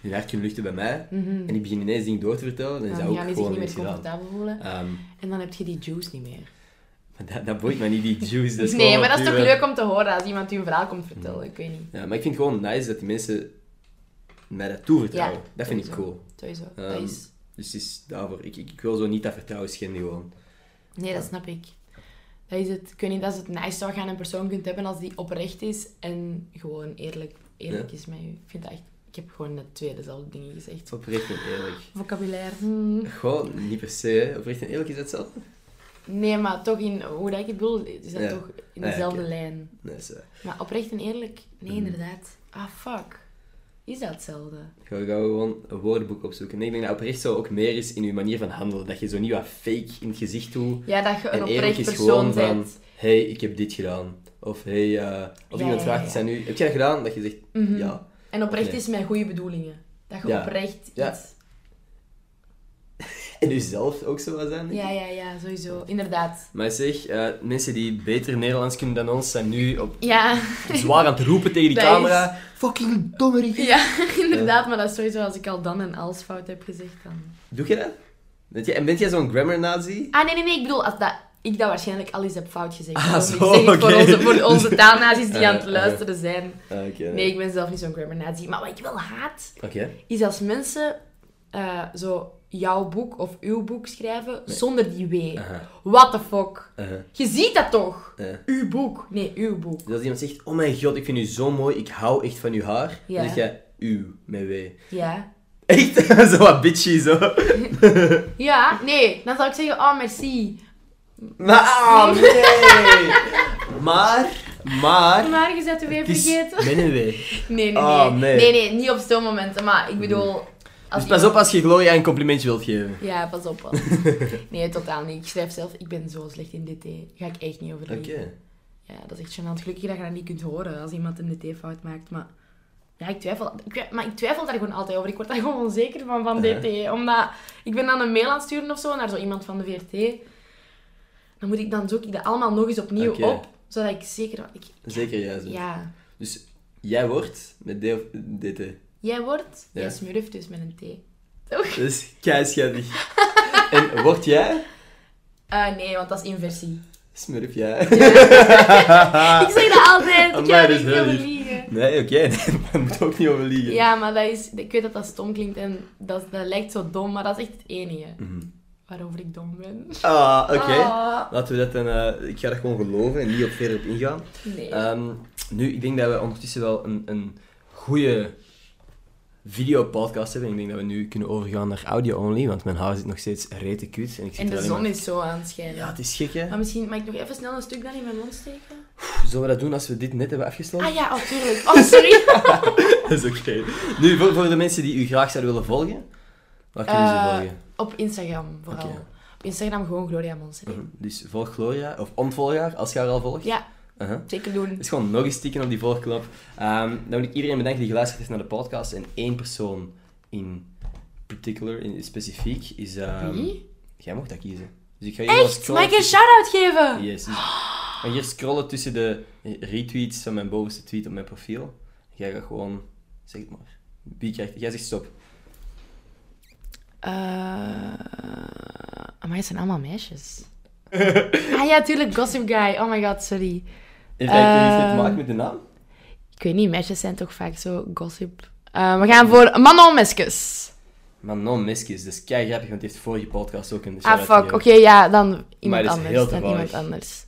A: hun hart kunnen luchten bij mij, en ik begin ineens dingen door te vertellen, dan is
B: Mhm. Dan
A: dat ook
B: gaan die zich
A: gewoon
B: niet meer
A: niks gedaan.
B: comfortabel voelen.
A: Ehm,
B: En dan heb je die juice niet meer.
A: maar dat, dat boeit mij niet, die juice. Dat is
B: nee,
A: gewoon Mm.
B: maar dat is toch
A: pure-
B: leuk om te horen als iemand u een verhaal komt vertellen. Ik weet niet.
A: Ja, maar ik vind het gewoon nice dat die mensen mij dat toevertrouwen.
B: Ja,
A: dat vind ik
B: sowieso.
A: cool.
B: Sowieso. dat
A: Ehm,
B: is...
A: Dus het is daarvoor, ik, ik, ik wil zo niet dat vertrouwen schenden gewoon.
B: Nee, dat snap ik. Dat is het, ik weet niet, dat is het nice wat je aan een persoon kunt hebben als die oprecht is en gewoon eerlijk, eerlijk
A: Ja.
B: is met je. Ik vind dat echt... Ik heb gewoon net twee dezelfde dingen gezegd.
A: Oprecht en eerlijk.
B: Vocabulaire. hmm.
A: Gewoon, niet per se, hè. oprecht en eerlijk is dat hetzelfde?
B: Nee, maar toch in... Hoe dat ik het bedoel, is dat
A: Ja.
B: toch in
A: Ah, ja,
B: dezelfde
A: oké. Mhm.
B: lijn.
A: Nee, zo.
B: Maar oprecht en eerlijk? Nee, inderdaad. Ah, fuck. Is dat hetzelfde?
A: Ik ga, ik ga gewoon een woordenboek opzoeken. Nee, ik denk dat oprecht zo ook meer is in je manier van handelen. Dat je zo niet wat fake in het gezicht doet.
B: Ja, dat je een
A: en eerlijk
B: oprecht
A: is
B: persoon
A: gewoon van,
B: bent.
A: hey, ik heb dit gedaan. Of hey, eh, of
B: Ja,
A: iemand vraagt
B: ja, ja. Mhm.
A: iets aan u, heb je dat gedaan? Dat je zegt, ja.
B: En oprecht
A: Oké.
B: is met goede bedoelingen. Dat je
A: Ja.
B: oprecht
A: Ja.
B: iets...
A: En jezelf ook zo wat zijn. denk ik.
B: Ja, ja, ja, sowieso. Inderdaad.
A: Maar zeg, eh, mensen die beter Nederlands kunnen dan ons zijn nu op,
B: Ja.
A: zwaar aan het roepen tegen die
B: Dat is-
A: camera. Fucking dommerig.
B: Ja, inderdaad. Maar dat is sowieso als ik al dan en als fout heb gezegd dan...
A: Doe je dat? Bent jij, en bent jij zo'n grammar nazi?
B: Ah, nee, nee, nee. Ik bedoel, als dat, ik dat waarschijnlijk al eens heb fout gezegd.
A: Ah,
B: Dat
A: zo,
B: wil ik
A: oké.
B: zeggen, voor onze, voor onze taalnazis die
A: Eh,
B: aan het
A: eh.
B: luisteren zijn.
A: Ah, Oké.
B: Nee, ik ben zelf niet zo'n grammar nazi. Maar wat ik wel haat,
A: Oké.
B: is als mensen eh, zo jouw boek of uw boek schrijven zonder die W.
A: Aha.
B: What the fuck?
A: Uh-huh.
B: Je ziet dat toch?
A: Eh.
B: Uw boek. Nee, uw boek.
A: Dus als iemand zegt, oh mijn god, ik vind u zo mooi, ik hou echt van uw haar.
B: Ja.
A: Dan zeg jij, u, met w.
B: Ja.
A: Echt? zo wat bitchy, zo.
B: Ja, nee. Dan zou ik zeggen, oh, merci.
A: Maar, ah, nee. maar, maar...
B: Maar je zet de W
A: Ah. Het is
B: vergeten.
A: met een w.
B: Nee, nee, nee.
A: Ah, nee.
B: nee. Nee, niet op zo'n momenten. Maar ik bedoel... als
A: Dus pas op als je Gloria een complimentje wilt geven.
B: Ja, pas op. Pas. Nee, totaal niet. Ik schrijf zelf, ik ben zo slecht in DT. Daar ga ik echt niet over
A: Oké.
B: liegen. Ja, dat is echt gênant. Gelukkig dat je dat niet kunt horen als iemand een DT-fout maakt. Maar ja, ik twijfel, ik, twi- maar ik twijfel daar gewoon altijd over. Ik word daar gewoon onzeker van, van DT. Omdat ik ben dan een mail aan het sturen of zo naar zo iemand van de VRT. Dan, moet ik, dan zoek ik dat allemaal nog eens opnieuw
A: Oké.
B: op. Zodat ik zeker... Ik,
A: Zeker, ja. Zo.
B: ja.
A: Dus jij wordt met D of DT.
B: Jij wordt...
A: Ja.
B: Jij smurft dus met een T.
A: Dat is keischattig. Dus, en word jij?
B: Eh, nee, want dat is inversie.
A: Smurf jij.
B: Ik zeg dat altijd. Ik
A: Ah. Amai,
B: ga
A: dat
B: er
A: is
B: niet
A: heel
B: over
A: lief.
B: liegen.
A: Nee, oké, nee, daar moet ook niet over liegen.
B: Ja, maar dat is, ik weet dat dat stom klinkt en dat, dat lijkt zo dom, maar dat is echt het enige
A: Mhm.
B: waarover ik dom ben.
A: Ah, oké.
B: Ah,
A: Laten we dat dan... eh, ik ga dat gewoon geloven en niet op verder op ingaan.
B: nee.
A: Ehm, nu, ik denk dat we ondertussen wel een, een goede videopodcast hebben. Ik denk dat we nu kunnen overgaan naar audio-only, want mijn haar zit nog steeds rete kut. En, ik zit er
B: en de
A: alleen
B: zon
A: maar-
B: is Ah. zo aan het schijnen.
A: Ja, het is gek, hè.
B: Maar misschien mag ik nog even snel een stuk dan in mijn mond steken?
A: Zullen we dat doen als we dit net hebben afgesloten?
B: Ah ja, oh, tuurlijk. Oh, sorry.
A: Dat is oké. Nu, voor, voor de mensen die u graag zouden willen volgen, waar kunnen ze
B: Eh,
A: volgen?
B: Op Instagram vooral.
A: Oké.
B: Op Instagram gewoon Gloria Monster.
A: Mhm. Dus volg Gloria, of ontvolg haar, als je haar al volgt.
B: Ja,
A: Uh-huh.
B: zeker doen.
A: Dus gewoon nog eens tikken op die volgklap. Ehm dan wil ik iedereen bedanken die geluisterd heeft naar de podcast. En één persoon in particular, in specifiek, is... ehm,
B: Wie?
A: Jij mocht dat kiezen. Dus ik ga hier wel
B: Echt? Mag
A: scrollen
B: ik een
A: tussen-
B: shout-out geven?
A: Yes. Dus... ik ga hier scrollen tussen de retweets van mijn bovenste tweet op mijn profiel. Jij gaat gewoon... Zeg het maar. Wie krijgt... Jij zegt stop.
B: Eh maar het zijn allemaal meisjes. ah ja, tuurlijk, Gossip Guy. Oh my god, sorry.
A: Heeft dat iets mee te
B: Ehm,
A: maken met de naam?
B: Ik weet niet, meisjes zijn toch vaak zo gossip. Eh, we gaan voor Manon Meskes.
A: Manon Meskis, dat is kei grappig, want die heeft vorige podcast ook een
B: Ah,
A: shout-out
B: fuck. Oké,
A: gegeven.
B: ja, dan iemand
A: dat is
B: anders.
A: heel
B: dan
A: toevallig.
B: iemand anders.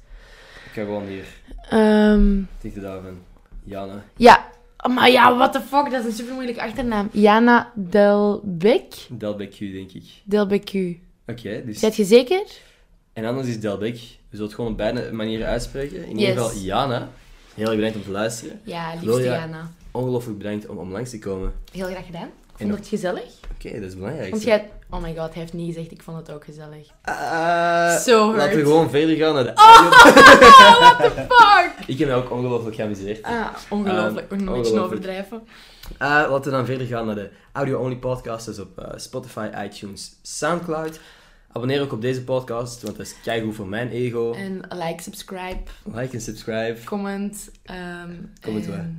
A: Ik ga gewoon hier
B: Ehm,
A: tegen de daarvan. Jana.
B: ja, Maar ja, what the fuck, dat is een super moeilijke achternaam. Jana Delbecq.
A: Delbecq, denk ik.
B: Delbecq.
A: Oké, dus...
B: Zet je zeker?
A: En anders is Delbecq. We zullen het gewoon op beide manieren uitspreken. In
B: Yes.
A: ieder geval, Jana, heel erg bedankt om te luisteren.
B: Ja, liefste
A: Gloria.
B: Jana.
A: Ongelooflijk bedankt om, om langs te komen.
B: Heel graag gedaan.
A: En
B: Vond
A: nog-
B: het gezellig?
A: Oké, dat is belangrijk.
B: Want jij... Oh my god, hij heeft niet gezegd, ik vond het ook gezellig.
A: Ah,
B: Zo hard. Oh.
A: Laten we gewoon verder gaan naar de
B: Fuck!
A: Ik heb me ook ongelooflijk geamuseerd.
B: Ah, ongelooflijk.
A: Ehm,
B: Nog een beetje
A: ongelooflijk.
B: overdrijven.
A: Eh, laten we dan verder gaan naar de audio-only podcast. Dat is op eh, Spotify, iTunes, Soundcloud. Abonneer ook op deze podcast, want dat is keigoed voor mijn ego.
B: En like, subscribe,
A: Like en subscribe.
B: comment. ehm,
A: Comment
B: en-
A: waar?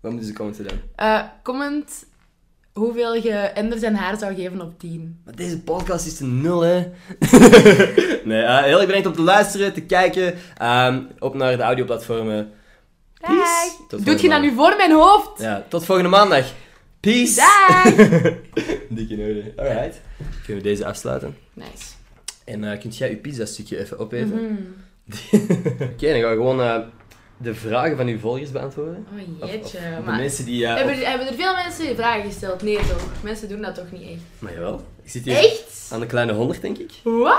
A: Wat moeten ze commenten dan?
B: Eh, comment hoeveel je Ender zijn haar zou geven op 10.
A: Maar deze podcast is de nul, hè? nee, eh, heel erg bedankt om te luisteren, te kijken. Ehm, op naar de audioplatformen. Peace. Tot
B: Doet
A: volgende
B: je dat
A: maand.
B: nu voor mijn hoofd?
A: Ja, tot volgende maandag. Peace.
B: Dag!
A: Dikke noden. Alright. Kunnen we deze afsluiten?
B: Nice.
A: En eh, kunt jij je pizza stukje even opeten?
B: Mhm.
A: Oké, dan gaan we gewoon eh, de vragen van uw volgers beantwoorden.
B: Oh
A: Of- of
B: jeetje,
A: de
B: maar...
A: mensen die... eh,
B: Hebben,
A: op-
B: hebben er veel mensen vragen gesteld? Nee toch? Mensen doen dat toch niet echt?
A: Maar jawel. Ik zit hier
B: Echt?
A: aan de kleine 100, denk ik.
B: Wat?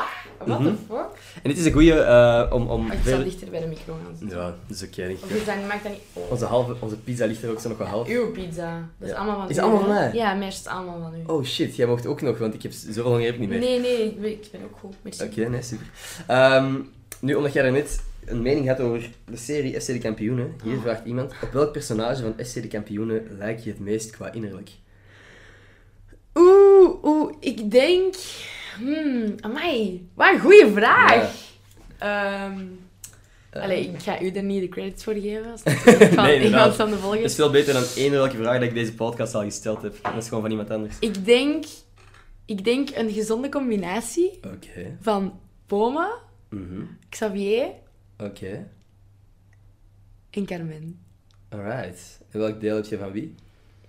B: What
A: Mhm.
B: the fuck?
A: En dit is een goede eh, om... om
B: Oh, ik zal
A: verder-
B: dichter bij de micro gaan zitten.
A: Ja, dat is oké. denk ik.
B: Of is dat, maakt dat niet... Oh.
A: Onze, halve, onze pizza ligt er ook zo nog wel half.
B: Uw pizza. Dat is
A: Ja.
B: allemaal van
A: Is
B: u,
A: allemaal
B: hè?
A: van mij?
B: Ja, meisje, het is allemaal van u.
A: Oh shit, jij mocht ook nog, want ik heb zoveel lang heb ik niet meer.
B: nee, nee, ik ben, ik ben ook goed. Merci.
A: Oké, nee, super. Ehm, nu, omdat jij daarnet een mening had over de serie FC de Kampioenen, hier
B: Oh.
A: vraagt iemand, op welk personage van FC de Kampioenen lijk je het meest qua innerlijk?
B: Oeh, oeh, ik denk... Hmm, amai. Wat een goeie vraag. Ehm,
A: Eh,
B: allee, ik ga u er niet de credits voor geven. Als
A: Nee,
B: ik
A: inderdaad.
B: ga het van de volgende.
A: Het is veel beter dan één welke vraag dat ik deze podcast al gesteld heb. Dat is gewoon van iemand anders.
B: Ik denk... Ik denk een gezonde combinatie
A: Oké.
B: van Poma,
A: Mhm.
B: Xavier
A: Oké.
B: en Carmen.
A: Alright. En welk deel heb je van wie?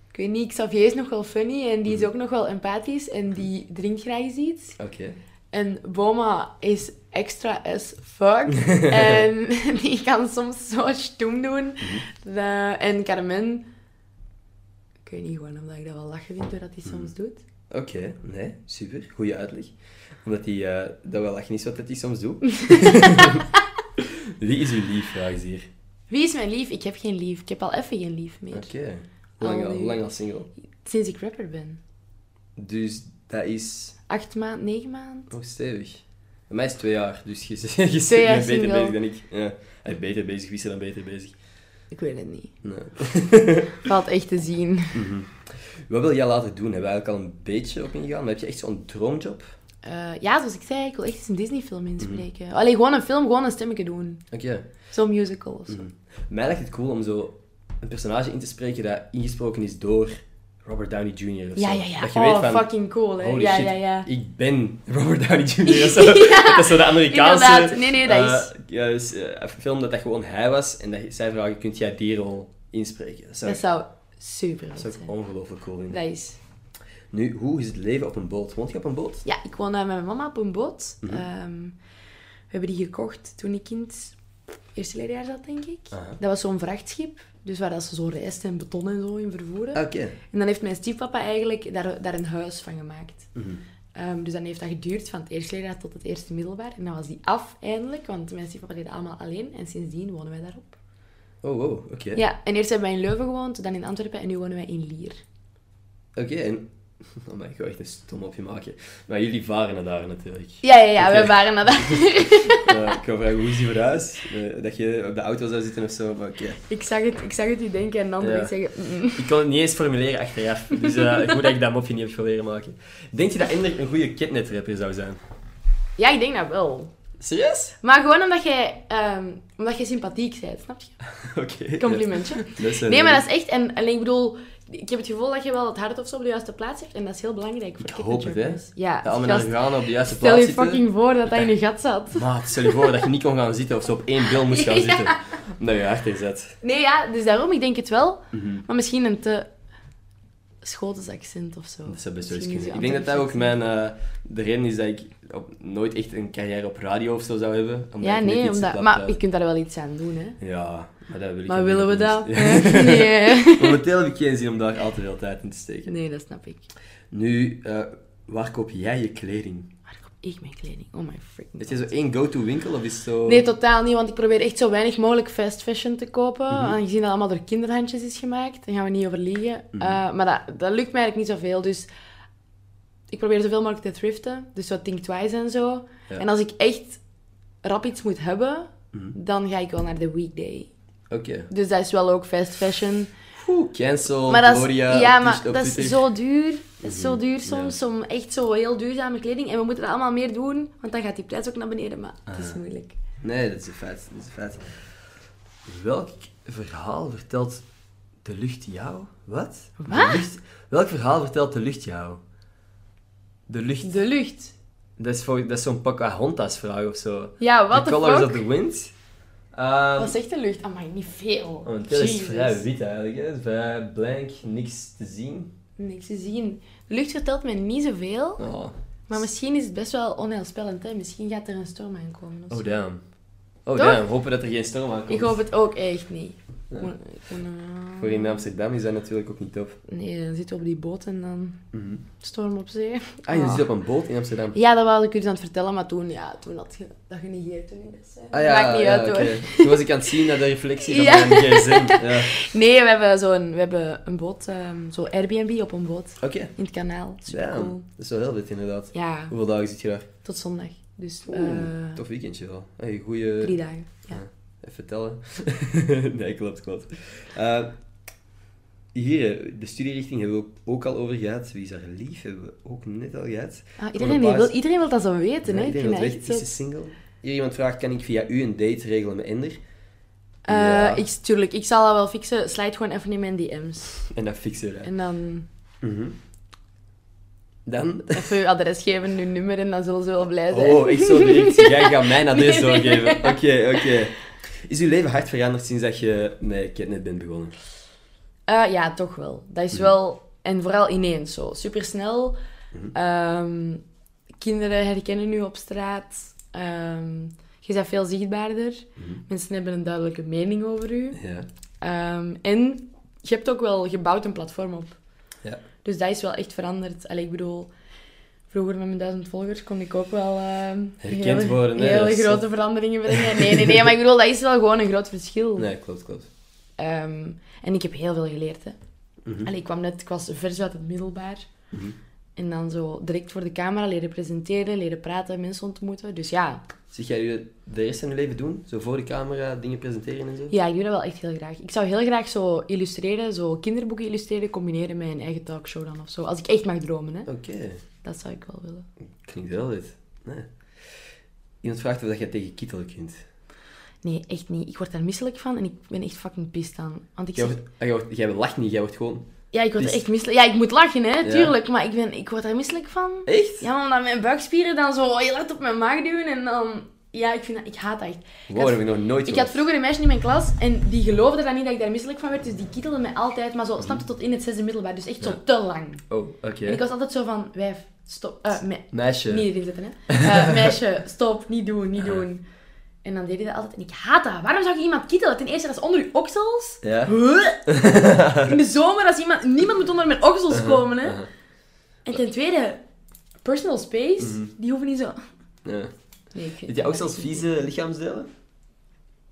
B: Ik weet niet, Xavier is nog wel funny en die is ook nog wel empathisch en die drinkt graag eens iets.
A: Oké.
B: En Boma is extra as fuck. en die kan soms zo stoem doen. De- en Carmen... Ik weet niet gewoon omdat ik dat wel lachen vind, doordat hij soms doet.
A: Oké, nee, super. Goeie uitleg. Omdat hij eh dat wel echt niet is wat dat hij soms doet. wie is uw lief, vraag ze hier.
B: Wie is mijn lief? Ik heb geen lief. Ik heb al even geen lief meer.
A: Oké. Hoe lang, al,
B: Allee.
A: hoe lang al single?
B: Sinds ik rapper ben.
A: Dus dat is
B: Acht maand, negen maand.
A: nog stevig. Bij mij is het twee jaar, dus je, je bent
B: Twee jaar
A: beter
B: single.
A: bezig dan ik. Ja. Hey, beter bezig, wie is er dan beter bezig?
B: Ik weet het niet.
A: Nee.
B: Valt echt te zien.
A: Wat wil jij later doen? Hebben we eigenlijk al een beetje op ingegaan? Maar heb je echt zo'n droomjob?
B: Eh, ja, zoals ik zei, ik wil echt eens een Disney-film
A: Mhm.
B: inspreken. Alleen gewoon een film, gewoon een stemmetje doen.
A: Oké.
B: Zo'n musical of zo.
A: Mhm. Mij lijkt het cool om zo een personage in te spreken dat ingesproken is door Robert Downey Jr. of
B: Ja,
A: zo.
B: ja, ja.
A: Dat je
B: oh,
A: weet van,
B: fucking cool, hè?
A: holy
B: Ja,
A: shit,
B: ja, ja.
A: ik ben Robert Downey Jr. of zo. dat is zo de Amerikaanse
B: inderdaad. Nee, nee, dat is-
A: eh, ja, dus, eh, film dat dat gewoon hij was. En dat zij vragen, kunt jij die rol inspreken? Dat zou,
B: Dat
A: ik-
B: zou super
A: dat
B: vet
A: zou ik
B: zijn.
A: ongelooflijk cool vinden.
B: Dat is...
A: Nu, hoe is het leven op een boot? Woont je op een boot?
B: Ja, ik woonde met mijn mama op een boot.
A: Mhm.
B: Ehm, we hebben die gekocht toen ik in het eerste leerjaar zat, denk ik.
A: Aha.
B: Dat was zo'n vrachtschip. Dus waar dat ze zo rijst en beton en zo in vervoeren.
A: Ah, Oké.
B: En dan heeft mijn stiefpapa eigenlijk daar, daar een huis van gemaakt.
A: Mhm.
B: Ehm, dus dan heeft dat geduurd van het eerste leerjaar tot het eerste middelbaar. En dan was die af eindelijk, want mijn stiefpapa deed dat allemaal alleen. En sindsdien wonen wij daarop.
A: Oh, wow. Oké.
B: Ja, en eerst hebben wij in Leuven gewoond, dan in Antwerpen en nu wonen wij in Lier.
A: Oké, en... Oh my god, echt een stom op je maken. Maar jullie varen naar daar natuurlijk.
B: Ja, ja, ja,
A: Oké.
B: we waren naar daar.
A: Eh, ik ga vragen, hoe is die vooruit? Eh, dat je op de auto zou zitten of zo, maar oké.
B: ik, zag het, ik zag het u denken en dan
A: Ja.
B: ik zeggen... mm, mm.
A: Ik kon het niet eens formuleren achteraf, dus eh, ik moet dat ik dat mopje niet heb proberen maken. Denk je dat Ender een goede kidnetrapper zou zijn?
B: Ja, ik denk dat wel.
A: Serieus?
B: Maar gewoon omdat jij, ehm, omdat jij sympathiek bent, snap je?
A: Oké.
B: Complimentje.
A: Dat is een-
B: Nee, maar dat is echt... En, alleen, ik bedoel, ik heb het gevoel dat je wel het hart of zo op de juiste plaats hebt. En dat is heel belangrijk voor
A: Ik hoop het, hè.
B: kidnappertjes. Ja,
A: Dat al mijn
B: gast,
A: organen op de juiste
B: stel
A: plaats
B: je
A: zitten.
B: fucking voor dat dat in je gat zat.
A: Maat, stel je voor dat je niet kon gaan zitten of zo op één bil moest gaan
B: Ja.
A: zitten. Dat je achter zet.
B: Nee, ja, dus daarom, ik denk het wel.
A: Mhm.
B: Maar misschien een te... Schotels accent of zo.
A: Dat zou best wel eens
B: Misschien is
A: kunnen. Ik
B: je
A: denk dat dat ook
B: Antwerps
A: mijn... eh, de reden is dat ik op- nooit echt een carrière op radio of zo zou hebben. omdat
B: Ja,
A: ik net
B: nee,
A: iets te
B: omdat,
A: plat
B: maar
A: praat.
B: je kunt daar wel iets aan doen, hè.
A: Ja, Maar, dat wil ik
B: Maar
A: ook
B: willen we
A: niet.
B: dat?
A: Ja.
B: hè? Nee.
A: Momenteel heb ik geen zin om daar al te veel tijd in te steken.
B: Nee, dat snap ik.
A: Nu, eh, waar koop jij je kleding?
B: Waar koop ik mijn kleding? Oh my freaking
A: Heb je zo één go-to winkel of is het zo...
B: god. Nee, totaal niet, want ik probeer echt zo weinig mogelijk fast fashion te kopen.
A: Mhm.
B: Aangezien dat allemaal door kinderhandjes is gemaakt, daar gaan we niet over liegen.
A: Mhm.
B: Eh, maar dat, dat lukt mij eigenlijk niet zoveel, dus ik probeer zoveel mogelijk te thriften. Dus zo Think Twice en zo.
A: Ja. Mhm.
B: En als ik echt rap iets moet hebben, dan ga ik wel naar de weekday.
A: Oké.
B: Dus dat is wel ook fast fashion.
A: Oeh, cancel,
B: Maar dat is,
A: Oh, Gloria,
B: ja,
A: op
B: maar
A: Twitter- op
B: dat is
A: Twitter. Mhm.
B: zo duur. Dat is zo duur soms, om echt zo heel duurzame kleding. En we moeten er allemaal meer doen, want dan gaat die prijs ook naar beneden. Maar het
A: Ah.
B: is moeilijk.
A: Nee, dat is een feit. Dat is een feit. Welk verhaal vertelt de lucht jou? Wat? De
B: Wat?
A: lucht- welk verhaal vertelt de lucht jou? De lucht.
B: De lucht.
A: Dat is, voor, dat is zo'n Pocahontas vraag of zo.
B: Ja, what
A: the
B: the
A: Colors
B: fuck?
A: of the Wind. Ehm,
B: Wat zegt de lucht? Amai, niet veel.
A: Oh, want dat is
B: Jezus.
A: vrij wit eigenlijk, hè? Het is vrij blank, niks te zien.
B: Niks te zien. De lucht vertelt me niet zoveel,
A: Oh,
B: maar misschien is het best wel onheilspellend. Hè? Misschien gaat er een storm aankomen. Of zo.
A: oh damn. Oh
B: Toch?
A: damn, hopen dat er geen storm aankomt.
B: ik hoop het ook echt niet.
A: Ja.
B: Ik moet- ik moet, eh,
A: Voor in Amsterdam is dat natuurlijk ook niet top.
B: Nee, dan zitten we op die boot en dan
A: Mhm.
B: storm op zee.
A: Ah, je
B: Ah.
A: zit op een boot in Amsterdam.
B: Ja, dat was ik jullie aan het vertellen, maar toen, ja, toen had je dat genegeerd toen ik dat zei.
A: Ah ja,
B: Maakt niet
A: ja,
B: uit
A: oké.
B: hoor.
A: Toen was ik aan het zien naar de reflectie van
B: Ja.
A: mijn gsm. Ja.
B: Nee, we hebben, zo'n, we hebben een boot, ehm zo Airbnb op een boot
A: Oké.
B: in het kanaal. Super
A: Damn.
B: cool.
A: Dat is wel heel wit inderdaad.
B: Ja,
A: Hoeveel dagen zit je daar?
B: tot zondag. Dus eh,
A: Oeh, tof weekendje wel. Hey, goeie...
B: drie dagen. Ja.
A: Even tellen. nee, klopt, klopt. Eh, hier, eh, de studierichting hebben we ook, ook al over gehad. Wie is daar lief? Hebben we ook net al gehad.
B: Ah,
A: Voor de
B: iedereen, die wil,
A: baas-
B: iedereen wil dat zo weten, hè?
A: ik denk
B: vind
A: dat het
B: dat
A: weg is,
B: echt
A: de single. Hier iemand vraagt, kan ik via u een date regelen met Ender?
B: zo- Eh,
A: Ja.
B: ik, tuurlijk, ik zal dat wel fixen. Slijt gewoon even in mijn DM's.
A: En dat fixen we. dan.
B: En dan
A: Mhm. Dan...
B: even uw adres geven, uw nummer, en dan zullen ze wel blij zijn.
A: Oh, ik zo direct. Jij gaat mijn adres
B: Nee, nee.
A: doorgeven. Oké, oké. Is uw leven hard veranderd sinds dat je met Catnet bent begonnen?
B: Eh, ja, toch wel. Dat is wel... En vooral ineens zo. Supersnel.
A: Mhm.
B: Ehm, kinderen herkennen nu op straat. Ehm, je bent veel zichtbaarder. Mensen hebben een duidelijke mening over u.
A: Mhm. Ja.
B: Ehm, en je hebt ook wel gebouwd een platform op.
A: Ja.
B: Dus dat is wel echt veranderd. Allee, ik bedoel... Vroeger met mijn duizend volgers kon ik ook wel ehm,
A: Herkend
B: hele-
A: worden, hè,
B: hele
A: dat is
B: grote
A: zo.
B: veranderingen brengen. Nee, nee, nee, maar ik bedoel, dat is wel gewoon een groot verschil.
A: Nee, klopt, klopt.
B: Ehm, en ik heb heel veel geleerd. Hè.
A: Mhm.
B: Allee, ik kwam net, ik was vers uit het middelbaar. En dan zo direct voor de camera leren presenteren, leren praten, mensen ontmoeten. Dus ja,
A: Zie jij je de rest van je leven doen? Zo voor de camera dingen presenteren en zo?
B: ja, ik doe dat wel echt heel graag. Ik zou heel graag zo illustreren, zo kinderboeken illustreren, combineren met een eigen talkshow dan of zo. Als ik echt mag dromen, hè.
A: Oké,
B: Dat zou ik wel willen.
A: klinkt wel dit. Nee. Iemand vraagt of dat jij tegen kietelen kunt.
B: Nee, echt niet. Ik word daar misselijk van en ik ben echt fucking pist aan. Want ik
A: Jij,
B: zeg...
A: wordt, ah, jij, wordt- jij lacht niet, jij wordt gewoon...
B: Ja, ik word er
A: pist.
B: echt misselijk... Ja, ik moet lachen, hè, tuurlijk. Maar ik, ben, ik word daar misselijk van.
A: Echt?
B: Ja, omdat mijn buikspieren dan zo heel hard op mijn maag duwen en dan... Ja, ik vind dat... Ik haat dat echt. Ik
A: Wow, dat heb
B: had,
A: ik nog nooit
B: ik
A: gehoord.
B: had vroeger een meisje in mijn klas en die geloofde dan niet dat ik daar misselijk van werd, dus die kietelde mij altijd, maar zo, snap je, tot in het zesde middelbaar, dus echt zo te lang.
A: Oh, oké.
B: En ik was altijd zo van, wijf, stop, eh, me-
A: Meisje.
B: niet erin zetten, hè. Eh, meisje, stop, niet doen, niet doen. En dan deed hij dat altijd en ik haat dat. Waarom zou je iemand kietelen? Ten eerste, dat is onder je oksels.
A: Ja.
B: Huh? In de zomer, als iemand, niemand moet onder mijn oksels komen, hè. En ten tweede, personal space, die hoeven niet zo...
A: Ja.
B: Nee, ik vind-
A: Heb jij ook zelfs vieze lichaamsdelen?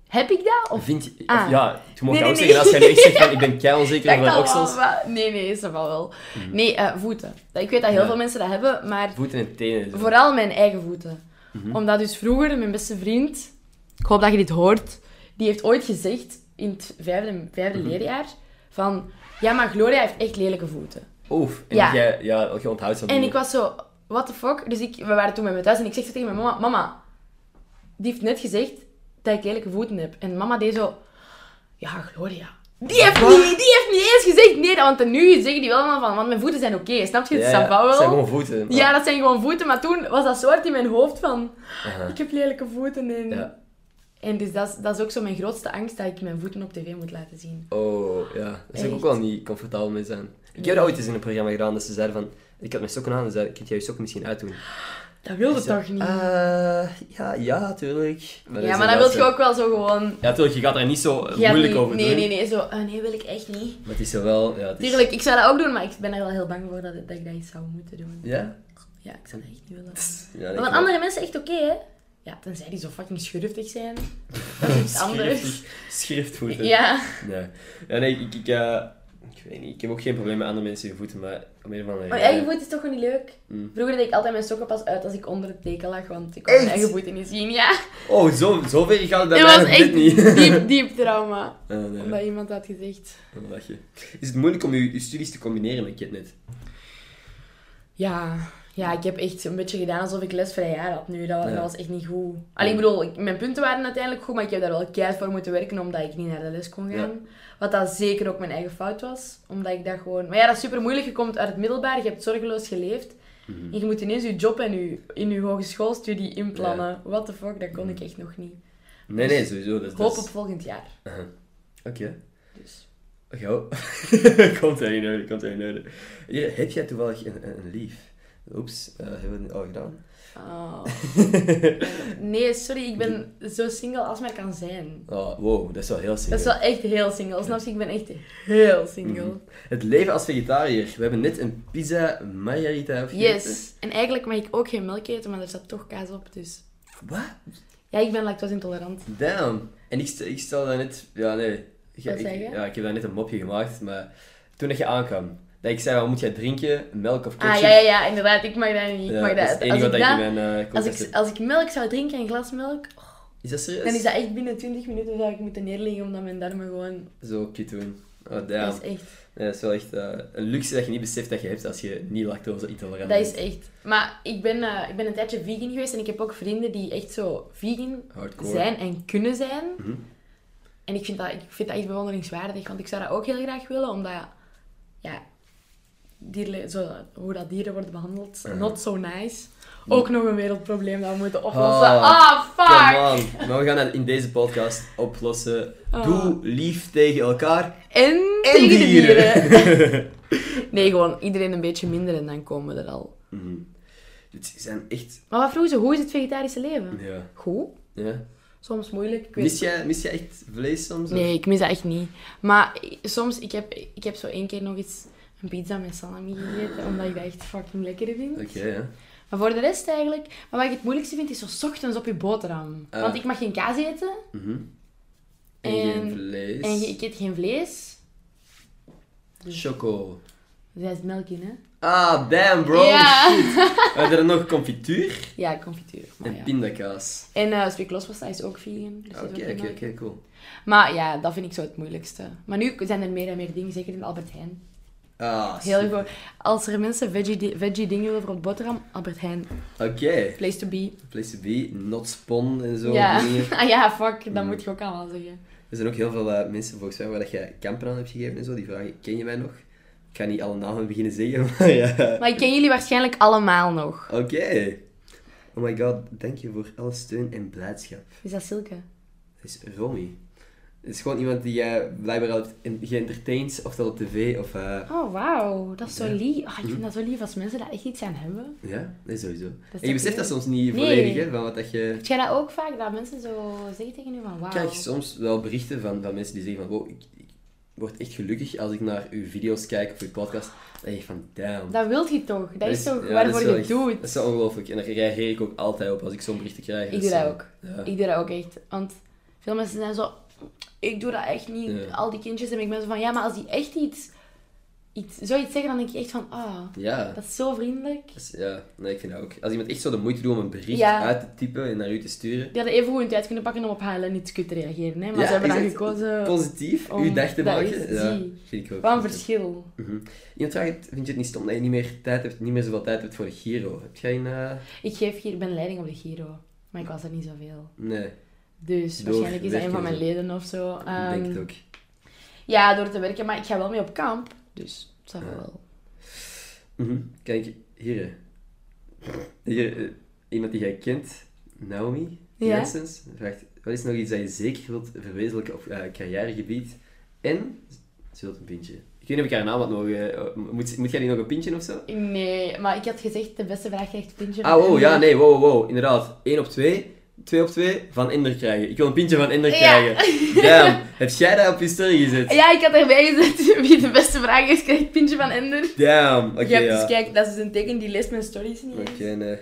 B: Heb ik dat? Of
A: Vind je...
B: Ah.
A: Ja, je mag
B: Nee,
A: dat ook
B: nee,
A: zeggen als jij nu echt zegt van ik ben kei
B: dat
A: onzeker over mijn
B: kan wel,
A: oksels.
B: maar- Nee, nee, is dat wel wel. Nee, eh, voeten. Dat- Ik weet dat heel
A: Ja.
B: veel mensen dat hebben, maar
A: Voeten en tenen. zo.
B: vooral mijn eigen voeten.
A: Mhm.
B: Omdat dus vroeger mijn beste vriend, ik hoop dat je dit hoort, die heeft ooit gezegd in het vijfde, vijfde
A: Mhm.
B: leerjaar van, ja, maar Gloria heeft echt lelijke voeten.
A: Oef. En
B: Ja.
A: jij ja, je onthoudt zo'n
B: En ik was zo, what the fuck? Dus ik, we waren toen bij mijn thuis en ik zeg zo tegen mijn mama, mama, die heeft net gezegd dat ik lelijke voeten heb. En mama deed zo, ja, Gloria. Die heeft, niet, die heeft niet eens gezegd nee, want nu zeggen die wel allemaal van, want mijn voeten zijn oké, snap je? Het is
A: ja,
B: sava
A: het
B: wel.
A: zijn gewoon voeten. maar-
B: Ja, dat zijn gewoon voeten, maar toen was dat soort in mijn hoofd van,
A: Aha.
B: ik heb lelijke voeten. En,
A: Ja.
B: en dus dat is, dat is ook zo mijn grootste angst, dat ik mijn voeten op tv moet laten zien.
A: Oh, ja. Daar zou ik ook wel
B: Echt.
A: niet comfortabel mee zijn. Ik heb dat ooit eens in een programma gedaan, dat ze zeiden van... Ik had mijn sokken aan en zeiden, kun jij je sokken misschien uitdoen?
B: Dat wilde
A: Ik zei,
B: toch niet?
A: "Ah, ja, ja, tuurlijk.
B: ja, maar dan wil je ook wel zo gewoon...
A: Ja, tuurlijk, je gaat er niet zo eh,
B: Ja,
A: moeilijk
B: nee,
A: over
B: nee,
A: doen.
B: nee, nee, zo, eh, nee, wil ik echt niet.
A: Maar het is zo wel... Ja, het is-
B: Tuurlijk, ik zou dat ook doen, maar ik ben er wel heel bang voor dat, dat ik dat iets zou moeten doen.
A: Ja?
B: Ja, ik zou dat echt niet
A: Ja,
B: willen.
A: denk
B: Maar
A: ik
B: van andere mensen echt oké, hè? Ja, tenzij die zo fucking schurftig zijn. Dat is iets anders.
A: Schrift- Schriftvoeten.
B: Ja.
A: Ja. Ja, nee, ik, ik, eh, ik weet niet. Ik heb ook geen probleem met andere mensen hun voeten, maar om een of andere eh.
B: Maar
A: reden-
B: eigen voet is toch gewoon niet leuk?
A: Mm.
B: Vroeger deed ik altijd mijn sokken pas uit als ik onder het deken lag, want ik kon mijn
A: Echt?
B: eigen voeten niet zien. Ja,
A: Oh, zo, zo ver gaat het bij
B: dat
A: mij
B: was
A: nog
B: echt
A: net niet.
B: diep, diep trauma.
A: Ah, nee,
B: Omdat iemand dat had gezegd.
A: dan lach je. Is het moeilijk om je, je studies te combineren met Kidnet?
B: Ja, ja, ik heb echt een beetje gedaan alsof ik lesvrij jaar had nu. Dat,
A: Ja.
B: dat was echt niet goed. Alleen, ik bedoel, ik- mijn punten waren uiteindelijk goed, maar ik heb daar wel keihard voor moeten werken omdat ik niet naar de les kon gaan. Wat dat zeker ook mijn eigen fout was. Omdat ik dat gewoon... Maar ja, dat is super moeilijk. Je komt uit het middelbaar, je hebt zorgeloos geleefd. En je moet ineens je job en je, in je hogeschoolstudie inplannen. What the fuck, dat kon ik echt nog niet.
A: Nee, nee, sowieso. Dat, is- dat
B: Hoop
A: is-
B: op volgend jaar.
A: Oké.
B: Dus.
A: Oké. oh. komt er in orde, komt er in orde. Hier, heb jij toevallig een, een, een lief? Oeps, eh, hebben we het al gedaan?
B: Oh. nee, sorry, ik ben zo single als maar kan zijn.
A: Oh, wow, dat is wel heel simpel.
B: Dat is wel echt heel single. Snap je? Ik ben echt heel single.
A: Het leven als vegetariër. We hebben net een pizza margarita gegeten.
B: Yes. En eigenlijk mag ik ook geen melk eten, maar er zat toch kaas op. Dus
A: Wat?
B: ja, ik ben lactose intolerant.
A: Damn. En ik stel, ik stel daar net... Ja, nee. Ik,
B: Wat
A: ik-
B: zeg je?
A: ja, ik heb daar net een mopje gemaakt, maar... Toen dat je aankwam, dat ik zei, wat moet jij drinken? Melk of ketchup?
B: Ah ja, ja, ja, inderdaad. Ik mag dat niet.
A: Ja,
B: ik mag
A: dat is het
B: dat.
A: enige
B: Als
A: wat
B: ik,
A: ik in
B: dat
A: mijn eh,
B: als,
A: koelkast
B: ik,
A: heb.
B: als ik melk zou drinken, een glas melk,
A: Is dat serieus?
B: dan is dat echt binnen 20 minuten zou ik moeten neerliggen, omdat mijn darmen gewoon...
A: Zo kut doen. Oh, damn.
B: Dat is echt.
A: Nee, dat is wel echt eh, een luxe dat je niet beseft dat je hebt als je niet lactose-intolerant
B: Dat is
A: bent.
B: echt. Maar ik ben, eh, ik ben een tijdje vegan geweest en ik heb ook vrienden die echt zo vegan
A: Hardcore.
B: zijn en kunnen zijn.
A: Mhm.
B: En ik vind, dat, ik vind dat echt bewonderingswaardig, want ik zou dat ook heel graag willen, omdat ja, dieren, zo, hoe dat dieren worden behandeld,
A: Mhm.
B: not so nice. Ook nog een wereldprobleem dat we moeten oplossen.
A: Oh,
B: Ah, fuck!
A: Come on. Maar we gaan dat in deze podcast oplossen.
B: Oh.
A: Doe lief tegen elkaar
B: En
A: en
B: tegen de dieren.
A: dieren.
B: Nee, gewoon iedereen een beetje minder en dan komen we er al.
A: Mhm. Dit zijn echt...
B: Maar wat vroegen ze? Hoe is het vegetarische leven?
A: Ja.
B: Goed.
A: ja.
B: Soms moeilijk. Ik weet
A: Mis, jij, mis jij echt vlees soms? of-
B: Nee, ik mis dat echt niet. Maar i- soms, ik heb, ik heb zo één keer nog eens een pizza met salami gegeten, omdat ik dat echt fucking lekker vind.
A: Oké, ja.
B: Maar voor de rest eigenlijk, maar wat ik het moeilijkste vind, is zo 's ochtends op je boterham.
A: Ah.
B: Want ik mag geen kaas eten
A: Mhm. En, geen
B: En-
A: vlees.
B: en ik eet geen vlees.
A: Choco.
B: Dus daar is melk in, hè?
A: Ah, damn bro.
B: Ja.
A: Shit. We hadden er nog confituur
B: Ja, confituur. Maar
A: en
B: Ah, ja.
A: pindakaas.
B: En eh spikloospasta is ook vegan. dus dat is ook
A: Oké,
B: heel
A: oké,
B: leuk.
A: oké, cool.
B: Maar ja, dat vind ik zo het moeilijkste. Maar nu zijn er meer en meer dingen, zeker in Albert Heijn.
A: Ah,
B: Heel
A: super.
B: goed. Als er mensen veggie, veggie dingen willen voor op boterham, Albert Heijn,
A: Oké,
B: place to be.
A: place to be, not spawn en zo.
B: ja.
A: dingen.
B: Ah ja, fuck, dat moet je ook allemaal zeggen.
A: Er zijn ook heel veel eh, mensen volgens mij waar dat jij kampen aan hebt gegeven en zo, die vragen, ken je mij nog? Ik ga niet alle namen beginnen zeggen, maar ja.
B: Maar ik ken jullie waarschijnlijk allemaal nog.
A: Oké. Oh my god, dank je voor alle steun en blijdschap.
B: Is dat Silke?
A: Dat is Romy. Dat is gewoon iemand die jij blijkbaar al hebt in- geëntertained, ofwel op tv of... eh,
B: Oh, wauw. Dat is zo lief. Ah, ik
A: Mhm.
B: vind dat zo lief als mensen daar echt iets aan hebben.
A: Ja, nee, sowieso. en je
B: toch
A: beseft dat
B: leuk?
A: soms niet
B: Nee.
A: volledig, hè, van wat dat je...
B: Heb jij dat ook vaak, dat mensen zo zeggen tegen u van wauw?
A: Ik krijg soms wel berichten van, van mensen die zeggen van, wow, ik, ik word echt gelukkig als ik naar uw video's kijk of uw podcast. Dan denk ik van, damn.
B: Dat wil je toch? Dat is
A: ja,
B: toch
A: dat
B: waarvoor
A: wel
B: je het
A: echt-
B: doet?
A: Dat is wel ongelooflijk. En daar reageer ik ook altijd op als ik zo'n berichten krijg. Dus,
B: Ik doe dat
A: eh,
B: ook.
A: Ja.
B: Ik doe dat ook echt. Want veel mensen zijn zo, ik doe dat echt niet.
A: Ja.
B: Al die kindjes. En ik ben zo van, ja, maar als die echt iets, iets zoiets zeggen, dan denk ik echt van, ah,
A: Ja.
B: dat is zo vriendelijk.
A: Dus, ja, nee, ik vind dat ook. Als iemand echt zo de moeite doet om een bericht
B: Ja.
A: uit te typen en naar u te sturen.
B: Die hadden even goed hun tijd kunnen pakken om op HLN iets kut te reageren. Hè? Maar
A: Ja,
B: ze hebben dan
A: exact.
B: gekozen.
A: Positief,
B: om-
A: uw dag te
B: dat
A: maken.
B: is-
A: ja,
B: zie.
A: vind ik ook.
B: Wat een verschil.
A: Mhm. Iemand vraagt, vind je het niet stom dat je niet meer tijd hebt, niet meer zoveel tijd hebt voor de Giro? Heb jij een... eh,
B: Ik geef hier, ik ben leiding op de Giro. Maar ik was er niet zoveel.
A: Nee,
B: Dus
A: Door
B: waarschijnlijk is dat een
A: werken
B: van mijn
A: en zo.
B: leden of zo.
A: ik denk
B: Ehm,
A: het ook.
B: Ja, door te werken. Maar ik ga wel mee op kamp. Dus dat zal wel.
A: Mhm. Kijk, hier. hè. hier eh, iemand die jij kent, Naomi
B: Ja.
A: Jensens, vraagt: Wat is nog iets dat je zeker wilt verwezenlijken op eh, carrièregebied? En ze wilt een pintje. Ik weet niet of ik haar naam had nog. eh, moet, moet jij die nog een pintje of zo?
B: Nee, maar ik had gezegd, de beste vraag krijgt Pintje.
A: Ah, wow, ja, nee, wow, wow, wow. Inderdaad. 1 op 2. 2 op 2 van Ender krijgen. Ik wil een pintje van Ender
B: Ja.
A: krijgen. Damn. Heb jij dat op je story gezet?
B: Ja, ik had erbij gezet, wie de beste vraag is, krijgt Pintje van Ender.
A: Damn. Oké,
B: je hebt
A: ja.
B: dus, kijk, dat is een teken, die leest mijn stories niet
A: Oké,
B: eens.
A: nee.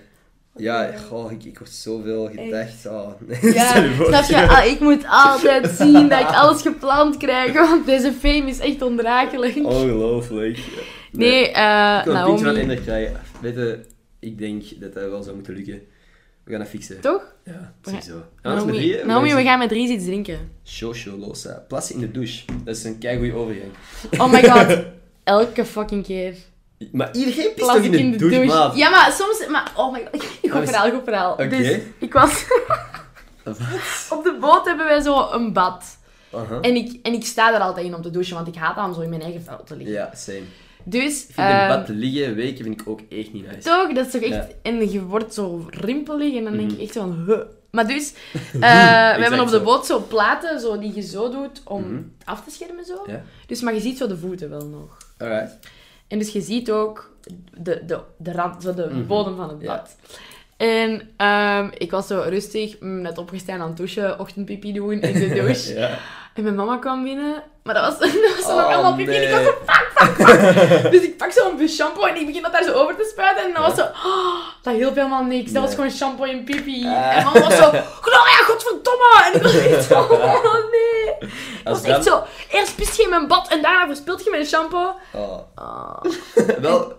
A: Ja, goh, ik, ik word zoveel gedacht. Oh, nee.
B: Ja,
A: Stel je voor.
B: snap je? Ah, ik moet altijd zien dat ik alles gepland krijg, want deze fame is echt onrakelijk.
A: Ongelooflijk.
B: nee, eh
A: Oh, Ik wil een
B: Naomi.
A: pintje van Ender krijgen. Weet je, ik denk dat dat wel zou moeten lukken. We gaan dat fixen.
B: Toch?
A: Ja,
B: We
A: sowieso. En anders met
B: Naomi,
A: drieën,
B: Naomi, we
A: mensen-
B: gaan met drie iets drinken.
A: Shosholosa. Plassen in de douche. Dat is een keigoeie overgang.
B: Oh my god, elke fucking keer.
A: Maar iedereen pist
B: Plas
A: toch
B: ik
A: in de, douche, maat?
B: Ja, maar soms... Maar, oh my god, goed
A: is-
B: verhaal, goed verhaal.
A: Oké.
B: Dus, ik was...
A: Wat?
B: op de boot hebben wij zo een bad.
A: Aha.
B: En ik, en ik sta er altijd in om te douchen, want ik haat dat om zo in mijn eigen vuil te liggen.
A: Ja, same.
B: Dus...
A: Ik vind in
B: ehm,
A: bad te liggen weken vind ik ook echt niet nice.
B: Toch? Dat is toch echt...
A: Ja. Mhm.
B: En je wordt zo rimpelig en dan denk ik echt van... Huh. Maar dus, eh, we hebben op
A: zo.
B: de boot zo platen zo, die je zo doet om
A: Mhm.
B: het af te schermen. Zo.
A: Ja.
B: Dus, maar je ziet zo de voeten wel nog.
A: Alright.
B: En dus je ziet ook de, de, de rand, zo de
A: Mhm.
B: bodem van het
A: Ja.
B: blad. En ehm, ik was zo rustig, mm, net opgestaan aan het douchen, ochtendpipi doen in de douche.
A: Ja.
B: En mijn mama kwam binnen, maar dat was, dat was zo nog allemaal pipi. En ik was
A: Oh, nee.
B: zo, pak, pak, pak. Dus ik pak zo'n bus shampoo en ik begin dat daar zo over te spuiten. En dan was zo, "Oh, dat hielp helemaal niks. Dat
A: Nee.
B: was gewoon shampoo en pipi.
A: Ah.
B: En mama was zo, Gloria, godverdomme. En ik was echt zo, oh nee. Ik was
A: Als
B: echt
A: dan...
B: zo, eerst pist je in mijn bad en daarna verspilt je mijn shampoo.
A: Oh.
B: Oh.
A: Wel...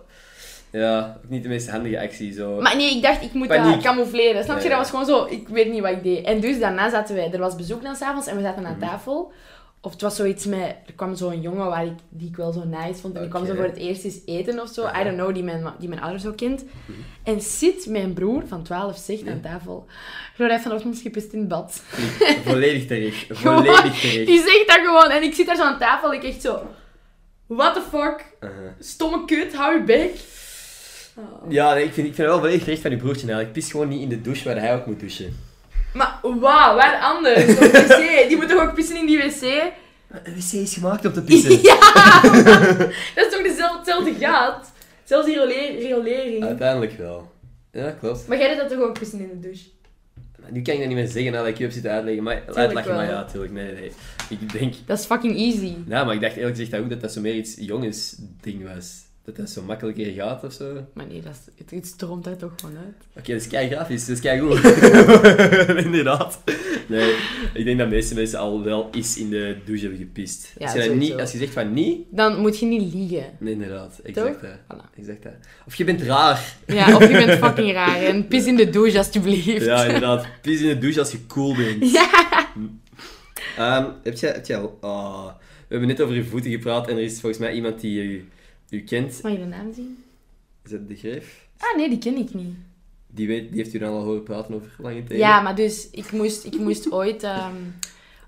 A: Ja, ook niet de meest handige actie zo.
B: Maar nee, ik dacht, ik moet dat
A: Paniek.
B: camoufleren. Snap je?
A: Ja,
B: Dat
A: ja.
B: was gewoon zo, ik weet niet wat ik deed. En dus daarna zaten wij, er was bezoek dan s'avonds en we zaten
A: Mhm.
B: aan tafel. Of het was zoiets met, er kwam zo'n jongen waar ik, die ik wel zo nice vond. En die kwam zo
A: Oké.
B: voor het eerst eens eten of zo.
A: Aha. Mhm.
B: I don't know, die mijn, ma- die mijn ouders ook kent. En zit mijn broer van 12 zegt aan tafel. Gloria heeft vanochtend gepist in het bad.
A: Volledig terecht.
B: Gewoon,
A: Volledig terecht.
B: die zegt dat gewoon. En ik zit daar zo aan tafel. Ik echt zo, what the fuck?
A: Aha.
B: Stomme kut, hou je bek. Oh.
A: Ja, nee, ik vind, ik vind het wel volledig terecht van uw broertje eigenlijk. Pis gewoon niet in de douche waar hij ook moet douchen.
B: Maar wauw, waar anders? Op de wc. Die moet toch ook pissen in die wc?
A: Een wc is gemaakt om te pissen.
B: Ja! Dat is toch dezelfde, hetzelfde gat? Zelfs die riole- riolering.
A: Uiteindelijk wel. Ja, klopt.
B: Maar jij deed dat toch ook pissen in de douche?
A: Nu kan ik dat niet meer zeggen nadat ik je heb zitten uitleggen. Maar uitleggen, maar
B: wel.
A: ja, tuurlijk. Nee, nee. Ik denk...
B: Dat is fucking easy.
A: Nou, maar ik dacht eerlijk gezegd dat ook dat dat zo meer iets jongens ding was. Dat dat zo makkelijker gaat of zo. Oké,
B: Maar nee, dat is, het, het stroomt daar toch gewoon uit.
A: dat is kei grafisch, dat is kei goed. Inderdaad. Nee, ik denk dat de meeste mensen al wel eens in de douche hebben gepist.
B: Ja,
A: als, je dat
B: sowieso.
A: niet, als je zegt van niet,
B: Dan moet je niet liegen.
A: nee, inderdaad. Exact
B: Toch?
A: dat.
B: Voilà.
A: Exact dat. Of je bent raar.
B: Ja, of je bent fucking raar. En pis in de douche, alsjeblieft.
A: Ja, inderdaad. Pis in de douche als je cool bent.
B: Ja.
A: Ehm, heb jij, heb jij al... ah, we hebben net over je voeten gepraat en er is volgens mij iemand die je, je kent.
B: Mag je de naam zien?
A: Is dat de greep?
B: Ah nee, die ken ik niet.
A: Die, weet, die heeft u dan al horen praten over lange tijd.
B: Ja, maar dus ik moest, ik moest ooit. ehm,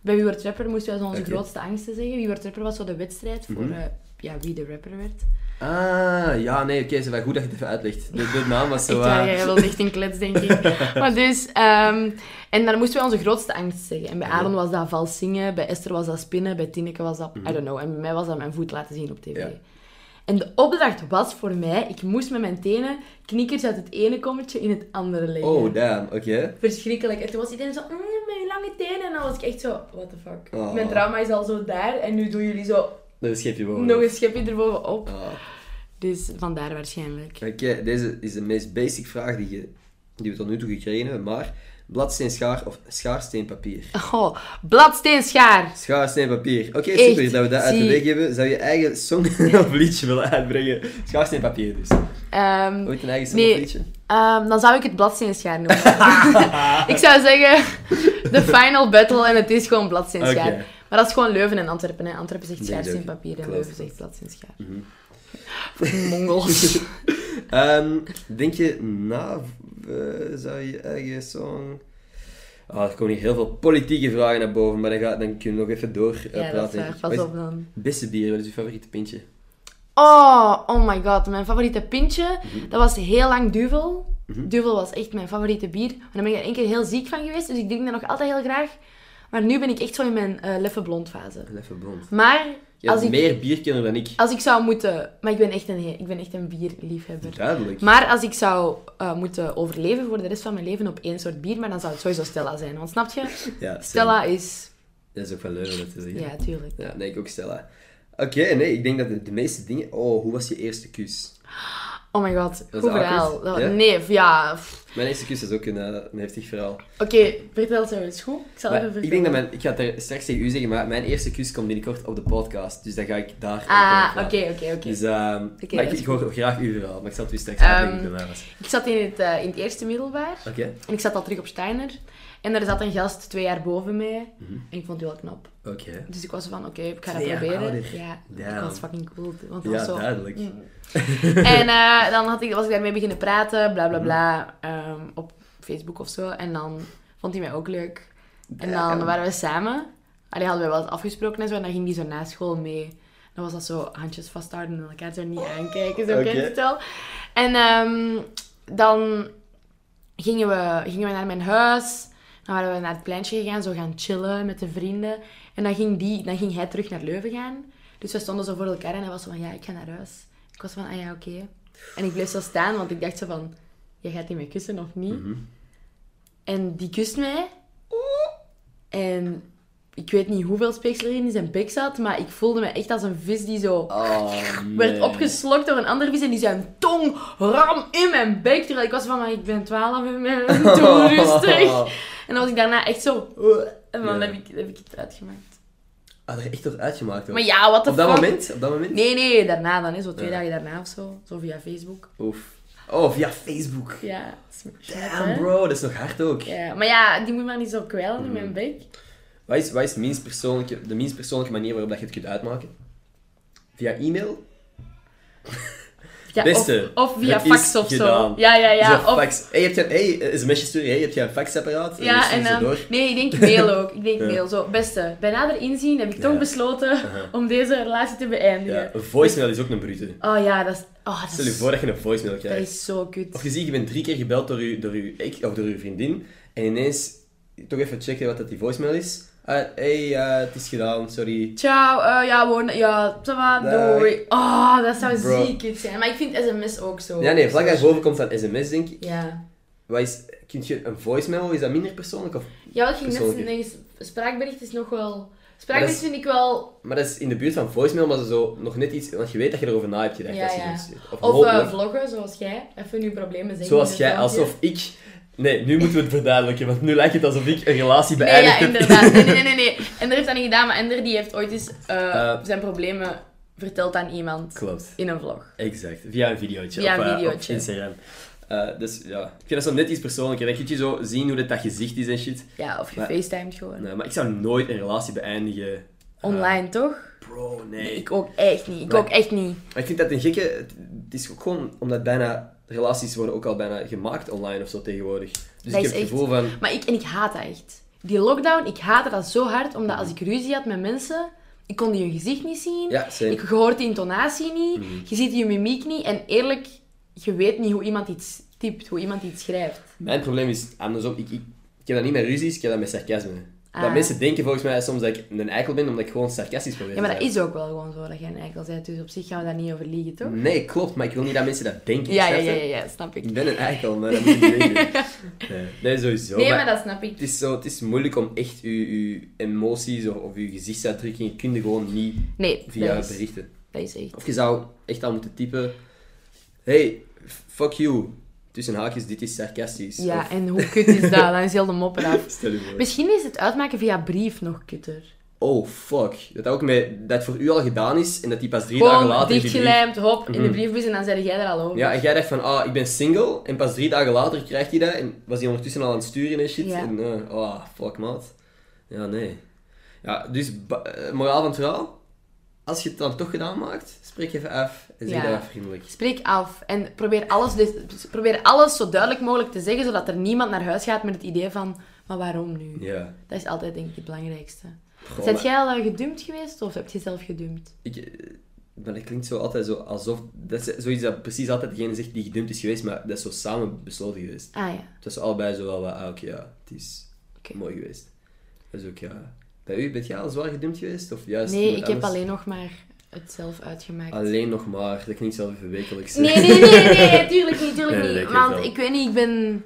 B: bij Wie wordt rapper moesten wij zo onze
A: Oké.
B: grootste angsten zeggen. Wie wordt rapper was zo de wedstrijd voor
A: Mhm.
B: eh, ja, wie de rapper werd.
A: Ah, ja, nee, oké, ze wel goed dat je het even uitlegt. De, de naam was zo...
B: echt waar,
A: eh,
B: jij was echt een klets, denk ik. maar dus, ehm, en dan moesten wij onze grootste angst zeggen. En bij Aaron was dat vals zingen, bij Esther was dat spinnen, bij Tineke was dat, I don't know. En bij mij was dat mijn voet laten zien op tv.
A: Mhm. Ja.
B: En de opdracht was voor mij, ik moest met mijn tenen knikkers uit het ene kommetje in het andere leggen.
A: Oh, damn, oké.
B: Verschrikkelijk. En toen was iedereen zo, mm, met je lange tenen. En dan was ik echt zo, what the fuck.
A: Oh.
B: Mijn trauma is al zo daar en nu doen jullie zo
A: Dat schep je boven.
B: nog een schepje erbovenop.
A: Ah,
B: Oh. Dus vandaar waarschijnlijk.
A: oké, deze is de meest basic vraag die, je, die we tot nu toe gekregen hebben, maar... Bladsteen, schaar of schaarsteen, papier?
B: Oh, bladsteen, schaar.
A: Schaarsteen, papier. Oké,
B: Echt,
A: super dat we dat uit de
B: zie.
A: weg hebben. Zou je eigen song of liedje willen uitbrengen? Schaarsteen, papier dus.
B: Ehm,
A: Ooit een eigen song
B: Nee.
A: of liedje?
B: ehm, dan zou ik het bladsteenschaar noemen. ik zou zeggen, de final battle en het is gewoon bladsteenschaar.
A: Oké.
B: Maar dat is gewoon Leuven en Antwerpen. Hè. Antwerpen zegt
A: Denk
B: schaar,
A: ik
B: steen
A: ook.
B: papier en
A: Klopt.
B: Leuven zegt bladsteenschaar.
A: Mhm.
B: Fucking Mongols.
A: Ehm, denk je na eh, zou je eigen song. Ah, er komen hier heel veel politieke vragen naar boven, maar dan, ga, dan kunnen we nog even door eh,
B: ja, dat is
A: praten.
B: waar. Pas op dan.
A: Beste bier, wat is je favoriete pintje?
B: Oh, oh my god. Mijn favoriete pintje,
A: Mhm.
B: dat was heel lang Duvel. Duvel was echt mijn favoriete bier. Maar dan ben ik er één keer heel ziek van geweest, dus ik drink dat nog altijd heel graag. Maar nu ben ik echt zo in mijn eh, leffe blond fase.
A: Even blond.
B: Maar
A: Jij
B: Als
A: bent
B: ik-
A: meer bierkenner dan ik.
B: Als ik zou moeten... Maar ik ben echt een, ik ben echt een bierliefhebber.
A: Duidelijk.
B: Maar als ik zou eh, moeten overleven voor de rest van mijn leven op één soort bier, maar dan zou het sowieso Stella zijn. Want snap je?
A: Ja, Stella.
B: Stella is...
A: Dat is ook wel leuk om dat te zeggen.
B: Ja, tuurlijk.
A: Ja, nee, ik ook Stella. Oké, nee, ik denk dat de, de meeste dingen... Oh, hoe was je eerste kus?
B: Oh my god,
A: is
B: goed verhaal.
A: awkward,
B: Dat-
A: ja?
B: Nee, f- ja... f-
A: Mijn eerste kus is ook een, eh, een heftig verhaal.
B: Oké, vertel het eens goed. Ik zal
A: Maar
B: even
A: ik denk
B: vertellen.
A: dat mijn... Ik ga het er straks tegen u zeggen, maar mijn eerste kus komt binnenkort op de podcast. Dus dan ga ik daar...
B: Ah,
A: over praten.
B: oké, oké, oké.
A: Dus, ehm,
B: Oké,
A: maar ik,
B: dat is
A: ik hoor graag uw verhaal, maar ik zal het u straks
B: Ehm,
A: uitleggen hoe het bij mij was.
B: Ik zat in het, eh, in het eerste middelbaar.
A: Oké.
B: En ik zat al terug op Steiner. En er zat een gast twee jaar boven mij. En ik vond die wel knap.
A: Oké.
B: Dus ik was van, oké, ik ga dat
A: Mhm. Twee jaar ouder.
B: proberen. Ja,
A: Damn.
B: ik was fucking cool. Want dat
A: Ja,
B: was zo...
A: duidelijk.
B: Mm. En eh, dan had ik, was ik daarmee beginnen praten, bla bla bla,
A: Mhm.
B: ehm, op Facebook of zo. En dan vond hij mij ook leuk. En
A: Damn.
B: dan waren we samen. Allee, hadden we wel wat afgesproken en zo. En dan ging die zo na school mee. Dan was dat zo handjes vasthouden en elkaar zo niet aankijken. Zo
A: Oké.
B: kent het wel. En ehm, dan gingen we, gingen we naar mijn huis. Dan waren we naar het pleintje gegaan, zo gaan chillen met de vrienden. En dan ging, die, dan ging hij terug naar Leuven gaan. Dus we stonden zo voor elkaar en hij was zo van, ja, ik ga naar huis. Ik was van, ah ja, oké. En ik bleef zo staan, want ik dacht zo van, jij gaat die mij kussen of niet? En die kust mij. En ik weet niet hoeveel speeksel er in zijn bek zat, maar ik voelde me echt als een vis die zo
A: Oh, nee.
B: werd opgeslokt door een andere vis en die zijn tong ram in mijn bek. Terwijl ik was van, maar ik ben 12 en ben toen rustig. En dan was ik daarna echt zo... "Ugh." En dan
A: Ja.
B: heb, ik, heb ik het uitgemaakt.
A: Had er echt door uitgemaakt hoor.
B: Maar ja, wat de
A: op dat moment? Op dat moment?
B: Nee, nee, daarna dan. Hè. Zo twee
A: Ja.
B: dagen daarna of zo. Zo via Facebook.
A: Oef. Oh, via Facebook.
B: Ja, snap je,
A: Damn
B: hè?
A: bro, dat is nog hard ook.
B: Ja, maar ja, die moet maar niet zo kwijlen in
A: Mm.
B: mijn bek.
A: Wat is, wat is minst persoonlijke, de minst persoonlijke manier waarop dat je het kunt uitmaken? Via e-mail?
B: Ja,
A: Beste,
B: Of, of via
A: het
B: fax
A: is
B: of
A: gedaan.
B: zo. Ja, ja,
A: Ja,
B: ja. Of,
A: fax. Hey, heb je, hey, sms'je sturen, hey, heb je een faxapparaat? En dan
B: ja,
A: stuur
B: en
A: je ze
B: dan...
A: door.
B: Nee, ik denk mail ook. Ik denk
A: Ja.
B: mail. Zo, beste, bij nader inzien heb ik
A: Ja.
B: toch besloten om deze relatie te beëindigen.
A: Ja, een voicemail is ook een brute.
B: Oh ja, dat is... Oh, dat
A: Stel je
B: is,
A: voor dat je een voicemail
B: dat
A: krijgt.
B: is zo kut.
A: Of je ziet, je bent drie keer gebeld door je, door je, ex- of door je vriendin. En ineens toch even checken wat dat die voicemail is. Ah, hey, eh, het is gedaan, sorry.
B: Ciao, eh, ja, gewoon, ja, ça va,
A: Dag.
B: doei. Oh, dat zou
A: Bro.
B: ziek iets zijn. Maar ik vind sms ook zo.
A: Ja, nee, vlak daarboven komt dan sms, denk ik.
B: Ja.
A: Wat is, kun je een voicemail, is dat minder persoonlijk? Of,
B: Ja, wat ik ging net
A: Persoonlijk.
B: zeggen, spraakbericht is nog wel...
A: Maar dat
B: Spraakbericht
A: is-
B: vind ik wel...
A: maar dat is in de buurt van voicemail, maar zo nog net iets... Want je weet dat je erover na hebt gedacht
B: Ja,
A: als je
B: ja.
A: het stuurt. Of,
B: Of eh,
A: hopelijk,
B: vloggen, zoals jij. Even nu problemen zeggen.
A: zoals
B: in
A: jij,
B: het filmpje.
A: alsof ik... Nee, nu moeten we het verduidelijken, want nu lijkt het alsof ik een relatie
B: Nee,
A: beëindigd
B: ja,
A: heb.
B: inderdaad. Nee, nee, nee, nee, nee. Ender heeft dat niet gedaan, maar Ender die heeft ooit eens eh,
A: Eh.
B: zijn problemen verteld aan iemand.
A: Klopt.
B: In een vlog.
A: Exact, via een videootje
B: Via
A: op,
B: een
A: eh, op
B: videootje.
A: Instagram. Eh, dus ja, ik vind dat zo net iets persoonlijker. Dan kun je zo zien hoe dat, dat gezicht is en shit.
B: Ja, of je
A: Maar-
B: facetimed gewoon.
A: Nee, maar ik zou nooit een relatie beëindigen. eh,
B: Online, toch?
A: bro, nee.
B: Ik ook echt niet. Ik
A: Maar-
B: ook echt niet.
A: Maar ik vind dat een gekke... Het het is ook gewoon omdat bijna... Relaties worden ook al bijna gemaakt online of zo tegenwoordig. Dus ik
B: Dat is
A: heb het
B: echt-
A: gevoel van...
B: Maar ik, en ik haat dat echt. Die lockdown, ik haatte dat zo hard, omdat als ik ruzie had met mensen, ik kon hun gezicht niet zien.
A: Ja, same. Mhm.
B: ik hoorde die intonatie niet, je ziet je mimiek niet. En eerlijk, je weet niet hoe iemand iets typt, hoe iemand iets schrijft.
A: Mijn probleem is andersom. Ik, ik, ik heb dat niet met ruzies, ik heb dat met sarcasme. Dat
B: Ah.
A: mensen denken volgens mij soms dat ik een eikel ben omdat ik gewoon sarcastisch probeer
B: Ja, maar
A: te
B: dat
A: zijn.
B: is ook wel gewoon zo, dat jij een eikel bent. Dus op zich gaan we daar niet over liegen, toch?
A: Nee, klopt, maar ik wil niet dat mensen dat denken.
B: Ja, ja,
A: snap
B: ja,
A: je?
B: ja, ja, snap ik.
A: Ik ben een eikel, maar dat moet je niet denken. Nee, nee, sowieso.
B: Nee,
A: Oh, maar
B: maar dat snap ik.
A: Het, is zo, het is moeilijk om echt je, je emoties of, of je gezichtsuitdrukkingen kun je gewoon niet
B: Nee,
A: via
B: dat is,
A: berichten.
B: dat is echt.
A: Of je zou echt al moeten typen... Hey, f- fuck you. Tussen haakjes, dit is sarcastisch.
B: Ja,
A: Of-
B: en hoe kut is dat? Dan is heel de mop eraf.
A: Stel je voor.
B: Misschien is het uitmaken via brief nog kutter.
A: Oh, fuck. Dat dat ook met, dat voor u al gedaan is en dat die pas drie dagen
B: Gewoon
A: later... in die brief- Mhm.
B: dichtgelijmd, hop, in de briefbus en dan zeg jij er al over.
A: Ja, en jij dacht van, ah, ik ben single. En pas drie dagen later krijgt hij dat. En was hij ondertussen al aan het sturen en shit.
B: Ja.
A: En, eh, ah, fuck, maat. Ja, nee. Ja, dus, ba- eh, moraal van het verhaal. Als je het dan toch gedaan maakt, spreek even af en zeg
B: Ja.
A: dat vriendelijk.
B: Spreek af en probeer alles, dus- probeer alles zo duidelijk mogelijk te zeggen, zodat er niemand naar huis gaat met het idee van, maar waarom nu?
A: Ja.
B: Dat is altijd denk ik het belangrijkste.
A: Goh,
B: Zijn
A: maar
B: jij al eh, gedumpt geweest of heb je zelf gedumpt?
A: ik, eh, maar dat klinkt zo altijd zo alsof... Dat is zoiets dat precies altijd degene zegt die gedumpt is geweest, maar dat is zo samen besloten geweest.
B: Ah ja.
A: Dat is allebei zo wel wat, ah, oké, ja, het is
B: Oké.
A: mooi geweest. Dat is ook, ja... Bij u, bent jij al zwaar gedumpt geweest? Of juist
B: Nee,
A: iemand
B: ik heb
A: anders?
B: alleen nog maar het zelf uitgemaakt.
A: Alleen nog maar. Dat klinkt zelf even wekelijks.
B: Nee, nee, nee, nee, tuurlijk niet, tuurlijk
A: Nee, nee,
B: niet.
A: ik weet
B: Want
A: wel.
B: ik weet niet, ik ben...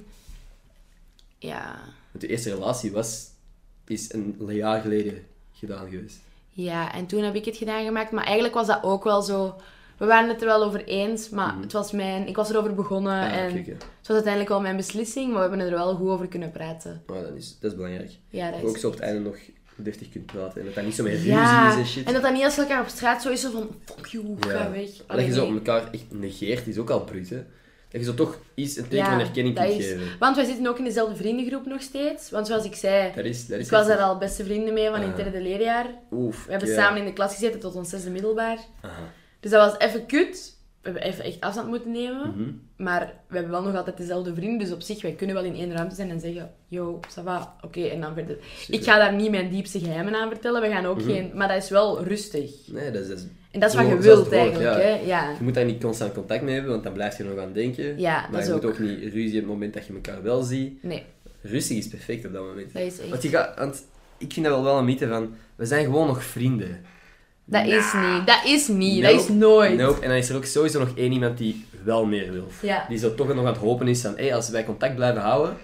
B: Ja...
A: Want De eerste relatie was, is een jaar geleden gedaan geweest.
B: Ja, en toen heb ik het gedaan gemaakt. Maar eigenlijk was dat ook wel zo... We waren het er wel over eens, maar het was mijn... Ik was erover begonnen
A: Mhm. Ah,
B: en
A: kijk, ja.
B: het was uiteindelijk wel mijn beslissing. Maar we hebben er wel goed over kunnen praten.
A: Maar dat is, dat is belangrijk.
B: Ja,
A: Dat
B: dat
A: je
B: is
A: ook zo op
B: echt.
A: het einde nog deftig kunt praten. En dat dat niet zo meer ruzie is
B: Ja,
A: en shit.
B: en dat dan niet als je elkaar op straat zo is zo van... Fuck you,
A: Ja.
B: ga weg.
A: Maar dat je zo
B: Allee.
A: elkaar echt negeert, is ook al bruut, hè. Dat je zo toch iets, een teken van erkenning
B: dat
A: kunt
B: is-
A: geven.
B: Want wij zitten ook in dezelfde vriendengroep nog steeds. Want zoals ik zei,
A: Dat is, dat is
B: ik was
A: echt-
B: daar al beste vrienden mee van in het
A: Ah.
B: derde leerjaar.
A: Oef,
B: We hebben
A: ja.
B: samen in de klas gezeten tot ons zesde middelbaar.
A: Aha.
B: Dus dat was even kut. We hebben even echt afstand moeten nemen.
A: Mhm.
B: Maar we hebben wel nog altijd dezelfde vrienden. Dus op zich, wij kunnen wel in één ruimte zijn en zeggen... Yo, ça va. Oké, en dan verder. Ik ga daar niet mijn diepste geheimen aan vertellen. We gaan ook geen... Maar dat is wel rustig.
A: Nee, dat is... Mhm. dat is-
B: En dat is wat
A: Zo-
B: je
A: zoals
B: wilt
A: het hoort,
B: eigenlijk,
A: ja.
B: hè. Ja.
A: Je moet daar niet constant contact mee hebben, want dan blijf je er nog aan denken.
B: Ja,
A: maar
B: dat is
A: je moet
B: ook.
A: ook niet ruzie op het moment dat je elkaar wel ziet.
B: Nee,
A: Rustig is perfect op dat moment.
B: dat is echt...
A: Want, je gaat, want ik vind dat wel wel een mythe van, we zijn gewoon nog vrienden.
B: Dat is niet. Dat is niet. Dat is
A: Nope.
B: nooit.
A: Nope. En dan is er ook sowieso nog één iemand die wel meer wil.
B: Ja.
A: Die zo toch nog aan het hopen is van, hé, als wij contact blijven houden,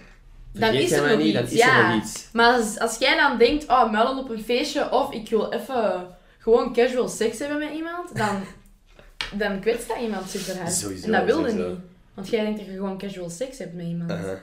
B: Dan
A: vergeet
B: is
A: jij
B: er
A: mij
B: nog
A: niet,
B: iets,
A: dan is
B: ja.
A: er nog iets.
B: Maar als, als jij dan denkt, oh, muilen op een feestje of ik wil even gewoon casual seks hebben met iemand, dan, dan kwetst dat iemand superhard.
A: Sowieso,
B: en dat wilde
A: sowieso. Uh-huh.
B: niet. Want jij denkt dat je gewoon casual seks hebt met iemand.
A: Aha.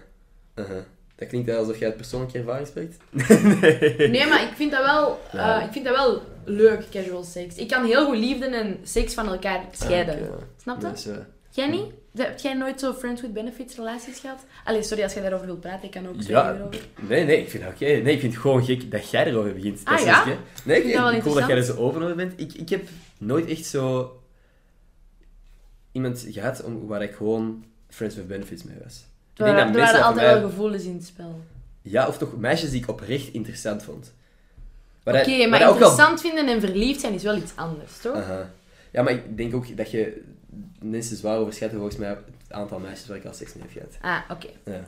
A: Aha. Dat klinkt wel alsof jij het persoonlijke ervaring spreekt.
B: Nee, maar ik vind, dat wel,
A: Ja.
B: eh, ik vind dat wel leuk, casual seks. Ik kan heel goed liefde en seks van elkaar scheiden.
A: Ah, oké.
B: Snap je?
A: Dat is, eh,
B: Jij niet? Heb jij nooit zo friends with benefits relaties gehad? Allee, sorry als jij daarover wilt praten, ik kan ook
A: Ja,
B: zeggen erover.
A: nee, nee, ik vind dat oké. Nee, ik vind het gewoon gek dat jij erover begint.
B: Ah,
A: dat
B: ja?
A: Zeg ik, hè. nee, ik
B: Vind dat wel
A: vind het cool dat jij er zo
B: interessant.
A: open over bent. Ik, ik heb nooit echt zo iemand gehad om, waar ik gewoon friends with benefits mee was. Ik
B: Er,
A: denk dat
B: waren-
A: mensen
B: er
A: dat
B: waren
A: voor
B: altijd
A: mij-
B: wel gevoelens in het spel.
A: Ja, of toch meisjes die ik oprecht interessant vond. Waar
B: Oké,
A: dat- waar
B: maar
A: dat Eh, ook wel-
B: interessant vinden en verliefd zijn is wel iets anders, toch?
A: Aha. Ja, maar ik denk ook dat je mensen zwaar overschatten volgens mij het aantal meisjes waar ik al seks mee heb gehad.
B: Ah, oké.
A: Ja.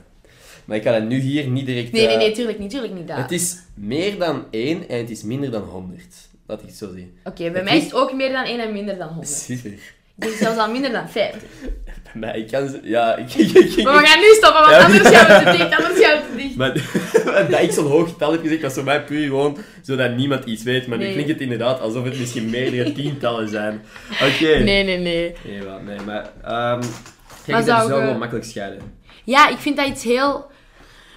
A: Maar ik kan dat nu hier niet direct...
B: Nee, nee,
A: eh,
B: nee, tuurlijk niet, tuurlijk niet dat.
A: Het is meer dan één en het is minder dan 100. Dat ik het zo zie.
B: Oké, bij
A: het
B: mij is
A: is-
B: het ook meer dan 1 en minder dan 100.
A: Super.
B: Ik denk zelfs al minder dan 50.
A: Bij mij, ik kan ze... Ja, ik... ik, ik, ik-
B: Maar we gaan nu stoppen, want
A: Ja.
B: anders gaan we te dicht, anders gaan we te dicht.
A: Maar dat ik zo'n hoog getal heb gezegd, was voor mij puur gewoon zodat niemand iets weet. Maar
B: Nee.
A: nu klinkt het inderdaad alsof het misschien meerdere tientallen zijn. Oké.
B: Nee, nee, nee.
A: Nee, wat, nee, maar... ehm
B: Maar
A: kijk, dat
B: zou
A: is wel
B: je-
A: gewoon makkelijk scheiden.
B: Ja, ik vind dat iets heel...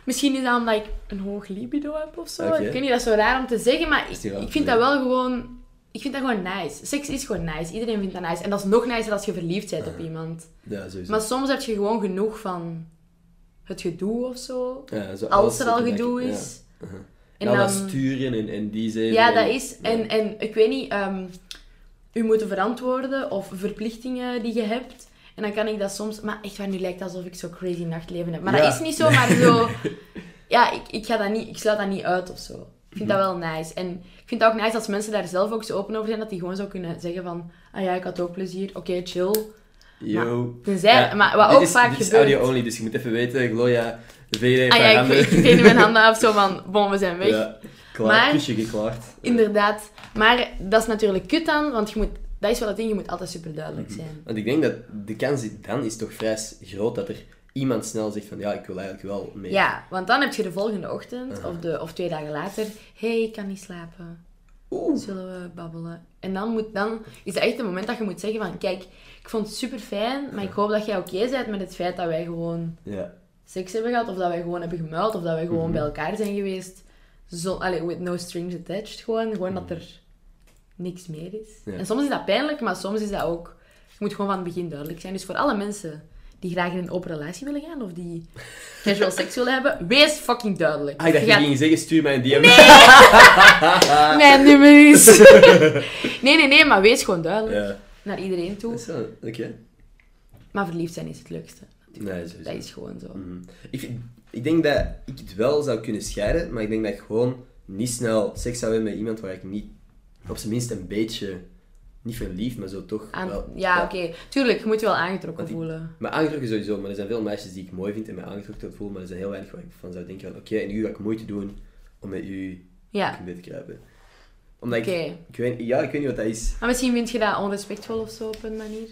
B: Misschien is dat omdat ik een hoog libido heb of zo.
A: Oké.
B: Ik weet niet, dat is zo raar om te zeggen, maar ik,
A: Is die wel
B: ik vind dat
A: verliefd?
B: wel gewoon... Ik vind dat gewoon nice. Seks is gewoon nice. Iedereen vindt dat nice. En dat is nog nicer als je verliefd bent
A: Ah.
B: op iemand.
A: Ja, sowieso.
B: Maar soms heb je gewoon genoeg van het gedoe of zo.
A: Ja, zo
B: als er
A: wat
B: al
A: te
B: gedoe
A: maken-
B: is.
A: Ja. Uh-huh. En
B: En
A: dan dat
B: dan-
A: sturen en, en die zijn...
B: Ja, dat is. En, en ik weet niet, ehm, u moeten verantwoorden of verplichtingen die je hebt. En dan kan ik dat soms... Maar echt waar, nu lijkt het alsof ik zo crazy nachtleven heb. Maar
A: Ja.
B: dat is niet zo, maar zo... Ja, ik, ik, ga dat niet, ik sluit dat niet uit of zo. Ik vind dat
A: Mhm.
B: wel nice. En ik vind het ook nice als mensen daar zelf ook zo open over zijn, dat die gewoon zo kunnen zeggen van... Ah ja, ik had ook plezier. Oké, chill.
A: Yo.
B: Tenzij...
A: Ja,
B: maar wat
A: dit
B: ook
A: is,
B: vaak
A: dit is
B: gebeurt...
A: audio only, dus je moet even weten, Gloria, VD,
B: ah ja, ik, ik deed nu mijn handen af zo van... Bon, we zijn weg.
A: Ja, klaar,
B: Maar-
A: kusje geklaard.
B: Inderdaad. Maar dat is natuurlijk kut dan, want je moet, dat is wel het ding, je moet altijd super duidelijk zijn.
A: Want ik denk dat de kans die- dan is toch vrij s- groot dat er iemand snel zegt van ja, ik wil eigenlijk wel mee.
B: Ja, want dan heb je de volgende ochtend of, de, of twee dagen later. hey, ik kan niet slapen.
A: Oeh.
B: Zullen we babbelen? En dan, moet, dan is dat echt het moment dat je moet zeggen van kijk, ik vond het super fijn, maar ik hoop dat jij oké bent met het feit dat wij gewoon
A: Ja.
B: seks hebben gehad, of dat wij gewoon hebben gemuild, of dat wij
A: Mhm.
B: gewoon bij elkaar zijn geweest. Zo, allee, with no strings attached gewoon. Gewoon dat er niks meer is.
A: Mhm. Ja.
B: En soms is dat pijnlijk, maar soms is dat ook... Je moet gewoon van het begin duidelijk zijn. Dus voor alle mensen die graag in een open relatie willen gaan, of die casual seks willen hebben, wees fucking duidelijk.
A: Ah, ik dacht
B: Je
A: je
B: gaat-
A: ging zeggen, stuur mij een DM.
B: Mijn nummer is... nee, nee, nee, maar wees gewoon duidelijk.
A: Ja.
B: Naar iedereen toe.
A: Dat is wel- Oké.
B: Maar verliefd zijn is het leukste.
A: Nee, sowieso.
B: Dat is gewoon zo.
A: Mhm. Ik, vind- ik denk dat ik het wel zou kunnen scheiden, maar ik denk dat ik gewoon niet snel seks zou hebben met iemand waar ik niet, op zijn minst een beetje, niet verliefd, maar zo toch
B: Aan-
A: wel.
B: ja, oké. Tuurlijk, je moet je wel aangetrokken
A: Want ik-
B: voelen.
A: Maar aangetrokken sowieso, maar er zijn veel meisjes die ik mooi vind en mij aangetrokken tot voel, maar er zijn heel weinig waar ik van zou denken van oké, en nu ga ik moeite doen om met u
B: Ja.
A: Dit kruipen. Omdat
B: Oké.
A: ik, ik weet, ja, ik weet niet wat dat is.
B: Maar misschien vind je dat onrespectvol of zo op een manier.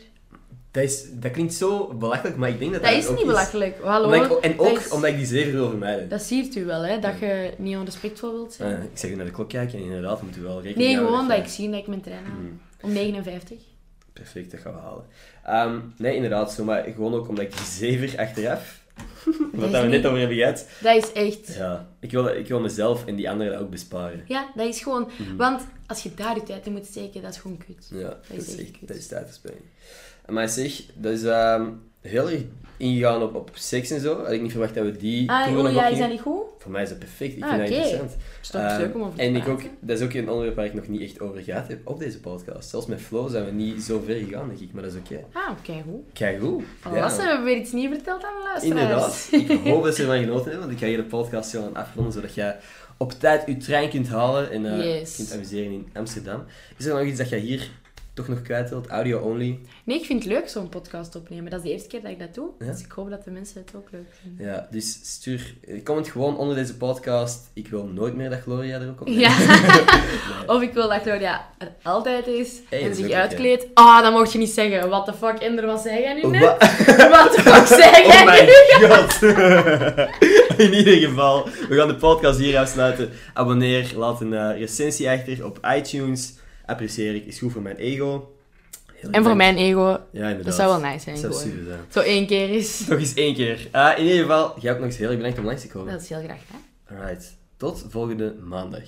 A: Dat, is, dat klinkt zo belachelijk, maar ik denk dat
B: Dat
A: dat,
B: is
A: ook
B: niet belachelijk. Hallo.
A: Omdat ik ook- en
B: dat
A: ook
B: is-
A: omdat ik die zeven wil vermijden.
B: Dat siert u wel, hè? Dat je niet onrespectvol wilt zijn.
A: Ah, ik zeg u naar de klok kijken en inderdaad moeten we wel rekening
B: Nee,
A: houden
B: gewoon dat
A: je-
B: ik zie dat ik mijn trein haal.
A: Mm.
B: Om 59.
A: Perfect, dat gaan we halen. Ehm, nee, inderdaad, zo, maar gewoon ook omdat ik die zever achteraf, wat
B: is
A: dat we net
B: niet-
A: over hebben gehad,
B: Dat is echt...
A: ja, ik, wil, ik wil mezelf en die anderen dat ook besparen.
B: Ja, dat is gewoon...
A: Mm.
B: Want als je daar je tijd in moet steken, dat is gewoon kut.
A: Ja, dat,
B: is
A: is
B: echt
A: echt,
B: kut.
A: dat is tijdverspilling. Maar zeg, dat is ehm, heel erg ingegaan op, op seks en zo. Had ik niet verwacht dat we die
B: Ah,
A: toeren
B: oh
A: nog
B: ja, is
A: opgingen.
B: dat niet goed?
A: Voor mij is dat perfect, ik
B: Ah,
A: vind dat
B: oké.
A: interessant.
B: Is toch
A: Ehm,
B: leuk om over te
A: en ik ook,
B: praten?
A: dat is ook een onderwerp waar ik nog niet echt over gehad heb op deze podcast. Zelfs met Flo zijn we niet zo ver gegaan, denk ik, maar dat is oké.
B: Ah, oké, goed.
A: Kijk goed.
B: Lasse, Oh, we hebben weer iets nieuws verteld aan de luisteraars.
A: Inderdaad. Ik hoop dat ze ervan genoten hebben, want ik ga hier de podcast zo aan afronden, zodat jij op tijd je trein kunt halen en eh,
B: Yes.
A: kunt amuseren in Amsterdam. Is er nog iets dat jij hier toch nog kwijt wilt? Audio only?
B: Nee, ik vind het leuk zo'n podcast opnemen. Dat is de eerste keer dat ik dat doe.
A: Ja?
B: Dus ik hoop dat de mensen het ook leuk vinden.
A: Ja, dus stuur... eh, Comment gewoon onder deze podcast. Ik wil nooit meer dat Gloria er ook op
B: Ja. Oh, Of ik wil dat Claudia er altijd is
A: Hey, dat
B: en
A: is
B: zich
A: ook oké.
B: uitkleedt. Ah, dat mocht je niet zeggen. What the fuck, Ender, wat zei jij nu net?
A: Wa-
B: What the fuck zei jij
A: Oh mijn
B: nu?
A: god! In ieder geval, we gaan de podcast hier afsluiten. Abonneer, laat een eh, recensie achter op iTunes. Apprecieer ik, is goed voor mijn ego. Heel
B: En voor
A: erg
B: mijn ego,
A: Ja, inderdaad.
B: dat zou wel nice zijn.
A: Dat zou
B: gewoon.
A: super zijn.
B: Zo één keer is.
A: Nog eens één keer. Eh, in ieder geval, jij ook nog eens heel erg bedankt om langs te komen.
B: Dat is heel graag, hè?
A: Alright, tot volgende maandag.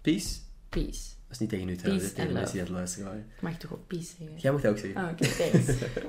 A: Peace.
B: Peace.
A: Dat is niet tegen u trouwens,
B: Peace
A: hè, tegen de mensen
B: and
A: die aan het luisteren waren.
B: Ik mag toch ook peace zeggen?
A: Jij moet dat ook zeggen.
B: Ah, Oké, thanks.